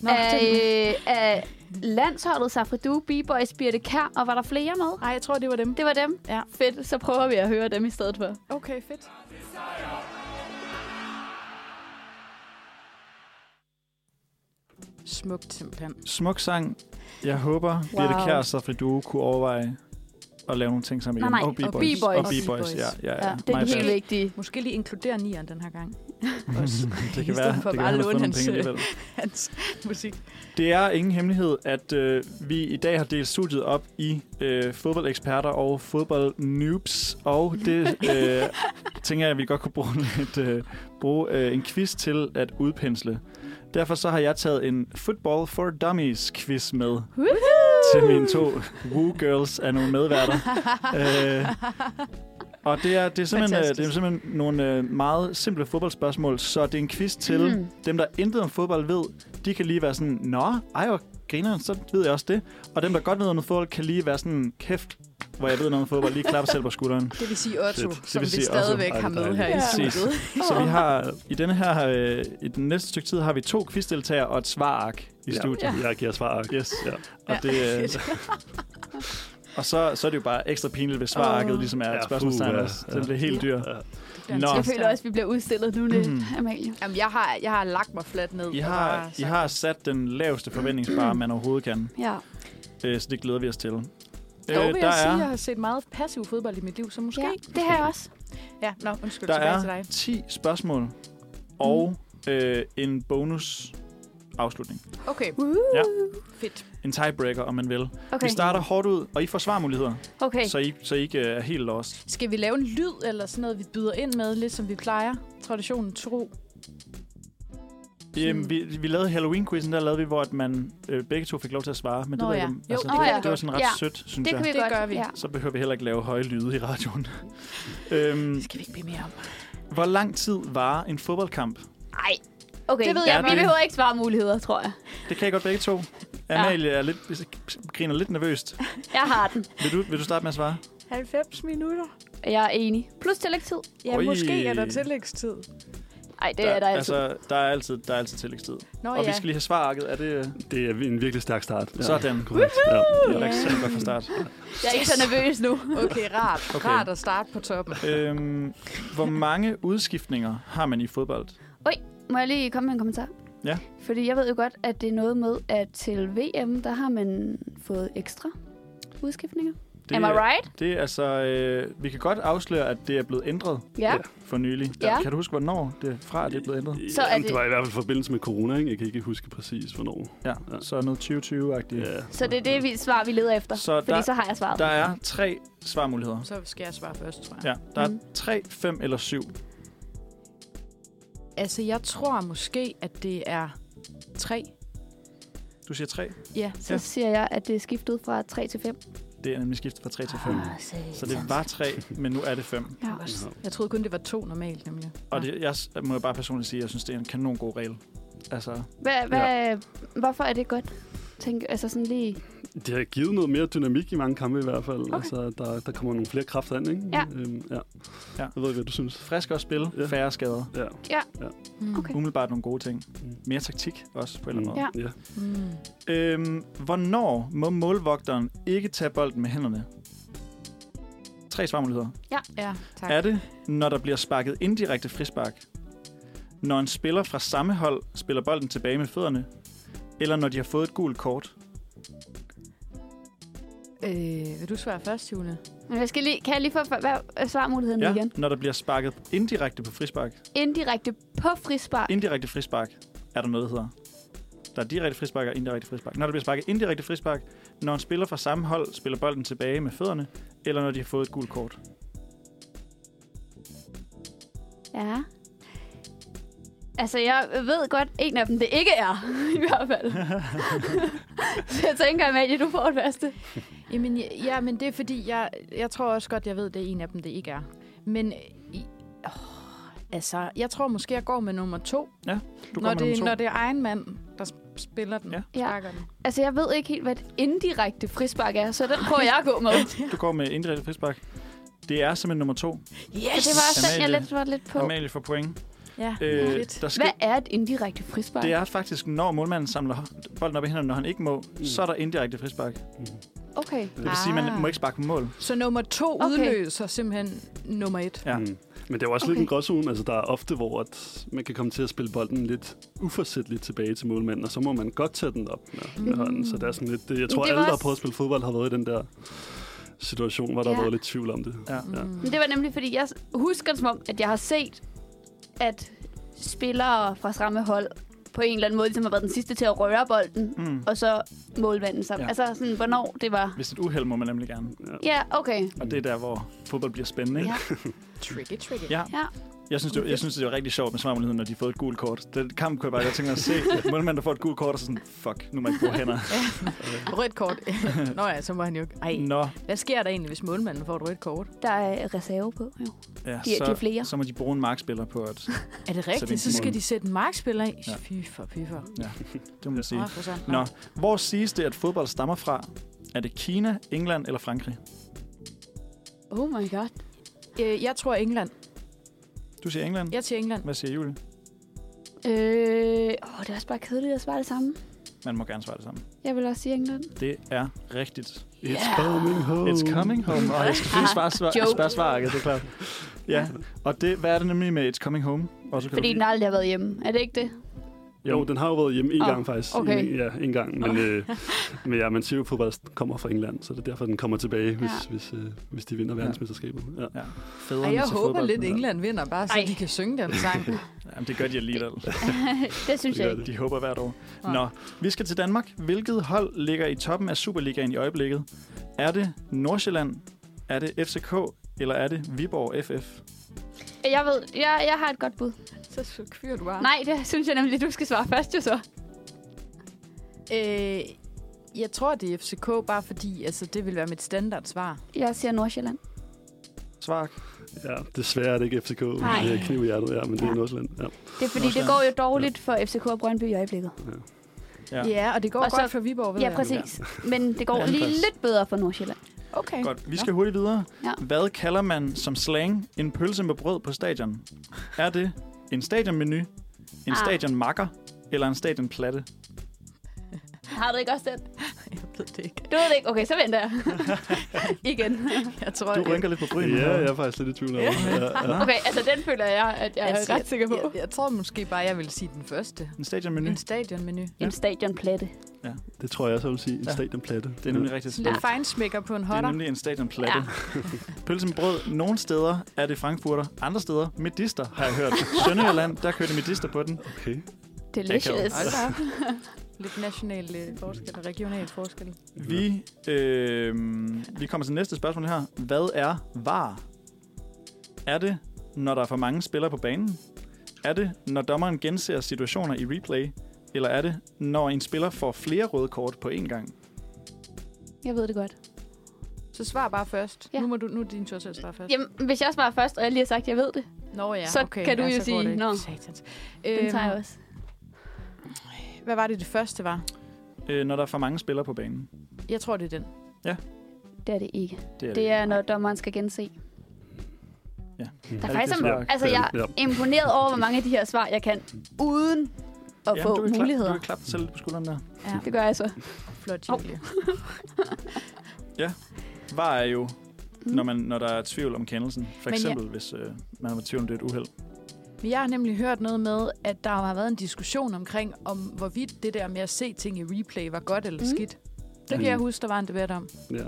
[SPEAKER 3] Nå,
[SPEAKER 2] af,
[SPEAKER 3] den-
[SPEAKER 2] øh, af landsholdet Safridu, B-Boys, Birte Kær, og var der flere med?
[SPEAKER 3] Ej, jeg tror, det var dem.
[SPEAKER 2] Det var dem.
[SPEAKER 3] Ja.
[SPEAKER 2] Fedt, så prøver vi at høre dem i stedet for.
[SPEAKER 3] Okay, fedt. Smukt simpelthen.
[SPEAKER 4] Smuk sang. Jeg håber, wow. Birte Kjær og Safri Due kunne overveje at lave nogle ting sammen
[SPEAKER 2] Nej,
[SPEAKER 4] igen.
[SPEAKER 2] nej,
[SPEAKER 4] Og B-Boys.
[SPEAKER 2] og B-Boys.
[SPEAKER 4] Og B-Boys, ja. ja,
[SPEAKER 3] Ja,
[SPEAKER 4] ja.
[SPEAKER 2] Det er
[SPEAKER 4] Mig
[SPEAKER 2] den helt
[SPEAKER 4] selv.
[SPEAKER 2] vigtige.
[SPEAKER 3] Måske lige inkludere nieren den her gang.
[SPEAKER 4] det kan
[SPEAKER 3] stedet
[SPEAKER 4] være,
[SPEAKER 3] for bare
[SPEAKER 4] det kan være, han har
[SPEAKER 3] at
[SPEAKER 4] fået
[SPEAKER 3] låne
[SPEAKER 4] nogle
[SPEAKER 3] hans,
[SPEAKER 4] penge
[SPEAKER 3] øh,
[SPEAKER 4] alligevel.
[SPEAKER 3] Hans musik.
[SPEAKER 4] Det er ingen hemmelighed, at øh, vi i dag har delt studiet op i øh, fodboldeksperter og fodboldnoobs, og det øh, tænker jeg, at vi godt kunne bruge, lidt, øh, bruge øh, en quiz til at udpensle. Derfor så har jeg taget en Football for Dummies quiz med til mine to Woo Girls af nogle medværter. øh, og det er, det, er simpelthen, øh, det er
[SPEAKER 3] Fantastisk.
[SPEAKER 4] simpelthen nogle øh, meget simple fodboldspørgsmål, så det er en quiz til
[SPEAKER 2] Mm.
[SPEAKER 4] mm. dem, der intet om fodbold ved. De kan lige være sådan, nå, ej hvor grineren, så ved jeg også det. Og dem, der godt ved noget om fodbold, kan lige være sådan, kæft, hvor jeg ved noget om fodbold, lige klappe selv på skulderen.
[SPEAKER 3] Det vil sige Otto,
[SPEAKER 6] Fedt.
[SPEAKER 3] det, som
[SPEAKER 4] vil
[SPEAKER 3] vi
[SPEAKER 4] sige Otto.
[SPEAKER 3] stadigvæk
[SPEAKER 6] Ej,
[SPEAKER 3] har med
[SPEAKER 6] dejligt.
[SPEAKER 3] her i
[SPEAKER 4] Ja.
[SPEAKER 3] studiet.
[SPEAKER 4] Så vi har i denne her, øh, i den næste stykke tid, har vi to quizdeltagere og et svarark i
[SPEAKER 6] Ja.
[SPEAKER 4] studiet.
[SPEAKER 6] Jeg giver svar.
[SPEAKER 4] Yes.
[SPEAKER 6] Ja.
[SPEAKER 4] Og, det, øh, og så, så er det jo bare ekstra pinligt, hvis svararket
[SPEAKER 3] Åh.
[SPEAKER 4] ligesom er
[SPEAKER 6] Ja,
[SPEAKER 4] et spørgsmålstegn
[SPEAKER 6] puha.
[SPEAKER 4] også. Den bliver helt dyr.
[SPEAKER 6] Ja.
[SPEAKER 4] Nå.
[SPEAKER 2] Jeg føler også, at vi bliver udstillet nu lidt,
[SPEAKER 4] Mhm.
[SPEAKER 2] Amalie.
[SPEAKER 3] Jamen, jeg har, jeg har lagt mig fladt ned.
[SPEAKER 4] I
[SPEAKER 3] og
[SPEAKER 4] har,
[SPEAKER 3] bare
[SPEAKER 4] I
[SPEAKER 3] sagt-
[SPEAKER 4] har sat den laveste forventningsbar, man overhovedet kan.
[SPEAKER 2] Ja.
[SPEAKER 4] Øh, så det glæder vi os til.
[SPEAKER 3] Jo, vil
[SPEAKER 4] Øh, der
[SPEAKER 3] jeg sige,
[SPEAKER 4] er,
[SPEAKER 3] jeg har set meget passiv fodbold i mit liv, så måske...
[SPEAKER 2] ja, det har jeg også.
[SPEAKER 3] Ja, nå, undskyld,
[SPEAKER 4] der
[SPEAKER 3] tilbage til
[SPEAKER 4] er
[SPEAKER 3] dig. Mm.
[SPEAKER 4] 10 spørgsmål og øh, en bonus afslutning.
[SPEAKER 3] Okay,
[SPEAKER 2] Woo.
[SPEAKER 4] Ja.
[SPEAKER 3] fedt.
[SPEAKER 4] En tiebreaker, om man vil. Okay.
[SPEAKER 2] Okay.
[SPEAKER 4] Vi starter hårdt ud, og I får svarmuligheder,
[SPEAKER 2] okay.
[SPEAKER 4] så I, så I ikke øh, er helt lost.
[SPEAKER 3] Skal vi lave en lyd eller sådan noget, vi byder ind med, lidt som vi plejer? Traditionen tro. Hmm.
[SPEAKER 4] Jamen, vi, vi lavede Halloween-quizzen, der lavede vi, hvor at man øh, begge to fik lov til at svare. Men
[SPEAKER 3] Nå
[SPEAKER 4] det,
[SPEAKER 3] ja.
[SPEAKER 4] ved jeg ikke, om-
[SPEAKER 3] Jo,
[SPEAKER 4] altså,
[SPEAKER 2] det
[SPEAKER 4] det,
[SPEAKER 2] kan vi
[SPEAKER 4] det var
[SPEAKER 2] godt.
[SPEAKER 4] sådan ret
[SPEAKER 2] Ja.
[SPEAKER 4] sødt, synes
[SPEAKER 2] Det
[SPEAKER 4] jeg.
[SPEAKER 2] kan vi
[SPEAKER 3] Det
[SPEAKER 2] godt.
[SPEAKER 3] gør vi.
[SPEAKER 2] Ja.
[SPEAKER 4] Så behøver vi heller ikke lave høje lyde i radioen. øhm,
[SPEAKER 3] Det skal vi ikke blive mere om.
[SPEAKER 4] hvor lang tid var en fodboldkamp?
[SPEAKER 2] Ej. Okay,
[SPEAKER 3] Det ved
[SPEAKER 4] jeg
[SPEAKER 2] Ja, vi
[SPEAKER 4] ikke.
[SPEAKER 2] behøver ikke svare muligheder, tror jeg.
[SPEAKER 4] Det kan I godt begge to. Amalie er lidt, griner lidt nervøst.
[SPEAKER 2] Jeg har den.
[SPEAKER 4] Vil du, vil du starte med at svare?
[SPEAKER 3] 90 minutter?
[SPEAKER 2] Jeg er enig. Plus tillægstid.
[SPEAKER 3] Ja,
[SPEAKER 4] Oi.
[SPEAKER 3] Oi. måske er der tillægstid.
[SPEAKER 2] Ej, det er der altid.
[SPEAKER 4] Altså, der er altid, der er altid tillægstid.
[SPEAKER 3] Nå
[SPEAKER 4] Og
[SPEAKER 3] ja,
[SPEAKER 4] vi skal lige have svararket. Er det... øh,
[SPEAKER 6] Det er en virkelig stærk start. Ja.
[SPEAKER 4] Sådan.
[SPEAKER 6] Korrekt. Ja.
[SPEAKER 4] Det er da ikke særlig godt fra start.
[SPEAKER 2] Jeg er ikke så nervøs nu.
[SPEAKER 3] okay, rart.
[SPEAKER 4] Okay.
[SPEAKER 3] okay. Rart at starte på toppen.
[SPEAKER 4] øhm, hvor mange udskiftninger har man i fodbold?
[SPEAKER 2] Må jeg lige komme med en kommentar?
[SPEAKER 4] Ja.
[SPEAKER 2] Fordi jeg ved jo godt, at det er noget med, at til VM, der har man fået ekstra udskiftninger.
[SPEAKER 4] Det,
[SPEAKER 2] Am I right?
[SPEAKER 4] Det er altså... Øh, vi kan godt afsløre, at det er blevet ændret
[SPEAKER 2] Ja.
[SPEAKER 4] for nylig.
[SPEAKER 2] Ja.
[SPEAKER 4] Kan du huske, hvornår det er fra, at det er blevet ændret?
[SPEAKER 2] Så er
[SPEAKER 6] Jamen,
[SPEAKER 2] det-
[SPEAKER 6] det var i hvert fald i forbindelse med corona, ikke? Jeg kan ikke huske præcis, hvornår.
[SPEAKER 4] Ja,
[SPEAKER 6] Ja.
[SPEAKER 4] så er noget 2020-agtigt.
[SPEAKER 6] Ja.
[SPEAKER 2] Så det er det vi, svar, vi leder efter.
[SPEAKER 4] Så
[SPEAKER 2] fordi
[SPEAKER 4] der-
[SPEAKER 2] så har jeg svaret.
[SPEAKER 4] Der er tre svarmuligheder.
[SPEAKER 3] Så skal jeg svare først, tror jeg.
[SPEAKER 4] Ja, der
[SPEAKER 2] Mm.
[SPEAKER 4] er 3, 5 eller 7.
[SPEAKER 3] Altså, jeg tror måske, at det er tre.
[SPEAKER 4] Du siger 3.
[SPEAKER 3] Ja,
[SPEAKER 2] så
[SPEAKER 4] ja.
[SPEAKER 2] siger jeg, at det er skiftet fra 3 til 5.
[SPEAKER 4] Det er nemlig skiftet fra 3 til 5. Så det var 3, men nu er det 5.
[SPEAKER 2] Ja.
[SPEAKER 3] jeg troede kun, det var to normalt, nemlig.
[SPEAKER 4] Og det, jeg s- må jeg bare personligt sige, at jeg synes, det er en kanon god regel. Altså,
[SPEAKER 2] Hvad, hvad, ja. Hvorfor er det godt? Tænk, altså sådan lige
[SPEAKER 6] Det har givet noget mere dynamik i mange kampe i hvert fald. Okay. Altså, der, der kommer nogle flere kræfter ind, ikke?
[SPEAKER 2] Ja.
[SPEAKER 6] Øhm, ja.
[SPEAKER 4] Ja.
[SPEAKER 6] Jeg ved ikke, hvad du synes.
[SPEAKER 4] Friskere spil,
[SPEAKER 6] Ja.
[SPEAKER 4] færre skader.
[SPEAKER 6] Ja.
[SPEAKER 3] Mm.
[SPEAKER 2] Okay.
[SPEAKER 4] Umiddelbart nogle gode ting.
[SPEAKER 6] Mm.
[SPEAKER 4] Mere taktik også på en eller anden
[SPEAKER 6] Mm,
[SPEAKER 4] måde.
[SPEAKER 2] måde.
[SPEAKER 6] Ja.
[SPEAKER 3] Mm.
[SPEAKER 4] Øhm, hvornår må målvogteren ikke tage bolden med hænderne? Tre svarmuligheder.
[SPEAKER 3] Ja, tak.
[SPEAKER 4] Er det, når der bliver sparket indirekte frispark? Når en spiller fra samme hold spiller bolden tilbage med fødderne? Eller når de har fået et gult kort?
[SPEAKER 3] Øh, vil du svare først, Jule?
[SPEAKER 2] Men jeg skal lige, kan jeg lige få hvad, svarmuligheden ja.
[SPEAKER 4] Ja,
[SPEAKER 2] igen?
[SPEAKER 4] når der bliver sparket indirekte på frispark.
[SPEAKER 2] Indirekte på frispark.
[SPEAKER 4] Indirekte frispark er der noget, der hedder. Der er direkte frispark og indirekte frispark. Når der bliver sparket indirekte frispark, når en spiller fra samme hold spiller bolden tilbage med fødderne, eller når de har fået et gult kort.
[SPEAKER 2] Ja. Altså, jeg ved godt, en af dem det ikke er, i hvert fald. så jeg tænker, Amalie, du får det første.
[SPEAKER 3] Jamen, ja, ja, men det er fordi, jeg, jeg tror også godt, jeg ved, det er en af dem, det ikke er. Men, øh, i- åh, altså, jeg tror måske, jeg går med nummer to.
[SPEAKER 4] Du
[SPEAKER 3] når,
[SPEAKER 4] kommer
[SPEAKER 3] det,
[SPEAKER 4] nummer to.
[SPEAKER 3] når det er egen mand, der sp- spiller den.
[SPEAKER 4] Ja.
[SPEAKER 2] Ja.
[SPEAKER 3] sparker den.
[SPEAKER 2] Altså, jeg ved ikke helt, hvad et indirekte frispark er, så den prøver jeg at gå med.
[SPEAKER 4] Du går med indirekte frispark. Det er simpelthen nummer to.
[SPEAKER 2] Så det var også den, jeg
[SPEAKER 4] Amalie.
[SPEAKER 2] lidt, var lidt på.
[SPEAKER 4] Amalie får point.
[SPEAKER 3] ja.
[SPEAKER 4] Øh,
[SPEAKER 3] Fedt.
[SPEAKER 4] der sker,
[SPEAKER 2] Hvad er et indirekte frispark?
[SPEAKER 4] det er faktisk, når målmanden samler hå- bolden op i hænderne, når han ikke må, mm. så er der indirekte frispark. Det
[SPEAKER 2] Okay.
[SPEAKER 4] vil ah. sige, at man må ikke sparke på mål.
[SPEAKER 3] Så nummer to
[SPEAKER 2] Okay.
[SPEAKER 3] okay. udløser simpelthen nummer et.
[SPEAKER 4] Ja.
[SPEAKER 6] Mm. Men det er jo også okay. lidt
[SPEAKER 2] Okay.
[SPEAKER 6] en gråzone. Altså, der er ofte, hvor at man kan komme til at spille bolden lidt uforsætteligt tilbage til målmanden, og så må man godt tage den op med, med
[SPEAKER 3] Mm.
[SPEAKER 6] hånden. Så det er sådan lidt... det- Jeg tror,
[SPEAKER 2] det
[SPEAKER 6] alle,
[SPEAKER 2] var
[SPEAKER 6] der har
[SPEAKER 2] også-
[SPEAKER 6] prøvet at spille fodbold, har været i den der situation, hvor der
[SPEAKER 2] Ja.
[SPEAKER 6] har været lidt tvivl om det.
[SPEAKER 4] Ja.
[SPEAKER 6] Ja.
[SPEAKER 3] Mm.
[SPEAKER 2] Men det var nemlig, fordi jeg husker det som om, at jeg har set, at spillere fra samme hold på en eller anden måde ligesom har været den sidste til at røre bolden,
[SPEAKER 4] Mm.
[SPEAKER 2] og så målmanden sammen.
[SPEAKER 4] Ja.
[SPEAKER 2] Ja. Altså sådan, hvornår det var.
[SPEAKER 4] Hvis det er et uheld, må man nemlig gerne.
[SPEAKER 2] Ja, okay.
[SPEAKER 4] Og det er der, hvor fodbold bliver spændende. Ikke?
[SPEAKER 2] Ja.
[SPEAKER 3] Tricky, tricky.
[SPEAKER 4] Ja.
[SPEAKER 2] Ja.
[SPEAKER 4] Jeg synes, det var, jeg synes, det var rigtig sjovt med svarmuligheden, når de har fået et gult kort. Den kamp kunne jeg bare godt tænke mig at se. Målmanden, der får et gult kort, og så sådan, fuck, nu må jeg ikke bruge hænder.
[SPEAKER 3] Rødt kort. Nå ja, så må han jo... Ej,
[SPEAKER 4] Nå,
[SPEAKER 3] hvad sker der egentlig, hvis målmanden får et rødt kort?
[SPEAKER 2] Der er reserve på, jo.
[SPEAKER 4] ja,
[SPEAKER 2] De- de er flere.
[SPEAKER 4] så må de bruge en markspiller på, at
[SPEAKER 3] Er det
[SPEAKER 4] vinder
[SPEAKER 3] rigtigt? Så, skal
[SPEAKER 4] målmanden.
[SPEAKER 3] de sætte en markspiller af?
[SPEAKER 4] Ja.
[SPEAKER 3] Ja. Fy for pyfer.
[SPEAKER 4] det må man sige.
[SPEAKER 3] Nå, for sådan.
[SPEAKER 4] Nå, hvor siges det, at fodbold stammer fra? Er det Kina, England eller Frankrig?
[SPEAKER 2] Oh my god.
[SPEAKER 3] Øh, jeg tror England.
[SPEAKER 4] Du siger England.
[SPEAKER 3] Jeg siger England.
[SPEAKER 4] Hvad siger Julie?
[SPEAKER 2] Øh, åh, det er også bare kedeligt at svare det samme.
[SPEAKER 4] Man må gerne svare det samme.
[SPEAKER 2] Jeg vil også sige England.
[SPEAKER 4] Det er rigtigt.
[SPEAKER 6] It's coming home.
[SPEAKER 4] It's coming home. Og jeg skal selvfølgelig svare, svare,
[SPEAKER 2] Ah, Joke.
[SPEAKER 4] spørge svaret, det er klart. Ja, og det, hvad er det nemlig med It's coming home? Også kan
[SPEAKER 2] Fordi
[SPEAKER 4] du-
[SPEAKER 2] den aldrig har været hjemme. Er det ikke det?
[SPEAKER 6] Jo, den har jo været hjemme en
[SPEAKER 2] Åh,
[SPEAKER 6] oh, gang faktisk.
[SPEAKER 2] okay.
[SPEAKER 6] En, ja, en gang. Men, øh, men ja, man siger jo, at fodbold kommer fra England, så det er derfor, den kommer tilbage, hvis,
[SPEAKER 2] Ja.
[SPEAKER 6] ja. hvis, øh, hvis de vinder verdensmesterskabet. Ja.
[SPEAKER 4] Ja, fædrene
[SPEAKER 3] Ej, jeg
[SPEAKER 4] til
[SPEAKER 3] håber
[SPEAKER 4] fodbold.
[SPEAKER 3] lidt, England vinder, bare så
[SPEAKER 2] Ej.
[SPEAKER 3] Ej. de kan synge den sang.
[SPEAKER 4] Jamen, det gør de alligevel.
[SPEAKER 2] det synes
[SPEAKER 6] Det
[SPEAKER 2] jeg
[SPEAKER 6] gør
[SPEAKER 2] ikke.
[SPEAKER 4] De håber hvert år.
[SPEAKER 3] Nå.
[SPEAKER 4] Nå, vi skal til Danmark. Hvilket hold ligger i toppen af Superligaen i øjeblikket? Er det Nordsjælland? Er det FCK? Eller er det Viborg FF?
[SPEAKER 2] Jeg ved, jeg, jeg har et godt bud.
[SPEAKER 3] Så så fyrer du bare.
[SPEAKER 2] Nej, det synes jeg nemlig, du skal svare først jo så.
[SPEAKER 3] Øh, jeg tror, det er FCK, bare fordi altså, det vil være mit standardsvar.
[SPEAKER 2] Jeg siger Nordsjælland.
[SPEAKER 4] Svark.
[SPEAKER 6] ja, desværre er det ikke FCK.
[SPEAKER 2] Nej.
[SPEAKER 6] Det er kniv i hjertet, ja, men det
[SPEAKER 2] Ja.
[SPEAKER 6] er Nordsjælland. Ja.
[SPEAKER 2] Det er fordi, det går jo dårligt for FCK og Brøndby i øjeblikket.
[SPEAKER 4] Ja.
[SPEAKER 3] Ja, ja og det går
[SPEAKER 2] Og
[SPEAKER 3] og
[SPEAKER 2] så-
[SPEAKER 3] godt for Viborg, ved
[SPEAKER 2] Ja,
[SPEAKER 3] jeg.
[SPEAKER 2] præcis. Men det går
[SPEAKER 4] Anden
[SPEAKER 2] lige
[SPEAKER 4] plads.
[SPEAKER 2] lidt bedre for Nordsjælland.
[SPEAKER 3] Okay.
[SPEAKER 4] Godt, vi skal hurtigt videre.
[SPEAKER 2] Ja.
[SPEAKER 4] Hvad kalder man som slang en pølse med brød på stadion? Er det en stadionmenu, en
[SPEAKER 2] Ah.
[SPEAKER 4] stadionmakker eller en stadionplatte?
[SPEAKER 2] Har du ikke også den?
[SPEAKER 3] Jeg ved det ikke.
[SPEAKER 2] Du ved det ikke. Okay, så venter jeg. Igen.
[SPEAKER 3] Jeg tror,
[SPEAKER 4] Du rynker lidt på brynet.
[SPEAKER 6] Ja,
[SPEAKER 4] her.
[SPEAKER 6] jeg er faktisk lidt i tvivl om. Ja, ja.
[SPEAKER 4] Ah.
[SPEAKER 2] Okay, altså den føler jeg, at jeg er ret sikker på.
[SPEAKER 3] Jeg, jeg tror måske bare, jeg vil sige den første.
[SPEAKER 4] En stadionmenu.
[SPEAKER 3] En stadionmenu.
[SPEAKER 2] En stadionplatte.
[SPEAKER 6] Det tror jeg også, jeg vil sige. En
[SPEAKER 4] Ja.
[SPEAKER 6] ja. stadionplatte.
[SPEAKER 4] Det er nemlig rigtigt.
[SPEAKER 3] Lidt fejnsmækker på en
[SPEAKER 4] Det er
[SPEAKER 3] hotter.
[SPEAKER 4] nemlig en stadionplatte. Ja. Pølse med brød. Nogle steder er det frankfurter, andre steder medister, har jeg hørt. Sønderjylland, der kørte medister på den.
[SPEAKER 6] Okay.
[SPEAKER 2] Delicious.
[SPEAKER 3] Hold da op. Lidt national øh, forskel og regional forskel.
[SPEAKER 4] Vi, øh, vi kommer til næste spørgsmål her. Hvad er var? Er det, når der er for mange spillere på banen? Er det, når dommeren genser situationer i replay? Eller er det, når en spiller får flere røde kort på én gang?
[SPEAKER 2] Jeg ved det godt.
[SPEAKER 3] Så svar bare først.
[SPEAKER 2] Ja.
[SPEAKER 3] Ja. Nu, må du, nu er din tur til at svare først.
[SPEAKER 2] Jamen, hvis jeg svarer først, og jeg lige har sagt, at jeg ved det,
[SPEAKER 3] Nå ja,
[SPEAKER 2] så
[SPEAKER 3] okay.
[SPEAKER 2] kan du
[SPEAKER 3] ja,
[SPEAKER 2] jo
[SPEAKER 3] så går
[SPEAKER 2] sige,
[SPEAKER 3] det.
[SPEAKER 2] nå.
[SPEAKER 3] Satans.
[SPEAKER 2] den
[SPEAKER 3] Øhm,
[SPEAKER 2] tager jeg også.
[SPEAKER 3] Hvad var det, det første var?
[SPEAKER 4] øh, når der er for mange spillere på banen.
[SPEAKER 3] Jeg tror, det er den.
[SPEAKER 2] Det er det ikke.
[SPEAKER 4] er,
[SPEAKER 2] Det er, når dommeren skal gense. Der er
[SPEAKER 4] det
[SPEAKER 2] faktisk,
[SPEAKER 4] det,
[SPEAKER 2] om,
[SPEAKER 4] som
[SPEAKER 6] er-
[SPEAKER 2] altså,
[SPEAKER 6] det er
[SPEAKER 2] jeg
[SPEAKER 6] det,
[SPEAKER 2] er imponeret over, hvor mange af de her svar, jeg kan, uden at
[SPEAKER 4] Jamen,
[SPEAKER 2] få
[SPEAKER 4] du kan klappe-
[SPEAKER 2] muligheder.
[SPEAKER 4] Du kan klappe dig selv lidt på skulderen der.
[SPEAKER 2] Det gør jeg så.
[SPEAKER 3] Flot, Julie.
[SPEAKER 4] Var er jo, når, man, når der er tvivl om kendelsen. For
[SPEAKER 3] Men ja.
[SPEAKER 4] eksempel, hvis øh, man var i tvivl om, det er et uheld.
[SPEAKER 3] Men jeg har nemlig hørt noget med, at der har været en diskussion omkring, om hvorvidt det der med at se ting i replay var godt eller
[SPEAKER 2] Mm.
[SPEAKER 3] mm. skidt. Det kan
[SPEAKER 6] Ja.
[SPEAKER 3] jeg huske, der var en debat om.
[SPEAKER 6] Ja.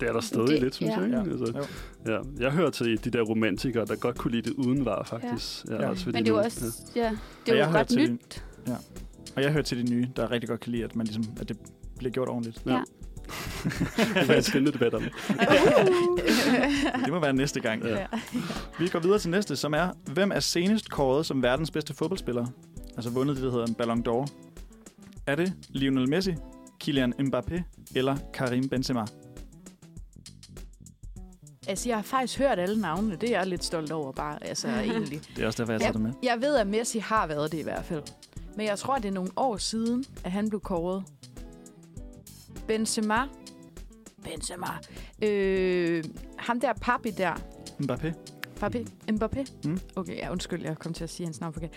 [SPEAKER 6] Det er der stadig
[SPEAKER 2] Det-
[SPEAKER 6] det, lidt, synes
[SPEAKER 2] ja.
[SPEAKER 6] jeg. Ikke?
[SPEAKER 4] Ja. Jo.
[SPEAKER 6] Altså, ja. Jeg hører til de der romantikere, der godt kunne lide det uden var, faktisk. Ja.
[SPEAKER 4] Ja.
[SPEAKER 6] også fordi
[SPEAKER 2] Men det er jo
[SPEAKER 6] nu-
[SPEAKER 2] også ja, det
[SPEAKER 4] Og
[SPEAKER 2] er
[SPEAKER 4] jeg
[SPEAKER 2] jo
[SPEAKER 4] hører
[SPEAKER 2] ret
[SPEAKER 4] til
[SPEAKER 2] nyt.
[SPEAKER 4] Og jeg hører til de nye, der rigtig godt kan lide, at, man ligesom, at det bliver gjort ordentligt.
[SPEAKER 2] Ja.
[SPEAKER 6] Ja. Det var en spændende debat om.
[SPEAKER 4] Det må være næste gang.
[SPEAKER 6] Ja.
[SPEAKER 4] Vi går videre til næste, som er, hvem er senest kåret som verdens bedste fodboldspiller? Altså vundet det, der hedder en Ballon d'Or. Er det Lionel Messi, Kylian Mbappé eller Karim Benzema?
[SPEAKER 3] Altså, jeg har faktisk hørt alle navnene. Det er jeg lidt stolt over, bare. Altså, egentlig.
[SPEAKER 4] Det er også derfor, jeg tager det med.
[SPEAKER 3] Jeg ved, at Messi har været det i hvert fald. Men jeg tror, det er nogle år siden, at han blev kåret. Benzema. Benzema. Øh, ham der Papi der.
[SPEAKER 4] Mbappé?
[SPEAKER 3] Papi? Mbappé?
[SPEAKER 4] Mm.
[SPEAKER 3] Mm. Okay, ja, undskyld, jeg kom til at sige hans navn forkert.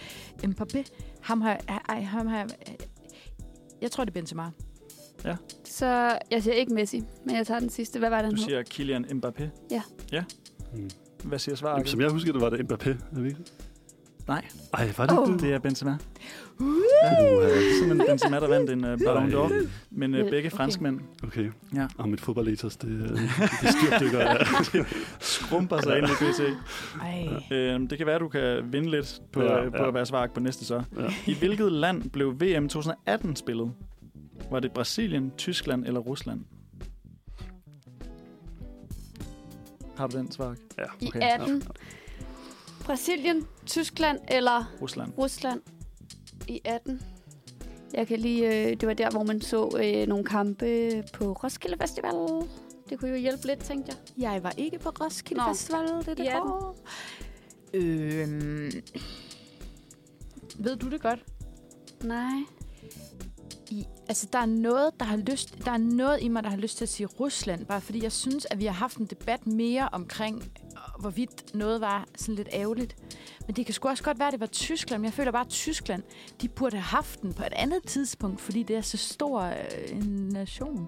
[SPEAKER 3] Mbappé? Ham har... Ej, ham har øh, jeg tror, det er Benzema.
[SPEAKER 2] Så jeg siger ikke Messi, men jeg tager den sidste. Hvad var den
[SPEAKER 4] Du
[SPEAKER 2] hed?
[SPEAKER 4] siger Kylian Mbappé?
[SPEAKER 2] Ja.
[SPEAKER 4] Ja?
[SPEAKER 6] Mm.
[SPEAKER 4] Hvad siger
[SPEAKER 6] Jamen,
[SPEAKER 4] svaret?
[SPEAKER 6] som jeg husker, det var det Mbappé. Er vi ikke?
[SPEAKER 4] Nej.
[SPEAKER 6] Ej, var det oh. det?
[SPEAKER 4] Det er Benzema.
[SPEAKER 6] Uh,
[SPEAKER 4] Simpelthen Benzema, der vandt en uh, Ballon
[SPEAKER 6] Ej.
[SPEAKER 4] d'Or. Men uh,
[SPEAKER 2] Ja,
[SPEAKER 4] begge
[SPEAKER 2] okay.
[SPEAKER 4] franskmænd
[SPEAKER 6] Okay.
[SPEAKER 4] Ja.
[SPEAKER 6] Og mit fodboldletos, det, øh, det styrdykker. ja.
[SPEAKER 4] skrumper sig ind i BT.
[SPEAKER 3] Ej.
[SPEAKER 4] Uh, det kan være, du kan vinde lidt på,
[SPEAKER 6] Ja,
[SPEAKER 4] ja, ja. på
[SPEAKER 6] ja.
[SPEAKER 4] at være svark på næste så.
[SPEAKER 6] Ja.
[SPEAKER 4] I hvilket land blev VM 2018 spillet? Var det Brasilien, Tyskland eller Rusland? Har du den, Svark?
[SPEAKER 2] I
[SPEAKER 4] okay.
[SPEAKER 2] 18. Brasilien, Tyskland eller
[SPEAKER 4] Rusland.
[SPEAKER 2] Rusland i 18. Jeg kan lige, øh, det var der, hvor man så øh, nogle kampe på Roskilde Festival. Det kunne jo hjælpe lidt, tænkte jeg.
[SPEAKER 3] Jeg var ikke på Roskilde
[SPEAKER 2] Nå.
[SPEAKER 3] Festival, det er det
[SPEAKER 2] Ja.
[SPEAKER 3] går. Øhm. Ved du det godt?
[SPEAKER 2] Nej.
[SPEAKER 3] I, altså, der er, noget, der, har lyst, der er noget i mig, der har lyst til at sige Rusland, bare fordi jeg synes, at vi har haft en debat mere omkring, øh, hvorvidt noget var sådan lidt ærgerligt. Men det kan sgu også godt være, at det var Tyskland, men jeg føler bare, at Tyskland, de burde have haft den på et andet tidspunkt, fordi det er så stor øh, en nation.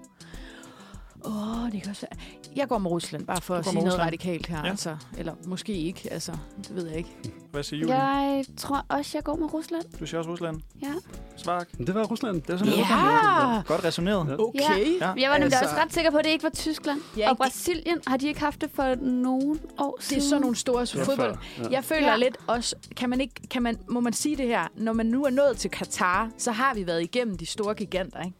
[SPEAKER 3] Åh, oh, det kan også være. Jeg går med Rusland, bare for
[SPEAKER 4] Du
[SPEAKER 3] at
[SPEAKER 4] går med
[SPEAKER 3] sige noget
[SPEAKER 4] Rusland.
[SPEAKER 3] radikalt her.
[SPEAKER 4] Ja.
[SPEAKER 3] Ja. Altså. Eller måske ikke, altså. Det ved jeg ikke.
[SPEAKER 4] Hvad siger Julie? Ja.
[SPEAKER 2] Jeg tror også, jeg går med Rusland.
[SPEAKER 4] Du siger også Rusland.
[SPEAKER 2] Ja.
[SPEAKER 4] Svark.
[SPEAKER 6] Men Det var Rusland.
[SPEAKER 4] Det er sådan,
[SPEAKER 3] Ja!
[SPEAKER 4] Rusland. Godt resoneret.
[SPEAKER 6] Ja.
[SPEAKER 3] Okay.
[SPEAKER 4] Ja.
[SPEAKER 2] Jeg var nemlig
[SPEAKER 3] Altså-
[SPEAKER 2] altså... også ret sikker på, at det ikke var Tyskland.
[SPEAKER 3] Ja,
[SPEAKER 2] Ja, og
[SPEAKER 3] det-
[SPEAKER 2] Brasilien har de ikke haft det for nogen år
[SPEAKER 3] Det
[SPEAKER 2] siden.
[SPEAKER 3] er sådan nogle store
[SPEAKER 6] Det var
[SPEAKER 3] fodbold...
[SPEAKER 6] før. Ja.
[SPEAKER 3] Jeg føler
[SPEAKER 2] Ja.
[SPEAKER 3] ja. lidt også, kan man ikke, kan man, må man sige det her, når man nu er nået til Katar, så har vi været igennem de store giganter, ikke?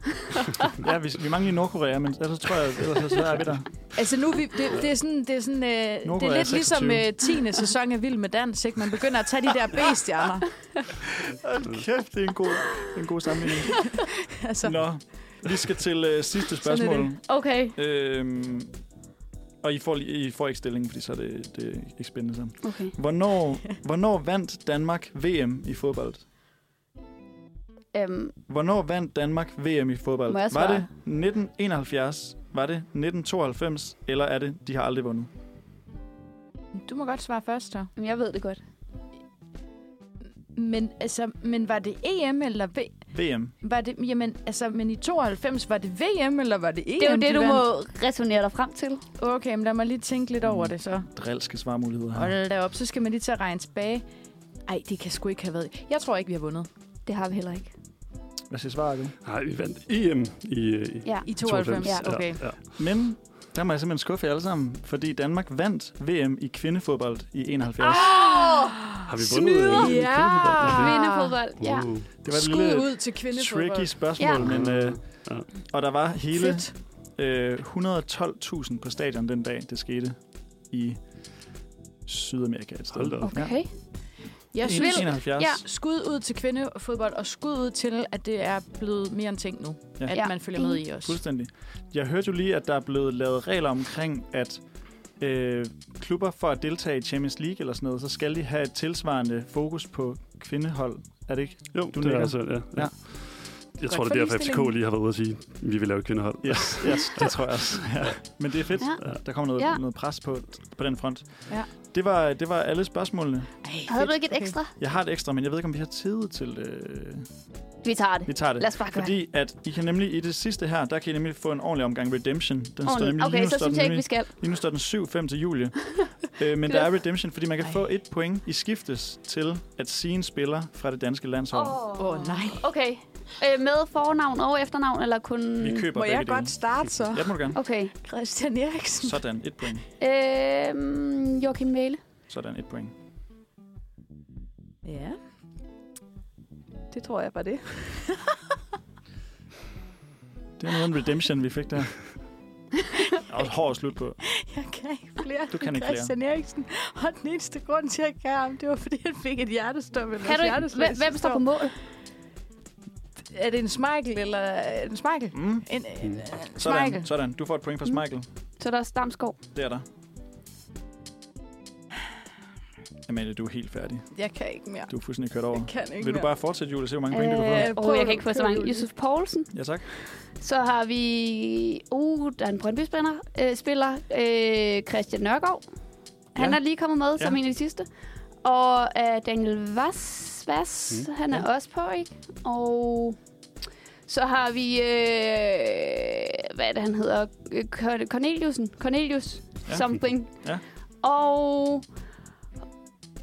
[SPEAKER 4] Ja, vi, vi mangler lige Nordkorea, men ellers tror jeg, ellers så er vi der.
[SPEAKER 3] Altså nu, er vi, det, det er sådan, det er, sådan, øh, det
[SPEAKER 4] Nordkorea
[SPEAKER 3] er
[SPEAKER 4] er
[SPEAKER 3] lidt ligesom
[SPEAKER 4] 26.
[SPEAKER 3] øh, 10. sæson af Vild med Dans, ikke? Man begynder at tage de der B-stjerner.
[SPEAKER 4] Kæft, det er en god, en god sammenligning.
[SPEAKER 3] Altså,
[SPEAKER 4] Nå, vi skal til øh, sidste
[SPEAKER 3] Sådan er
[SPEAKER 4] spørgsmål.
[SPEAKER 3] det.
[SPEAKER 2] Okay.
[SPEAKER 4] Øhm, og I får, lige- I får ikke stillingen, fordi så er det, det er ikke spændende sammen.
[SPEAKER 2] okay.
[SPEAKER 4] Hvornår, hvornår vandt Danmark VM i fodbold?
[SPEAKER 2] Øhm,
[SPEAKER 4] Hvornår vandt Danmark VM i fodbold?
[SPEAKER 2] Må jeg
[SPEAKER 4] var
[SPEAKER 2] svare?
[SPEAKER 4] det 1971? Var det 1992? Eller er det, de har aldrig vundet?
[SPEAKER 3] du må godt svare først, så.
[SPEAKER 2] men jeg ved det godt.
[SPEAKER 3] Men, altså, men var det EM eller v,
[SPEAKER 4] VM.
[SPEAKER 3] var det, jamen, altså, men i 92, var det VM eller var det EM?
[SPEAKER 2] Det er jo det,
[SPEAKER 3] de
[SPEAKER 2] du må
[SPEAKER 3] vandt?
[SPEAKER 2] resonere dig frem til.
[SPEAKER 3] Okay, men lad mig lige tænke lidt over det, så.
[SPEAKER 4] Drilske svarmuligheder her.
[SPEAKER 3] Hold da op, så skal man lige til at regne tilbage. Ej, det kan sgu ikke have været. Jeg tror ikke, vi har vundet.
[SPEAKER 2] Det har vi heller ikke.
[SPEAKER 4] Hvad siger svaret?
[SPEAKER 6] Nej, vi vandt EM i, øh, i
[SPEAKER 2] Ja.
[SPEAKER 3] I 92, ja. okay.
[SPEAKER 6] Ja, ja.
[SPEAKER 4] Men der må jeg simpelthen skuffe jer alle sammen, fordi Danmark vandt VM i kvindefodbold i
[SPEAKER 3] Ah,
[SPEAKER 4] 71.
[SPEAKER 6] Har vi vundet? øh,
[SPEAKER 3] Snyder! Ja!
[SPEAKER 2] Ah!
[SPEAKER 6] kvindefodbold?
[SPEAKER 2] Kvindefodbold. Ja.
[SPEAKER 6] Uh,
[SPEAKER 4] Det var et
[SPEAKER 3] Skud
[SPEAKER 4] lille
[SPEAKER 3] ud til kvindefodbold.
[SPEAKER 4] tricky spørgsmål,
[SPEAKER 2] Ja.
[SPEAKER 4] men... Øh,
[SPEAKER 6] Ja.
[SPEAKER 4] og der var hele
[SPEAKER 3] Fedt.
[SPEAKER 4] øh, 112.000 på stadion den dag, det skete i Sydamerika et sted.
[SPEAKER 6] Hold da op.
[SPEAKER 2] Okay.
[SPEAKER 3] Jeg
[SPEAKER 4] En-
[SPEAKER 3] synes,
[SPEAKER 4] 71.
[SPEAKER 2] Ja.
[SPEAKER 3] skud ud til kvindefodbold, og skud ud til, at det er blevet mere en ting nu.
[SPEAKER 4] Ja.
[SPEAKER 3] Ja.
[SPEAKER 2] Ja.
[SPEAKER 3] At man følger med i os.
[SPEAKER 4] Fuldstændig. Jeg hørte jo lige, at der er blevet lavet regler omkring, at øh, klubber for at deltage i Champions League eller sådan noget, så skal de have et tilsvarende fokus på kvindehold. Er det ikke?
[SPEAKER 6] Jo,
[SPEAKER 4] Du
[SPEAKER 6] det er
[SPEAKER 4] nikker.
[SPEAKER 6] altså, ja.
[SPEAKER 4] Ja.
[SPEAKER 6] Jeg tror, det er derfor, FCK lige har været ude at sige, at vi vil lave et kvindehold.
[SPEAKER 4] Yes, yes, det tror jeg også. Ja. Men det er fedt.
[SPEAKER 2] Ja.
[SPEAKER 4] Ja. Der kommer noget,
[SPEAKER 2] Ja.
[SPEAKER 4] ja. noget pres på, på den front.
[SPEAKER 3] Ja.
[SPEAKER 4] Det, var, det var alle spørgsmålene.
[SPEAKER 2] Havde du ikke et ekstra?
[SPEAKER 4] Jeg har et ekstra, men jeg ved ikke, om vi har tid til... Øh...
[SPEAKER 2] Vi tager det.
[SPEAKER 4] Vi tager det.
[SPEAKER 2] Lad os bare gøre
[SPEAKER 4] Fordi at I kan nemlig i det sidste her, der kan I nemlig få en ordentlig omgang Redemption. Den står
[SPEAKER 2] Ordentligt.
[SPEAKER 4] nemlig,
[SPEAKER 2] Okay,
[SPEAKER 4] lige, nu
[SPEAKER 2] så
[SPEAKER 4] står
[SPEAKER 2] synes
[SPEAKER 4] den
[SPEAKER 2] jeg ikke, vi
[SPEAKER 4] nemlig,
[SPEAKER 2] skal.
[SPEAKER 4] lige nu står den 7-5 til Julie. øh, men der er Redemption, fordi man kan Ej. få et point i skiftes til at sige en spiller fra det danske landshold. Oh.
[SPEAKER 3] Åh, oh, nej.
[SPEAKER 2] Okay. Øh, med fornavn og efternavn, eller kun...
[SPEAKER 4] Vi køber
[SPEAKER 8] Må
[SPEAKER 4] begge
[SPEAKER 8] jeg
[SPEAKER 4] dele.
[SPEAKER 8] godt starte så?
[SPEAKER 4] Ja, det må du gerne.
[SPEAKER 2] Okay.
[SPEAKER 3] Christian Eriksen.
[SPEAKER 4] Sådan, et point.
[SPEAKER 2] Øh, Joachim Mæle.
[SPEAKER 4] Sådan, et point.
[SPEAKER 3] Ja.
[SPEAKER 8] Det tror jeg var det.
[SPEAKER 4] Det er noget af en redemption, vi fik der. Og hård slut på.
[SPEAKER 3] Jeg kan ikke flere
[SPEAKER 4] Du kan
[SPEAKER 3] end
[SPEAKER 4] ikke flere.
[SPEAKER 3] Christian Eriksen. Og den eneste grund til, at jeg kan ham, det var, fordi han fik et hjertestop. Eller
[SPEAKER 2] Kan du ikke? Hvem, hvem står på mål?
[SPEAKER 3] Er det en Smeichel, eller er det en Smeichel?
[SPEAKER 4] Mm.
[SPEAKER 3] En, øh, en, en
[SPEAKER 4] Sådan,
[SPEAKER 3] Smeichel.
[SPEAKER 4] sådan. Du får et point fra
[SPEAKER 2] Mm.
[SPEAKER 4] Michael.
[SPEAKER 2] Så er der er Stamskov.
[SPEAKER 4] Det er der. Amalie, du er helt færdig.
[SPEAKER 3] Jeg kan ikke mere.
[SPEAKER 4] Du er fuldstændig kørt over.
[SPEAKER 3] Jeg kan ikke
[SPEAKER 4] Vil du
[SPEAKER 3] mere.
[SPEAKER 4] bare fortsætte, Julie, og se, hvor mange point du
[SPEAKER 2] Øh,
[SPEAKER 4] kan
[SPEAKER 3] få?
[SPEAKER 2] åh, jeg kan ikke få så mange.
[SPEAKER 3] Kør, Julie.
[SPEAKER 2] Yusuf Poulsen.
[SPEAKER 4] få? Ja, tak.
[SPEAKER 2] Så har vi... Uh, der er en Brøndby-spiller. Øh, spiller øh, Christian Nørgaard. Han
[SPEAKER 4] Ja.
[SPEAKER 2] er lige kommet med ja. som
[SPEAKER 4] Ja.
[SPEAKER 2] en af de sidste. Og øh, Daniel Vass, Vass mm. han er ja. også på, ikke? Og så har vi, øh, hvad er det, han hedder? Øh, Corn- Corneliusen. Cornelius ja.
[SPEAKER 4] Ja.
[SPEAKER 2] something.
[SPEAKER 4] Ja.
[SPEAKER 2] Og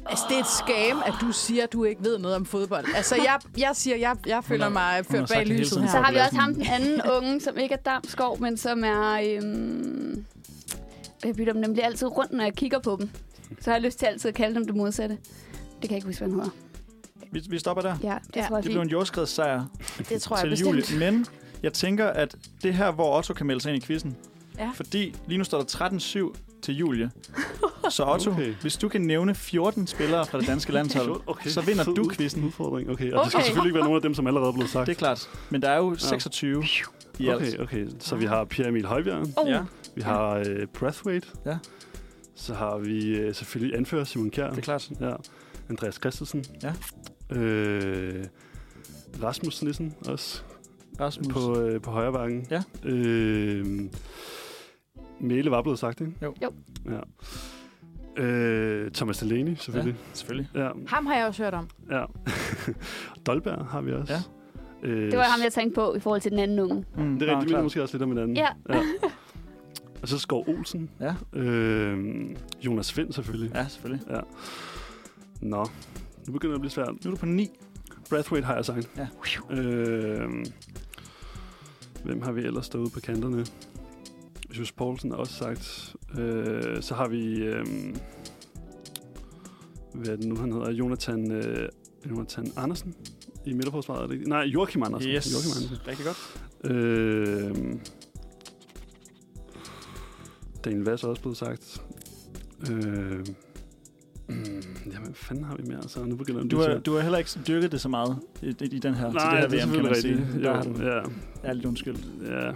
[SPEAKER 3] Altså, det er et skam, at du siger, at du ikke ved noget om fodbold. Altså, jeg, jeg siger, jeg, jeg føler
[SPEAKER 4] Hun har-
[SPEAKER 3] mig
[SPEAKER 4] hun har
[SPEAKER 3] ført
[SPEAKER 4] sagt
[SPEAKER 3] bag
[SPEAKER 4] det hele
[SPEAKER 3] lyset
[SPEAKER 4] tiden.
[SPEAKER 2] så
[SPEAKER 3] her.
[SPEAKER 4] Ja,
[SPEAKER 2] har vi
[SPEAKER 4] det er
[SPEAKER 2] også ham,
[SPEAKER 4] sådan-
[SPEAKER 2] den anden unge, som ikke er Damskov, men som er... Øhm, jeg bytter dem nemlig altid rundt, når jeg kigger på dem. Så har jeg lyst til altid at kalde dem det modsatte. Det kan jeg ikke huske, hvad han hedder.
[SPEAKER 4] Vi, vi stopper der.
[SPEAKER 2] Ja, det
[SPEAKER 3] Ja,
[SPEAKER 2] ja, tror jeg
[SPEAKER 4] Det blev en
[SPEAKER 2] fint.
[SPEAKER 4] jordskredssejr
[SPEAKER 3] Det tror jeg
[SPEAKER 4] til
[SPEAKER 3] bestemt.
[SPEAKER 4] Julie. Men jeg tænker, at det er her, hvor Otto kan melde sig ind i quizzen.
[SPEAKER 3] Ja.
[SPEAKER 4] Fordi lige nu står der 13-7 til Julie. Så Otto,
[SPEAKER 6] Okay.
[SPEAKER 4] okay. hvis du kan nævne 14 spillere fra det danske landshold, okay. så vinder
[SPEAKER 6] fed
[SPEAKER 4] du
[SPEAKER 6] ud-
[SPEAKER 4] quizzen.
[SPEAKER 6] Udfordring. Okay, og okay. det skal
[SPEAKER 3] Okay.
[SPEAKER 6] selvfølgelig ikke være nogen af dem, som allerede er blevet sagt.
[SPEAKER 4] Det er klart. Men der er jo 26 i alt.
[SPEAKER 6] Okay, okay. Så vi har Pierre Emil Højbjerg.
[SPEAKER 2] Oh,
[SPEAKER 4] Ja,
[SPEAKER 2] ja.
[SPEAKER 6] Vi har øh, Brathwaite.
[SPEAKER 4] Ja.
[SPEAKER 6] Så har vi øh, selvfølgelig anfører Simon Kjær.
[SPEAKER 3] Oh.
[SPEAKER 4] det er klart.
[SPEAKER 6] Ja. Andreas Christensen.
[SPEAKER 4] Ja.
[SPEAKER 6] Øh, Rasmus Nissen også
[SPEAKER 4] Rasmus.
[SPEAKER 6] på, øh, på højre bakken.
[SPEAKER 4] Ja.
[SPEAKER 6] Øh, Mæle var blevet sagt, ikke?
[SPEAKER 4] Jo.
[SPEAKER 2] Jo.
[SPEAKER 6] Ja. Øh, Thomas Delaney, selvfølgelig.
[SPEAKER 4] Selvfølgelig.
[SPEAKER 6] Ja. ja.
[SPEAKER 3] Ham har jeg også hørt om.
[SPEAKER 6] ja. Dolberg har vi også.
[SPEAKER 4] Ja.
[SPEAKER 6] Øh,
[SPEAKER 2] Det var ham, jeg tænkte på i forhold til den anden unge.
[SPEAKER 4] Mm,
[SPEAKER 6] Det er
[SPEAKER 4] nå,
[SPEAKER 6] rigtigt, vi
[SPEAKER 4] klart.
[SPEAKER 6] minder måske også lidt om hinanden.
[SPEAKER 2] Ja.
[SPEAKER 6] ja. Og så Skov Olsen.
[SPEAKER 4] Ja.
[SPEAKER 6] Øh, Jonas Vind selvfølgelig.
[SPEAKER 4] Ja, selvfølgelig.
[SPEAKER 6] Nå, nu begynder det at blive svært.
[SPEAKER 4] Nu er du på 9.
[SPEAKER 6] Brathwaite har jeg sagt.
[SPEAKER 4] Ja.
[SPEAKER 6] Øh, hvem har vi ellers derude på kanterne? Jesus Poulsen har også sagt. Øh, så har vi... Øh, hvad er det nu, han hedder? Jonathan, øh, Jonathan Andersen i midterforsvaret. er det ikke? Nej, Joachim Andersen.
[SPEAKER 4] Yes.
[SPEAKER 6] Joachim Andersen.
[SPEAKER 4] Rigtig godt.
[SPEAKER 6] Øh, Daniel Vass er også blevet sagt. Øh, mm, jamen, hvad fanden har vi mere? Så nu begynder det at
[SPEAKER 4] Du
[SPEAKER 6] blive
[SPEAKER 4] har,
[SPEAKER 6] svært.
[SPEAKER 4] du har heller ikke dyrket det så meget i, i, i den her, til det
[SPEAKER 6] Nej,
[SPEAKER 4] her
[SPEAKER 6] det er
[SPEAKER 4] VM, kan man
[SPEAKER 6] selvfølgelig
[SPEAKER 4] sige.
[SPEAKER 6] rigtigt.
[SPEAKER 4] Der har du
[SPEAKER 6] Jo, ja,
[SPEAKER 4] er lidt undskyld.
[SPEAKER 6] ja.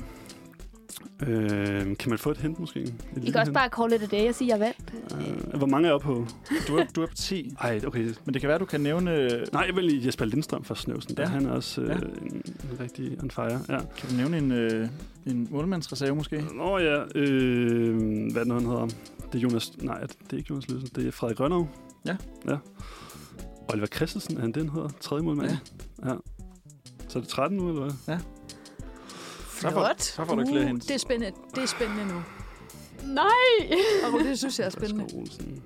[SPEAKER 6] Øh, kan man få et hint, måske? Et
[SPEAKER 2] I kan også bare call it a day og sige, at jeg vandt.
[SPEAKER 6] Øh, hvor mange er oppe på?
[SPEAKER 4] Du er, du er på 10.
[SPEAKER 6] Ej, okay.
[SPEAKER 4] Men det kan være, du kan nævne...
[SPEAKER 6] Nej, jeg vil lige Jesper Lindstrøm fra Snøvsen. Ja.
[SPEAKER 4] Ja.
[SPEAKER 6] Han er også øh,
[SPEAKER 4] Ja.
[SPEAKER 6] en, en rigtig on fire. Ja.
[SPEAKER 4] Kan du nævne en, øh, en målmandsreserve måske?
[SPEAKER 6] Nå ja, øh, hvad er det nu, han hedder? Det er Jonas... Nej, det er ikke Jonas Løsen. Det er Frederik Rønnow.
[SPEAKER 4] Ja.
[SPEAKER 6] ja. Oliver Christensen, er han den hedder? Tredje målmand.
[SPEAKER 4] Ja.
[SPEAKER 6] ja. Så er det 13 nu, eller hvad?
[SPEAKER 4] Så får, så får du ikke flere
[SPEAKER 3] uh,
[SPEAKER 4] hints.
[SPEAKER 3] Det er spændende. Det er spændende nu.
[SPEAKER 2] Nej!
[SPEAKER 3] Og det synes jeg er spændende.
[SPEAKER 6] Skov Olsen.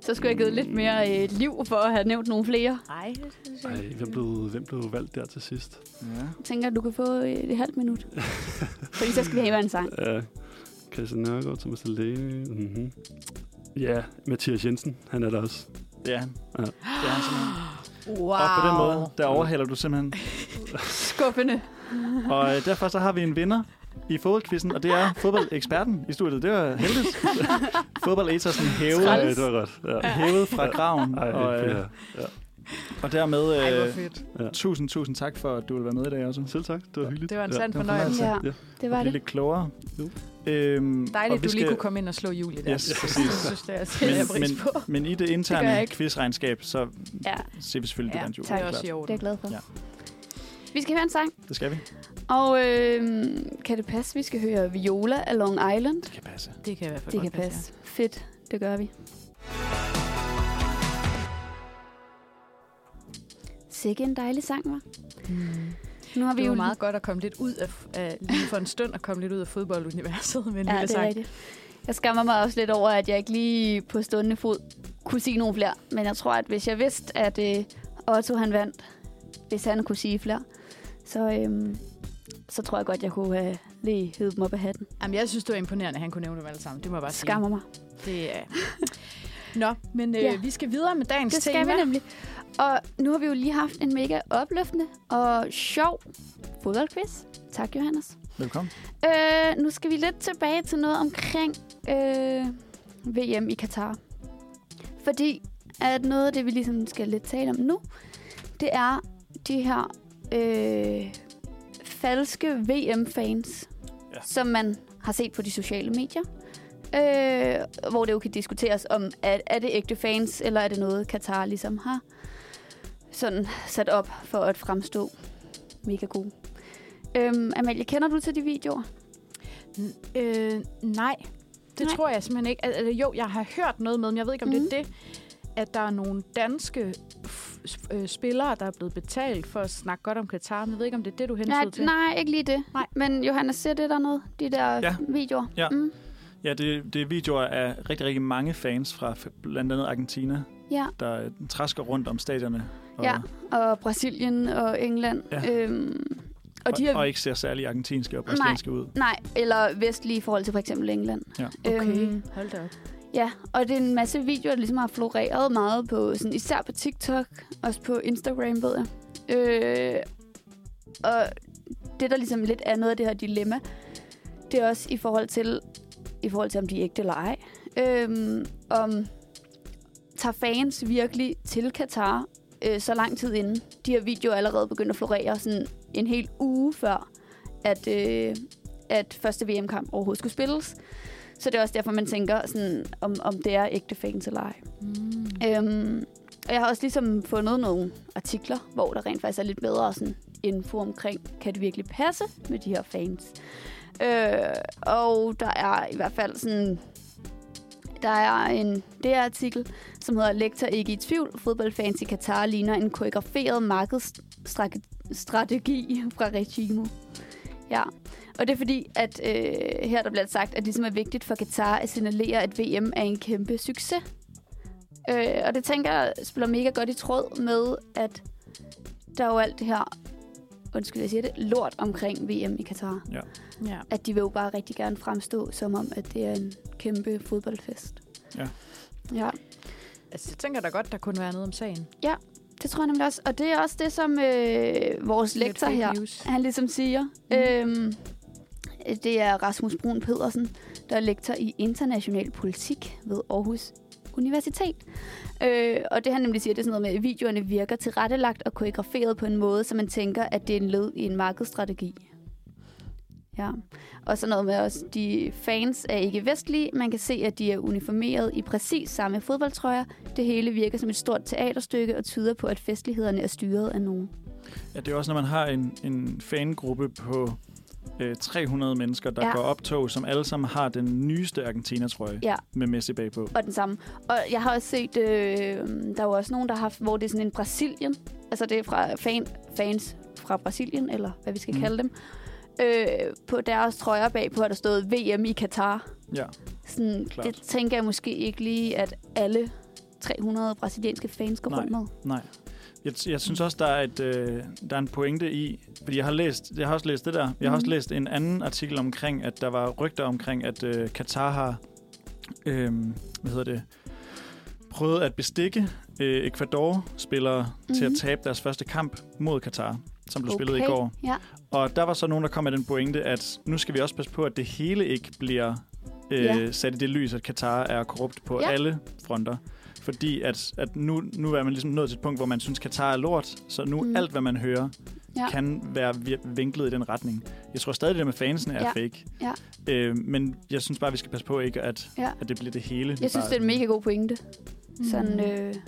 [SPEAKER 2] Så skulle jeg have givet lidt mere øh, liv for at have nævnt nogle flere.
[SPEAKER 3] Nej, det synes jeg
[SPEAKER 6] Ej, hvem blev, hvem blev valgt der til sidst?
[SPEAKER 4] Ja.
[SPEAKER 2] Jeg tænker, at du kan få øh, et halvt minut. Fordi så skal vi have en sang.
[SPEAKER 6] Ja. Christian Nørgaard, Thomas Delaney. Mm-hmm. Ja, Mathias Jensen, han er der også.
[SPEAKER 4] Det er han.
[SPEAKER 6] Ja.
[SPEAKER 4] Det er han simpelthen.
[SPEAKER 3] Wow.
[SPEAKER 4] Og på den måde, der overhaler du simpelthen.
[SPEAKER 2] Skuffende.
[SPEAKER 4] Og øh, derfor så har vi en vinder i fodboldquizzen, og det er fodboldeksperten i studiet. Det var heldigt. Fodboldetasen
[SPEAKER 6] Ej,
[SPEAKER 4] hævet,
[SPEAKER 6] det var godt. Ja.
[SPEAKER 4] hævet fra graven.
[SPEAKER 6] Ej,
[SPEAKER 4] og,
[SPEAKER 6] det
[SPEAKER 4] øh,
[SPEAKER 6] er
[SPEAKER 4] og dermed,
[SPEAKER 3] Ej, hvor
[SPEAKER 4] øh,
[SPEAKER 3] fedt.
[SPEAKER 4] tusind, tusind tak for, at du vil være med i dag også.
[SPEAKER 6] Selv tak, det var
[SPEAKER 4] Ja.
[SPEAKER 6] hyggeligt.
[SPEAKER 3] Det var en
[SPEAKER 6] Ja.
[SPEAKER 3] sand
[SPEAKER 4] det var
[SPEAKER 3] fornøjelse.
[SPEAKER 4] fornøjelse.
[SPEAKER 2] Ja,
[SPEAKER 6] Ja.
[SPEAKER 2] det var det.
[SPEAKER 4] Blive lidt klogere.
[SPEAKER 6] Jo.
[SPEAKER 4] Øhm,
[SPEAKER 3] Dejligt,
[SPEAKER 4] og
[SPEAKER 3] at
[SPEAKER 4] vi
[SPEAKER 3] du lige
[SPEAKER 4] skal-
[SPEAKER 3] kunne komme ind og slå Julie der.
[SPEAKER 4] Yes,
[SPEAKER 3] Det
[SPEAKER 4] præcis.
[SPEAKER 3] synes jeg, jeg
[SPEAKER 4] Men,
[SPEAKER 3] sætter jeg pris
[SPEAKER 4] men,
[SPEAKER 3] på.
[SPEAKER 4] men i det
[SPEAKER 3] Det gør jeg
[SPEAKER 4] interne
[SPEAKER 3] ikke.
[SPEAKER 4] quizregnskab, så
[SPEAKER 2] Ja,
[SPEAKER 4] ser vi selvfølgelig,
[SPEAKER 3] Ja,
[SPEAKER 4] du vandt, Julie.
[SPEAKER 3] Det
[SPEAKER 2] tak.
[SPEAKER 3] er
[SPEAKER 4] klart.
[SPEAKER 3] også i
[SPEAKER 2] det er
[SPEAKER 3] orden.
[SPEAKER 2] jeg glad for.
[SPEAKER 4] Ja.
[SPEAKER 2] Vi skal høre en sang.
[SPEAKER 4] Det skal vi.
[SPEAKER 2] Og øh, kan det passe, vi skal høre Viola af Long Island?
[SPEAKER 4] Det kan passe.
[SPEAKER 3] Det kan i hvert fald
[SPEAKER 2] Det kan
[SPEAKER 3] godt
[SPEAKER 2] passe. Fedt, det gør vi. Sikke en dejlig sang, var.
[SPEAKER 3] Mm.
[SPEAKER 2] Nu har
[SPEAKER 3] Det
[SPEAKER 2] vi
[SPEAKER 3] er
[SPEAKER 2] jo
[SPEAKER 3] jo meget godt at komme lidt ud af, af lige for en stund, og komme lidt ud af fodbolduniverset med en
[SPEAKER 2] Ja,
[SPEAKER 3] lille
[SPEAKER 2] det er
[SPEAKER 3] sang.
[SPEAKER 2] rigtigt. Jeg skammer mig også lidt over, at jeg ikke lige på stående fod kunne sige nogen flere. Men jeg tror, at hvis jeg vidste, at øh, Otto han vandt, hvis han kunne sige flere, så, øhm, så tror jeg godt, jeg kunne øh, lige hive dem op af hatten.
[SPEAKER 3] Jamen, jeg synes, det var imponerende, at han kunne nævne dem alle sammen. Det må jeg bare
[SPEAKER 2] Skammer mig.
[SPEAKER 3] sige. Det er... Nå, men øh,
[SPEAKER 2] Ja.
[SPEAKER 3] ja. vi skal videre med dagens
[SPEAKER 2] Det
[SPEAKER 3] tema.
[SPEAKER 2] skal vi nemlig. Og nu har vi jo lige haft en mega opløftende og sjov fodboldquiz. Tak, Johannes.
[SPEAKER 4] Velkommen.
[SPEAKER 2] Øh, nu skal vi lidt tilbage til noget omkring øh, VM i Katar. Fordi at noget af det, vi ligesom skal lidt tale om nu, det er de her øh, falske VM-fans,
[SPEAKER 4] Ja.
[SPEAKER 2] ja. som man har set på de sociale medier. Øh, hvor det jo kan diskuteres om, er, er det ægte fans, eller er det noget, Katar ligesom har sådan sat op for at fremstå mega god. Øhm, Amalie, kender du til de videoer?
[SPEAKER 3] N- Øh, nej, det
[SPEAKER 2] Nej. Mhm.
[SPEAKER 3] nej. tror jeg simpelthen ikke. Al- Eller jo, jeg har hørt noget med, men jeg ved ikke, om mm. det er det, at der er nogle danske f- s- øh, spillere, der er blevet betalt for at snakke godt om Katar. Men jeg ved ikke, om det er det, du
[SPEAKER 2] Nej,
[SPEAKER 3] hensyder til.
[SPEAKER 2] nej, ikke lige det.
[SPEAKER 3] Nej.
[SPEAKER 2] Men Johannes, ser det der noget? De der
[SPEAKER 4] Ja.
[SPEAKER 2] ja. videoer?
[SPEAKER 4] Ja.
[SPEAKER 2] Mm.
[SPEAKER 4] Ja, det, det er videoer af rigtig, rigtig mange fans fra f- blandt andet Argentina,
[SPEAKER 2] ja.
[SPEAKER 4] der øh, træsker rundt om stadierne. Og,
[SPEAKER 2] Ja, og Brasilien og England.
[SPEAKER 4] Ja.
[SPEAKER 2] Øhm,
[SPEAKER 4] og,
[SPEAKER 2] og de er,
[SPEAKER 4] og ikke ser særlig argentinske og brasilianske ud.
[SPEAKER 2] nej, eller vestlige i forhold til for eksempel England. Øhm,
[SPEAKER 4] Ja.
[SPEAKER 3] Okay, hold da op.
[SPEAKER 2] ja, og det er en masse videoer, der ligesom har floreret meget på, sådan, især på TikTok, også på Instagram, ved jeg. Øh, og det, der ligesom lidt er noget af det her dilemma, det er også i forhold til, i forhold til om de er ægte eller ej. Øhm, om tager fans virkelig til Katar øh, så lang tid inden. De her videoer er allerede begyndt at florere sådan en hel uge før, at, øh, at første VM-kamp overhovedet skulle spilles. Så det er også derfor, man tænker, sådan, om, om det er ægte fans eller ej.
[SPEAKER 3] Mm.
[SPEAKER 2] Øhm, og jeg har også ligesom fundet nogle artikler, hvor der rent faktisk er lidt bedre sådan, info omkring, kan det virkelig passe med de her fans? Øh, og der er i hvert fald sådan, der er en DR-artikel, som hedder Lektor ikke i tvivl. Fodboldfans i Katar ligner en koreograferet markedsstrategi fra Regimo. Ja, og det er fordi, at øh, her der bliver sagt, at det ligesom er vigtigt for Katar at signalere, at VM er en kæmpe succes. Øh, og det tænker jeg spiller mega godt i tråd med, at der er jo alt det her, undskyld, jeg siger det, lort omkring VM i Katar.
[SPEAKER 3] Ja.
[SPEAKER 2] At de vil jo bare rigtig gerne fremstå, som om, at det er en kæmpe fodboldfest.
[SPEAKER 4] Ja.
[SPEAKER 2] Ja,
[SPEAKER 3] Altså, jeg tænker da godt, der kunne være noget om sagen.
[SPEAKER 2] det tror jeg nemlig også. Og det er også det, som øh, vores
[SPEAKER 3] Lidt
[SPEAKER 2] lektor
[SPEAKER 3] fake
[SPEAKER 2] her,
[SPEAKER 3] News.
[SPEAKER 2] han ligesom siger. Mm. Øhm, det er Rasmus Brun Pedersen, der er lektor i international politik ved Aarhus Universitet. Øh, og det han nemlig siger, det er sådan noget med, at videoerne virker tilrettelagt og koreograferet på en måde, så man tænker, at det er en led i en markedsstrategi. Ja. Og sådan noget med også, de fans er ikke vestlige. Man kan se, at de er uniformeret i præcis samme fodboldtrøjer. Det hele virker som et stort teaterstykke og tyder på, at festlighederne er styret af nogen.
[SPEAKER 4] Ja, det er også, når man har en, en fangruppe på øh, 300 mennesker, der
[SPEAKER 2] Ja.
[SPEAKER 4] ja. går op tog, som alle sammen har den nyeste Argentina-trøje
[SPEAKER 2] Ja.
[SPEAKER 4] med Messi bagpå.
[SPEAKER 2] Og den samme. Og jeg har også set, øh, der er jo også nogen, der har haft, hvor det er sådan en Brasilien. Altså det er fra fan, fans fra Brasilien, eller hvad vi skal
[SPEAKER 4] Mm.
[SPEAKER 2] mm. kalde dem. Øh, på deres trøjer bagpå har der stået VM i Katar.
[SPEAKER 4] Ja.
[SPEAKER 2] Sådan,
[SPEAKER 4] Klart.
[SPEAKER 2] det tænker jeg måske ikke lige, at alle 300 brasilianske fans går
[SPEAKER 4] Nej.
[SPEAKER 2] rundt med.
[SPEAKER 4] Nej. Jeg, jeg synes også, der er, et, øh, der er en pointe i, fordi jeg har, læst, jeg har også læst det der. Jeg har også
[SPEAKER 2] Mhm.
[SPEAKER 4] læst en anden artikel omkring, at der var rygter omkring, at øh, Katar har øh, hvad hedder det, prøvet at bestikke øh, Ecuador-spillere mm-hmm. til at
[SPEAKER 2] Mhm.
[SPEAKER 4] tabe deres første kamp mod Katar, som blev spillet i
[SPEAKER 2] Okay,
[SPEAKER 4] går.
[SPEAKER 2] ja.
[SPEAKER 4] Og der var så nogen, der kom med den pointe, at nu skal vi også passe på, at det hele ikke bliver øh,
[SPEAKER 2] Ja.
[SPEAKER 4] sat i det lys, at Katar er korrupt på
[SPEAKER 2] Ja.
[SPEAKER 4] alle fronter. Fordi at, at nu, nu er man ligesom nået til et punkt, hvor man synes, Katar er lort, så nu mm.
[SPEAKER 2] Mm.
[SPEAKER 4] alt, hvad man hører,
[SPEAKER 2] Ja.
[SPEAKER 4] ja. kan være vi- vinklet i den retning. Jeg tror stadig, det der med fansene er
[SPEAKER 2] Ja.
[SPEAKER 4] fake.
[SPEAKER 2] Ja.
[SPEAKER 4] Øh, men jeg synes bare, vi skal passe på ikke, at,
[SPEAKER 2] Ja.
[SPEAKER 4] at det bliver det hele.
[SPEAKER 2] Jeg synes,
[SPEAKER 4] bare,
[SPEAKER 3] Mm.
[SPEAKER 2] det er en mega god pointe. Sådan, øh, at Fordi...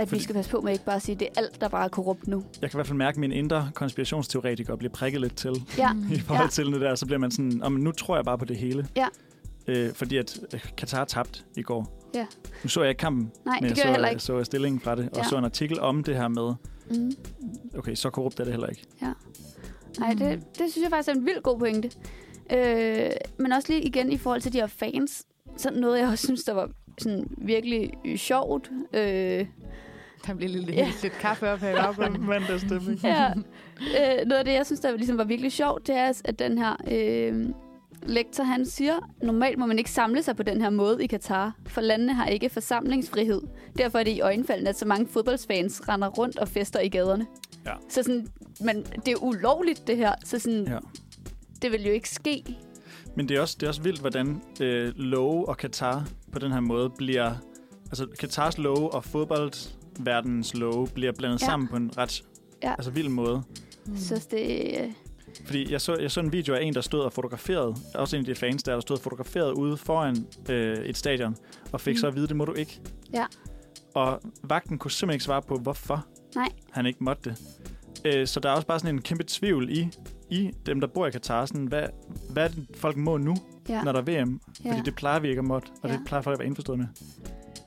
[SPEAKER 2] vi
[SPEAKER 4] Fordi-
[SPEAKER 2] skal passe på med ikke bare at sige, at det er alt, der bare er korrupt nu.
[SPEAKER 4] Jeg kan i hvert fald mærke, at min indre konspirationsteoretiker bliver prikket lidt til
[SPEAKER 2] Mm. Ja,
[SPEAKER 4] i
[SPEAKER 3] Mm.
[SPEAKER 4] forhold til det der. Så bliver man sådan, om nu tror jeg bare på det hele.
[SPEAKER 2] Ja.
[SPEAKER 4] Øh, fordi at øh, Katar tabte i går.
[SPEAKER 2] Ja.
[SPEAKER 4] Nu så jeg ikke kampen,
[SPEAKER 2] nej,
[SPEAKER 4] men
[SPEAKER 2] det
[SPEAKER 4] jeg
[SPEAKER 2] gør jeg
[SPEAKER 4] så,
[SPEAKER 2] heller
[SPEAKER 4] jeg
[SPEAKER 2] ikke.
[SPEAKER 4] så jeg stillingen fra det, og
[SPEAKER 2] Ja.
[SPEAKER 4] så en artikel om det her med,
[SPEAKER 2] Mm.
[SPEAKER 4] okay, så korrupt er det heller ikke.
[SPEAKER 2] Nej, det, det synes jeg faktisk er en vild god pointe. Øh, men også lige igen i forhold til de her fans. Sådan noget, jeg også synes, der var sådan virkelig øh, sjovt. Øh,
[SPEAKER 3] Der bliver lidt,
[SPEAKER 2] Ja.
[SPEAKER 3] lidt kaffe op her i baggrunden.
[SPEAKER 4] Mandagsstemning.
[SPEAKER 2] ja. øh, noget af det, jeg synes, der ligesom var virkelig sjovt, det er, at den her øh, lektor, han siger, normalt må man ikke samle sig på den her måde i Katar, for landene har ikke forsamlingsfrihed. Derfor er det i øjenfaldene, at så mange fodboldsfans render rundt og fester i gaderne.
[SPEAKER 4] Ja.
[SPEAKER 2] Så sådan, man, det er ulovligt, det her. Så sådan,
[SPEAKER 4] Ja.
[SPEAKER 2] det vil jo ikke ske.
[SPEAKER 4] Men det er også, det er også vildt, hvordan øh, love og Katar på den her måde bliver... Altså, Katars love og fodboldverdenens love bliver blandet
[SPEAKER 2] Ja.
[SPEAKER 4] ja. sammen på en ret
[SPEAKER 2] Ja.
[SPEAKER 4] ja. altså, vild måde.
[SPEAKER 3] Mm.
[SPEAKER 2] Jeg synes, det øh,
[SPEAKER 4] Fordi jeg så, jeg så en video af en, der stod og fotograferede, også en af de fans der, der stod og fotograferede ude foran øh, et stadion, og fik
[SPEAKER 2] Mm.
[SPEAKER 4] mm. så at vide, det må du ikke.
[SPEAKER 2] Ja.
[SPEAKER 4] Og vagten kunne simpelthen ikke svare på, hvorfor
[SPEAKER 2] Nej.
[SPEAKER 4] han ikke måtte det. Øh, så der er også bare sådan en kæmpe tvivl i, i dem, der bor i Katar. Sådan, hvad, hvad er det, folk må nu,
[SPEAKER 2] Ja.
[SPEAKER 4] ja. når der er VM?
[SPEAKER 2] Ja.
[SPEAKER 4] Fordi det plejer vi ikke at måtte, og
[SPEAKER 2] Ja.
[SPEAKER 4] det plejer folk at være indforstået med.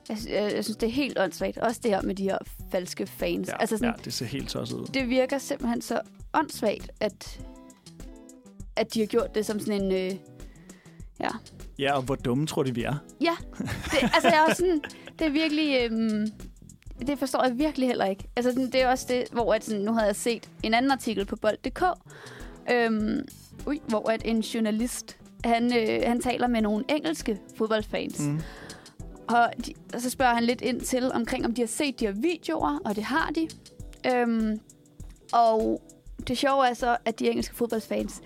[SPEAKER 2] Jeg, sy- jeg, jeg synes, det er helt åndssvagt. Også det her med de her falske fans. Ja, altså sådan,
[SPEAKER 4] ja, det ser helt tosset ud.
[SPEAKER 2] Det virker simpelthen så åndssvagt, at, at de har gjort det som sådan en... Øh,
[SPEAKER 4] Ja, og hvor dumme tror de, vi er?
[SPEAKER 2] det, altså, jeg er også sådan... Det er virkelig... Øh, det forstår jeg virkelig heller ikke. Altså, sådan, det er også det, hvor at, sådan, nu havde jeg set en anden artikel på bold.dk, øhm, ui, hvor at en journalist, han, øh, han taler med nogle engelske fodboldfans,
[SPEAKER 4] Mm.
[SPEAKER 2] Og, de, og så spørger han lidt ind til omkring, om de har set de her videoer, og det har de. Øhm, og det sjove er så, at de engelske fodboldfans,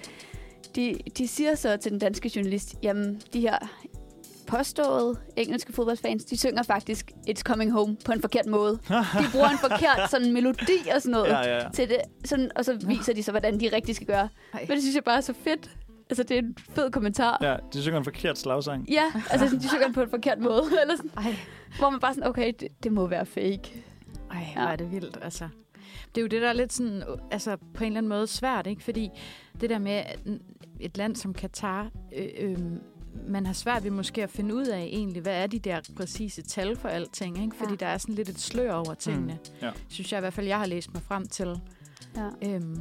[SPEAKER 2] de, de siger så til den danske journalist, jamen, de her påståede engelske fodboldfans, de synger faktisk It's Coming Home på en forkert måde. De bruger en forkert sådan melodi og sådan noget
[SPEAKER 4] Ja, ja, ja.
[SPEAKER 2] til det, sådan, og så viser de så, hvordan de rigtig skal gøre.
[SPEAKER 3] Ej.
[SPEAKER 2] Men det synes jeg bare er så fedt. Altså, det er en fed kommentar.
[SPEAKER 4] Ja, de synger en forkert slagsang.
[SPEAKER 2] Ja, altså sådan, de synger den på en forkert måde. Eller sådan,
[SPEAKER 3] Ej.
[SPEAKER 2] hvor man bare sådan, okay, det, det må være fake. Ja.
[SPEAKER 3] Ej, ja. hvor er det vildt, altså. Det er jo det, der er lidt sådan, øh, altså på en eller anden måde svært, ikke? Fordi det der med at n- et land som Katar, øh, øh, man har svært ved måske at finde ud af egentlig, hvad er de der præcise tal for alting, ikke?
[SPEAKER 2] Ja.
[SPEAKER 3] Fordi
[SPEAKER 2] Mm,
[SPEAKER 3] ja. der er sådan lidt et slør over tingene.
[SPEAKER 4] ja.
[SPEAKER 3] Synes jeg i hvert fald, jeg har læst mig frem til.
[SPEAKER 2] Ja.
[SPEAKER 3] Øhm,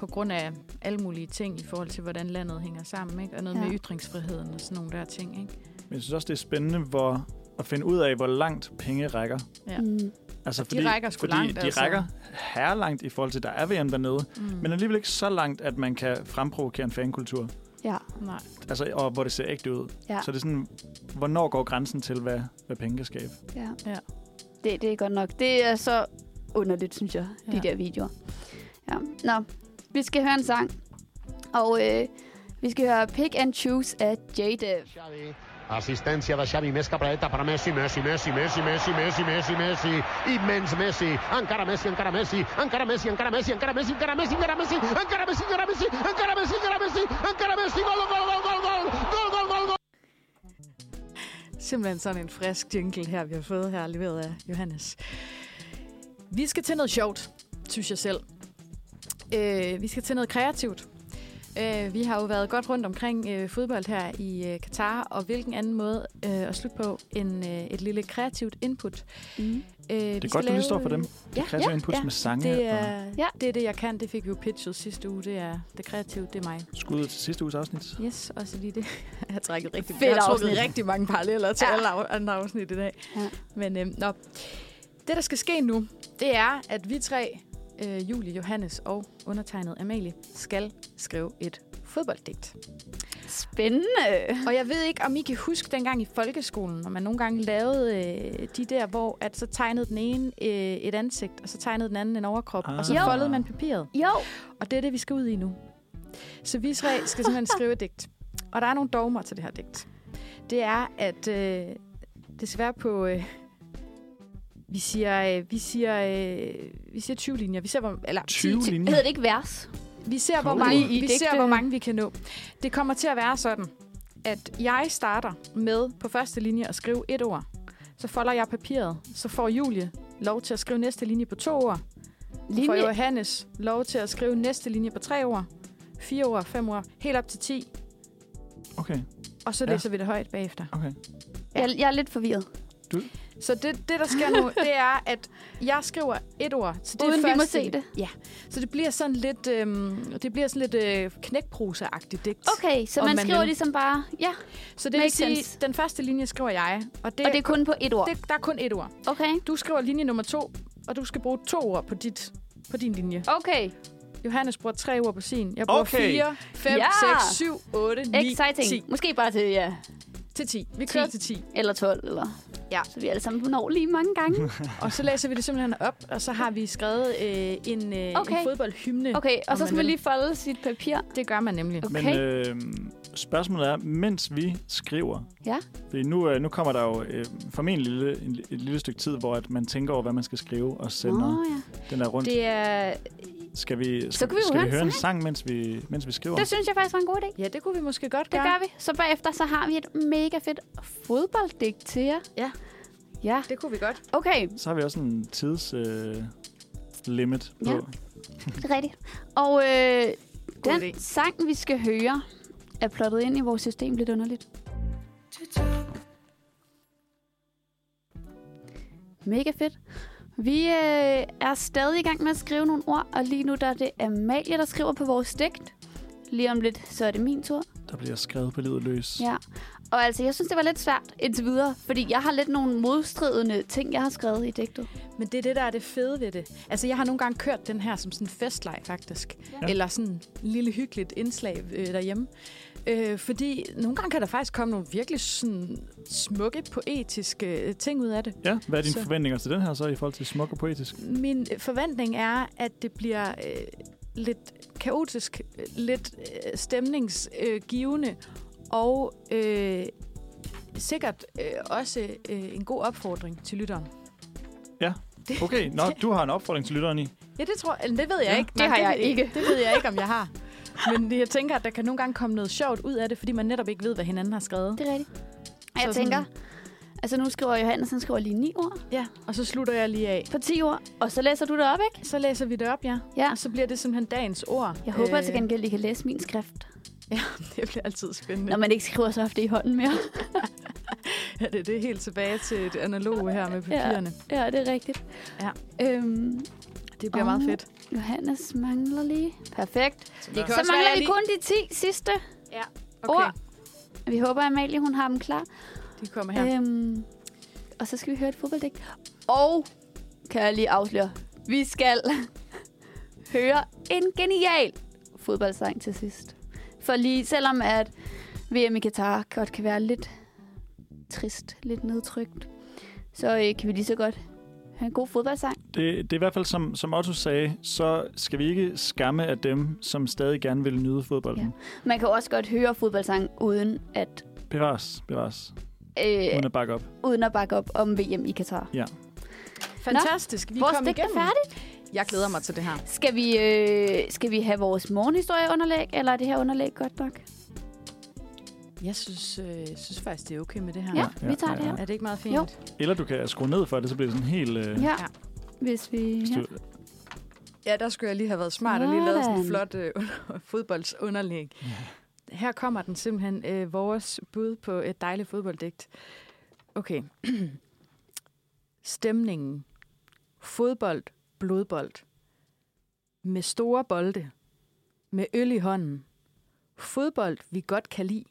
[SPEAKER 3] på grund af alle mulige ting i forhold til, hvordan landet hænger sammen, ikke? Og noget
[SPEAKER 2] Ja.
[SPEAKER 3] ja. med ytringsfriheden og sådan nogle der ting, ikke?
[SPEAKER 4] Men jeg synes også, det er spændende hvor, at finde ud af, hvor langt penge rækker.
[SPEAKER 3] Ja.
[SPEAKER 2] Mm.
[SPEAKER 4] Altså,
[SPEAKER 3] de rækker sgu
[SPEAKER 4] fordi
[SPEAKER 3] langt,
[SPEAKER 4] de
[SPEAKER 3] altså.
[SPEAKER 4] rækker herrelangt i forhold til, der er VM dernede,
[SPEAKER 3] Mm.
[SPEAKER 4] men alligevel ikke så langt, at man kan fremprovokere en fankultur,
[SPEAKER 2] Ja,
[SPEAKER 3] Nej.
[SPEAKER 4] altså, og hvor det ser ægte ud.
[SPEAKER 2] Ja.
[SPEAKER 4] Så det er sådan, hvornår går grænsen til, hvad, hvad penge kan skabe?
[SPEAKER 2] ja.
[SPEAKER 3] Ja.
[SPEAKER 2] Det, det er godt nok. Det er så underligt, synes jeg, ja.
[SPEAKER 3] Ja.
[SPEAKER 2] de der videoer. Ja. Nå, vi skal høre en sang. Og øh, vi skal høre Pick and Choose af J-Dev.
[SPEAKER 5] Xavi. Assistència de Xavi, més cap dreta per a Messi, Messi, Messi, Messi, Messi, Messi, Messi, Messi, i menys Messi, encara Messi, encara Messi, encara Messi, encara Messi, encara Messi, encara Messi, encara Messi, encara Messi, encara Messi, encara Messi, encara Messi, encara Messi, gol, gol, gol, gol, gol, gol, gol, gol, gol.
[SPEAKER 3] Simpelthen sådan en frisk jingle her, vi har fået her, leveret af Johannes. Vi skal til noget sjovt, synes jeg selv. Øh, vi skal til noget kreativt. Øh, vi har jo været godt rundt omkring øh, fodbold her i øh, Katar, og hvilken anden måde øh, at slutte på end øh, et lille kreativt input.
[SPEAKER 2] Mm.
[SPEAKER 3] Øh,
[SPEAKER 4] Det er godt, du lige står for dem.
[SPEAKER 3] Ja,
[SPEAKER 4] Kreativ ja, input
[SPEAKER 3] ja.
[SPEAKER 4] ja. med sange
[SPEAKER 3] det
[SPEAKER 4] og
[SPEAKER 3] er,
[SPEAKER 2] Ja.
[SPEAKER 3] ja. det er det, jeg kan. Det fik vi jo pitchet sidste uge. Det er det kreative, det er mig.
[SPEAKER 4] skuddet til sidste uges afsnit.
[SPEAKER 3] Yes, også lige det. Jeg har trækket rigtig,
[SPEAKER 2] Fedt
[SPEAKER 3] jeg har
[SPEAKER 2] afsnit.
[SPEAKER 3] trukket rigtig mange paralleller til
[SPEAKER 2] Ja.
[SPEAKER 3] ja. alle af- andre afsnit i dag.
[SPEAKER 2] Ja.
[SPEAKER 3] Ja. Men øhm, nå. det, der skal ske nu, det er, at vi tre, øh, Julie, Johannes og undertegnet Amalie, skal skrive et fodbolddigt.
[SPEAKER 2] Spændende.
[SPEAKER 3] Og jeg ved ikke, om I kan huske dengang i folkeskolen, når man nogle gange lavede øh, de der, hvor at så tegnede den ene øh, et ansigt, og så tegnede den anden en overkrop, ah. og så
[SPEAKER 4] Ah.
[SPEAKER 3] foldede man papiret.
[SPEAKER 2] Jo.
[SPEAKER 3] Og det er det, vi skal ud i nu. Så vi tre skal simpelthen skrive et digt. Og der er nogle dogmer til det her digt. Det er, at øh, det skal være på... Øh, vi siger, øh, vi, siger, øh, vi siger 20 linjer. Vi ser, hvor, eller
[SPEAKER 4] 20
[SPEAKER 3] 10
[SPEAKER 4] linjer.
[SPEAKER 2] Hedder det ikke vers?
[SPEAKER 3] vi ser, hvor
[SPEAKER 4] Cool.
[SPEAKER 3] mange,
[SPEAKER 2] Lige i
[SPEAKER 3] vi
[SPEAKER 2] digte.
[SPEAKER 3] ser, hvor mange vi kan nå. Det kommer til at være sådan, at jeg starter med på første linje at skrive et ord. Så folder jeg papiret. Så får Julie lov til at skrive næste linje på to ord. Linje. For Johannes lov til at skrive næste linje på tre ord, fire ord, fem ord, helt op til ti.
[SPEAKER 4] Okay,
[SPEAKER 3] Og så
[SPEAKER 4] Ja.
[SPEAKER 3] ja. læser vi det højt bagefter.
[SPEAKER 4] okay.
[SPEAKER 2] Jeg, jeg er lidt forvirret.
[SPEAKER 3] Så det, det, der sker nu, det er, at jeg skriver et ord. Så det er
[SPEAKER 2] Uden vi må
[SPEAKER 3] første-
[SPEAKER 2] se det?
[SPEAKER 3] Ja. Så det bliver sådan lidt, øhm, det bliver sådan lidt øh, knækprosa-agtigt digt.
[SPEAKER 2] Okay, så
[SPEAKER 3] Om
[SPEAKER 2] man,
[SPEAKER 3] man
[SPEAKER 2] skriver
[SPEAKER 3] vil.
[SPEAKER 2] ligesom bare... Ja,
[SPEAKER 3] Så det vil
[SPEAKER 2] makes
[SPEAKER 3] sige,
[SPEAKER 2] sense.
[SPEAKER 3] den første linje skriver jeg, og det,
[SPEAKER 2] og det er kun på et ord.
[SPEAKER 3] det, der er kun et ord.
[SPEAKER 2] Okay.
[SPEAKER 3] Du skriver linje nummer to, og du skal bruge to ord på, dit, på din linje.
[SPEAKER 2] Okay,
[SPEAKER 3] Johannes bruger tre ord på sin. Jeg bruger
[SPEAKER 4] Okay.
[SPEAKER 3] fire, fem,
[SPEAKER 2] Ja.
[SPEAKER 3] seks, syv, otte, ni,
[SPEAKER 2] exciting.
[SPEAKER 3] ti.
[SPEAKER 2] Måske bare til, ja,
[SPEAKER 3] Til ti. Vi kører til ti.
[SPEAKER 2] eller 12, eller...
[SPEAKER 3] Ja.
[SPEAKER 2] Så vi alle sammen når lige mange gange.
[SPEAKER 3] Og så læser vi det simpelthen op, og så har vi skrevet øh, en, øh, okay.
[SPEAKER 2] Okay.
[SPEAKER 3] en fodboldhymne.
[SPEAKER 2] Okay, og
[SPEAKER 3] Om
[SPEAKER 2] så
[SPEAKER 3] man
[SPEAKER 2] skal man
[SPEAKER 3] vil.
[SPEAKER 2] lige folde sit papir.
[SPEAKER 3] Det gør man nemlig.
[SPEAKER 2] Okay.
[SPEAKER 4] Men øh, spørgsmålet er, mens vi skriver,
[SPEAKER 2] Ja.
[SPEAKER 4] fordi nu, øh, nu kommer der jo øh, formentlig lille, en, et lille stykke tid, hvor at man tænker over, hvad man skal skrive og
[SPEAKER 2] Nå,
[SPEAKER 4] sender
[SPEAKER 2] ja.
[SPEAKER 4] den der rundt.
[SPEAKER 3] Det er...
[SPEAKER 4] Skal vi, skal,
[SPEAKER 2] kan vi jo
[SPEAKER 4] skal
[SPEAKER 2] høre
[SPEAKER 4] vi
[SPEAKER 2] en
[SPEAKER 4] høre en sang, mens vi, mens vi skriver?
[SPEAKER 2] Det synes jeg faktisk var en god idé.
[SPEAKER 3] Ja, det kunne vi måske godt
[SPEAKER 2] Det
[SPEAKER 3] gøre.
[SPEAKER 2] gør vi. Så bagefter, så har vi et mega fedt fodbolddæk til jer.
[SPEAKER 3] Ja.
[SPEAKER 2] Ja,
[SPEAKER 3] Det kunne vi godt.
[SPEAKER 2] okay.
[SPEAKER 4] Så har vi også en tids... Øh, limit på.
[SPEAKER 2] Ja. Det er rigtigt. Og øh, den
[SPEAKER 3] idé.
[SPEAKER 2] sang, vi skal høre, er plottet ind i vores system lidt underligt. Mega fedt. Vi øh, er stadig i gang med at skrive nogle ord, og lige nu der er det Amalie, der skriver på vores digt. Lige om lidt, så er det min tur.
[SPEAKER 4] Der bliver skrevet på livet løs.
[SPEAKER 2] Ja, og altså, jeg synes, det var lidt svært indtil videre, fordi jeg har lidt nogle modstridende ting, jeg har skrevet i digtet.
[SPEAKER 3] Men det er det, der er det fede ved det. Altså, jeg har nogle gange kørt den her som sådan en festleg, faktisk. Ja. Eller sådan en lille hyggeligt indslag øh, derhjemme. Øh, fordi nogle gange kan der faktisk komme nogle virkelig sådan smukke, poetiske øh, ting ud af det.
[SPEAKER 4] Ja, hvad er dine
[SPEAKER 3] Så-
[SPEAKER 4] forventninger til den her så i forhold til smuk og poetisk?
[SPEAKER 3] Min øh, forventning er, at det bliver øh, lidt kaotisk, øh, lidt øh, stemningsgivende øh, givende, og øh, sikkert øh, også øh, en god opfordring til lytteren.
[SPEAKER 4] Okay, nå, du har en opfordring til lytteren i.
[SPEAKER 3] Ja, det tror jeg. Det ved jeg ja, ikke.
[SPEAKER 2] altså, det har jeg
[SPEAKER 3] ved-
[SPEAKER 2] ikke.
[SPEAKER 3] Det ved jeg ikke, om jeg har. Men jeg tænker, at der kan nogle gange komme noget sjovt ud af det, fordi man netop ikke ved, hvad hinanden har skrevet.
[SPEAKER 2] Det er rigtigt. Og jeg
[SPEAKER 3] Så
[SPEAKER 2] tænker,
[SPEAKER 3] sådan-
[SPEAKER 2] altså nu skriver Johannes, han skriver lige ni ord
[SPEAKER 3] Ja, og så slutter jeg lige af.
[SPEAKER 2] på 10 ord, og så læser du det op, ikke?
[SPEAKER 3] Så læser vi det op, ja.
[SPEAKER 2] Ja.
[SPEAKER 3] Og så bliver det simpelthen dagens ord.
[SPEAKER 2] Jeg håber
[SPEAKER 3] Øh,
[SPEAKER 2] til gengæld, I kan læse min skrift,
[SPEAKER 3] Det bliver altid spændende.
[SPEAKER 2] når man ikke skriver så ofte i hånden mere.
[SPEAKER 3] Ja, det, det er helt tilbage til et analog her med papirerne. Ja.
[SPEAKER 2] Ja, det er rigtigt.
[SPEAKER 3] Ja.
[SPEAKER 2] Øhm,
[SPEAKER 3] Det bliver meget
[SPEAKER 2] Og-
[SPEAKER 3] fedt.
[SPEAKER 2] Johannes mangler lige. Perfekt.
[SPEAKER 3] kan
[SPEAKER 4] Det
[SPEAKER 2] Så
[SPEAKER 3] også være,
[SPEAKER 2] mangler
[SPEAKER 3] jeg
[SPEAKER 2] vi
[SPEAKER 3] lige-
[SPEAKER 2] kun de 10 sidste okay. ord. Vi håber, Amalie hun har dem klar.
[SPEAKER 3] de kommer her.
[SPEAKER 2] Ja. Øhm, og så skal vi høre et fodbolddæk. Og, kan jeg lige afsløre, vi skal høre en genial fodboldsang til sidst. For lige selvom at VM i Katar godt kan være lidt trist, lidt nedtrykt, så øh, kan vi lige så godt have en god fodboldsang.
[SPEAKER 4] Det, det er i hvert fald, som, som Otto sagde, så skal vi ikke skamme af dem, som stadig gerne vil nyde fodbolden.
[SPEAKER 2] Man kan jo også godt høre fodboldsang uden at,
[SPEAKER 4] Ja. Bevares, bevares.
[SPEAKER 2] øh,
[SPEAKER 4] Uden at bakke op.
[SPEAKER 2] uden at bakke op om VM i Katar.
[SPEAKER 3] Fantastisk. vi
[SPEAKER 2] Vores
[SPEAKER 3] kom
[SPEAKER 2] digt er
[SPEAKER 3] igennem.
[SPEAKER 2] færdigt.
[SPEAKER 3] Jeg glæder mig til det her.
[SPEAKER 2] Skal vi, øh, skal vi have vores morgenhistorieunderlæg, eller er det her underlæg godt nok?
[SPEAKER 3] Jeg synes, øh, synes faktisk, det er okay med det her.
[SPEAKER 2] Ja, vi tager det her.
[SPEAKER 3] Er det ikke meget fint?
[SPEAKER 2] Jo.
[SPEAKER 4] Eller du kan skrue ned for det, så bliver det sådan helt... Øh,
[SPEAKER 2] Ja,
[SPEAKER 3] Ja.
[SPEAKER 2] hvis vi... Ja.
[SPEAKER 4] styr-
[SPEAKER 3] Ja, der skulle jeg lige have været smart og lige lavet sådan en
[SPEAKER 2] Sådan.
[SPEAKER 3] flot øh, under- fodboldsunderlæg. Her kommer den simpelthen, øh, vores bud på et dejligt fodbolddigt. Okay. Stemningen. Fodbold, blodbold. Med store bolde. Med øl i hånden. Fodbold, vi godt kan lide.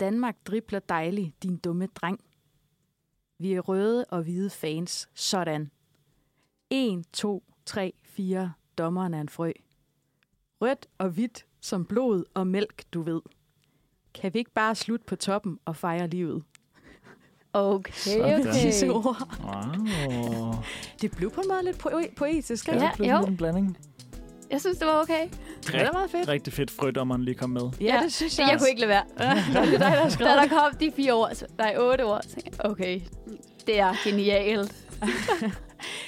[SPEAKER 3] Danmark dribler dejligt, din dumme dreng. Vi er røde og hvide fans. Sådan. 1, 2, 3, 4. Dommeren er en frø. Rødt og hvidt som blod og mælk, du ved. Kan vi ikke bare slutte på toppen og fejre livet?
[SPEAKER 2] Okay,
[SPEAKER 4] Sådan.
[SPEAKER 2] okay.
[SPEAKER 3] Disse ord.
[SPEAKER 4] Wow.
[SPEAKER 3] Det blev på en måde lidt po- poetisk, ikke?
[SPEAKER 2] Ja,
[SPEAKER 4] det blev
[SPEAKER 2] jo.
[SPEAKER 4] sådan en blanding.
[SPEAKER 2] Jeg synes, det var okay.
[SPEAKER 3] det er meget fedt.
[SPEAKER 4] Rigtig fedt frødommeren lige kom med.
[SPEAKER 3] Ja, det synes
[SPEAKER 2] Det,
[SPEAKER 3] jeg
[SPEAKER 2] jeg kunne ikke lade være.
[SPEAKER 3] Det er dig, der har
[SPEAKER 2] Da
[SPEAKER 3] skrevet
[SPEAKER 2] der kom de fire ord, så, nej, otte ord, så tænkte jeg, okay, det er genialt.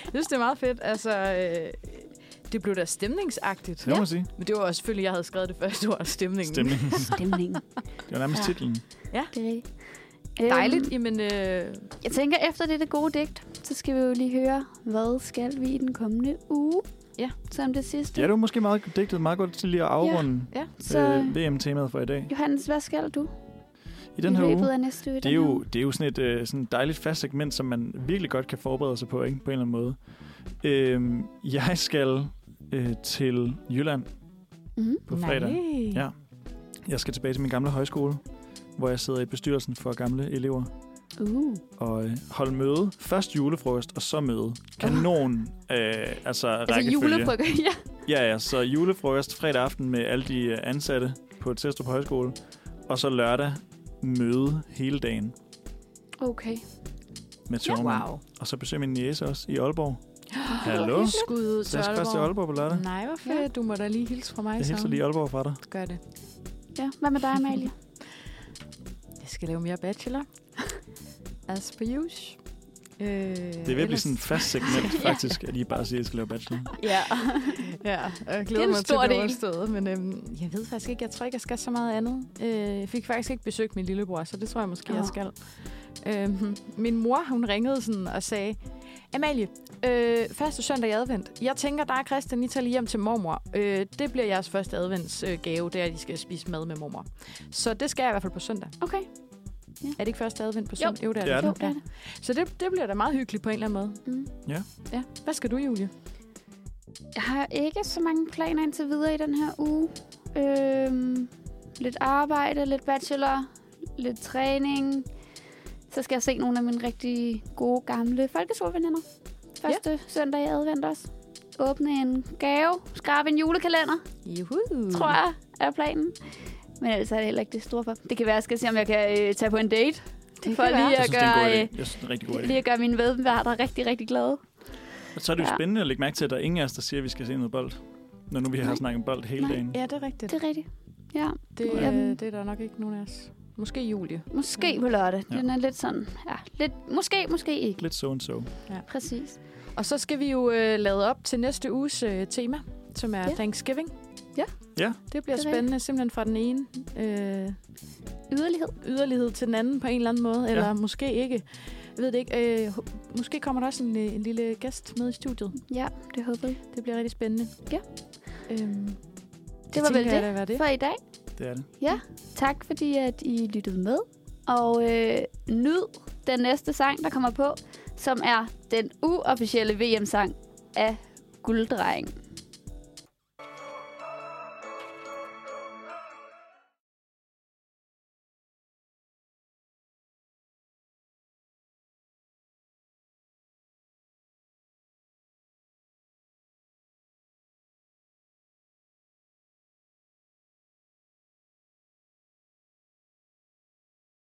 [SPEAKER 3] Jeg synes, det er meget fedt. Altså, øh, det blev da stemningsagtigt.
[SPEAKER 4] Det må man sige.
[SPEAKER 3] Men det var også selvfølgelig, jeg havde skrevet det første ord, stemningen. Øhm,
[SPEAKER 4] Stemningen.
[SPEAKER 2] Stemningen.
[SPEAKER 4] Det var nærmest
[SPEAKER 2] Ja.
[SPEAKER 4] titlen.
[SPEAKER 2] Det er rigtigt. Dejligt.
[SPEAKER 3] Jamen, øh,
[SPEAKER 2] Jeg tænker, efter det, det gode digt, så skal vi jo lige høre, hvad skal vi i den kommende uge?
[SPEAKER 3] Ja.
[SPEAKER 2] Som det sidste.
[SPEAKER 4] Ja, det var måske meget digtet meget godt til lige at afrunde
[SPEAKER 2] Så
[SPEAKER 4] øh, VM-temaet for i dag.
[SPEAKER 2] Johannes, hvad skal du
[SPEAKER 4] I den her
[SPEAKER 2] i
[SPEAKER 4] uge,
[SPEAKER 2] løbet af næste uge? i
[SPEAKER 4] det er,
[SPEAKER 2] den her
[SPEAKER 4] jo,
[SPEAKER 2] uge?
[SPEAKER 4] det er jo sådan et øh, sådan et dejligt fast segment, som man virkelig godt kan forberede sig på, ikke? på en eller anden måde. Øhm, jeg skal øh, til Jylland
[SPEAKER 2] Mhm.
[SPEAKER 4] på fredag. Nej.
[SPEAKER 3] Nej.
[SPEAKER 4] Ja. Jeg skal tilbage til min gamle højskole, hvor jeg sidder i bestyrelsen for gamle elever
[SPEAKER 2] Uh.
[SPEAKER 4] og øh, holde møde. Først julefrokost, og så møde. Kanon, øh, altså
[SPEAKER 2] Altså
[SPEAKER 4] rækkefølge.
[SPEAKER 2] julefrokost, ja.
[SPEAKER 4] Ja, ja, så julefrokost fredag aften med alle de øh, ansatte på Testrup Højskole, og så lørdag møde hele dagen
[SPEAKER 2] Okay.
[SPEAKER 4] med Tormund.
[SPEAKER 3] Wow.
[SPEAKER 4] Og så besøger min niece også i Aalborg.
[SPEAKER 3] Hallo?
[SPEAKER 4] Hallo?
[SPEAKER 3] Skud ud
[SPEAKER 4] Så
[SPEAKER 3] til
[SPEAKER 4] jeg skal først til
[SPEAKER 3] Aalborg.
[SPEAKER 4] Aalborg på lørdag.
[SPEAKER 3] Nej, hvor fedt. Du må da lige hilse fra mig.
[SPEAKER 4] Jeg hilser
[SPEAKER 3] så.
[SPEAKER 4] lige Aalborg fra dig.
[SPEAKER 3] Gør det.
[SPEAKER 2] Ja, hvad med dig, Amalie?
[SPEAKER 3] Jeg skal lave mere bachelor. As per use. Øh,
[SPEAKER 4] Det er ved at blive sådan et fast segment, faktisk, at I bare siger, at I skal lave bachelor.
[SPEAKER 3] Ja. ja, og jeg glæder
[SPEAKER 2] en
[SPEAKER 3] mig til
[SPEAKER 2] stor
[SPEAKER 3] det
[SPEAKER 2] del.
[SPEAKER 3] overstået, men øhm, jeg ved faktisk ikke, jeg tror ikke, jeg skal så meget andet. Øh, jeg fik faktisk ikke besøgt min lillebror, så det tror jeg måske, oh.
[SPEAKER 2] Åh.
[SPEAKER 3] jeg skal. Øhm, min mor, hun ringede sådan og sagde, Amalie, øh, første søndag i advent. Jeg tænker, dig og Christian, I tager lige hjem til mormor. Øh, det bliver jeres første adventsgave, det er, at I skal spise mad med mormor. Så det skal jeg i hvert fald på søndag.
[SPEAKER 2] Okay.
[SPEAKER 3] Er det ikke første advent på søndag? Jo, jo det er
[SPEAKER 4] Det er
[SPEAKER 3] det.
[SPEAKER 2] Jo, det er det.
[SPEAKER 3] Så det, det bliver da meget hyggeligt på en eller anden måde.
[SPEAKER 2] Mm.
[SPEAKER 4] Ja.
[SPEAKER 3] ja. Hvad skal du, Julie?
[SPEAKER 2] Jeg har ikke så mange planer indtil videre i den her uge. Øhm, lidt arbejde, lidt bachelor, lidt træning. Så skal jeg se nogle af mine rigtig gode gamle folkeskoleveninder. Første ja. søndag i advent også. Åbne en gave, skrabe en julekalender,
[SPEAKER 3] Juhu.
[SPEAKER 2] mm. tror jeg, er planen. Men ellers er det heller ikke det store for. Det kan være, at jeg skal se, om jeg kan øh, tage på en date.
[SPEAKER 3] Det
[SPEAKER 2] for
[SPEAKER 3] kan være.
[SPEAKER 2] lige
[SPEAKER 4] Jeg
[SPEAKER 2] at
[SPEAKER 4] synes, det er en god
[SPEAKER 2] gøre,
[SPEAKER 4] idé. Jeg synes, det er en rigtig god
[SPEAKER 2] øh,
[SPEAKER 4] idé.
[SPEAKER 2] lige at gøre mine medværter rigtig, rigtig glade.
[SPEAKER 4] Og Så er det jo
[SPEAKER 2] Ja.
[SPEAKER 4] spændende at lægge mærke til, at der er ingen af os, der siger, at vi skal se noget bold. Når nu vi har
[SPEAKER 2] Nej.
[SPEAKER 4] snakket om bold hele
[SPEAKER 2] Nej.
[SPEAKER 4] dagen.
[SPEAKER 3] Ja, det er rigtigt.
[SPEAKER 2] Det er rigtigt. Ja,
[SPEAKER 3] Det,
[SPEAKER 2] Jamen.
[SPEAKER 3] øh, det er der nok ikke nogen af os. Måske Julie.
[SPEAKER 2] måske på lørdag.
[SPEAKER 4] Ja.
[SPEAKER 2] Den er lidt sådan, ja, lidt, måske, måske ikke.
[SPEAKER 4] Lidt so and so.
[SPEAKER 2] Præcis.
[SPEAKER 3] Og så skal vi jo øh, lade op til næste uges øh, tema, som er
[SPEAKER 2] Ja.
[SPEAKER 3] ja. Thanksgiving.
[SPEAKER 2] Ja.
[SPEAKER 4] Ja.
[SPEAKER 3] Det bliver
[SPEAKER 2] Det
[SPEAKER 3] det
[SPEAKER 2] er det.
[SPEAKER 3] spændende, simpelthen fra den ene øh,
[SPEAKER 2] Yderlighed.
[SPEAKER 3] yderlighed til den anden på en eller anden måde, eller måske ikke. Jeg ved det ikke. Øh, ho- måske kommer der også en, øh, en lille gæst med i studiet.
[SPEAKER 2] Ja, det håber jeg.
[SPEAKER 3] Det bliver rigtig spændende.
[SPEAKER 2] Ja.
[SPEAKER 3] Øhm,
[SPEAKER 2] Det var vel
[SPEAKER 3] tænker jeg,
[SPEAKER 2] det
[SPEAKER 3] var det.
[SPEAKER 2] for i dag.
[SPEAKER 4] Det er det.
[SPEAKER 2] Tak fordi, at I lyttede med. Og øh, nyd den næste sang, der kommer på, som er den uofficielle VM-sang af Gulddreng.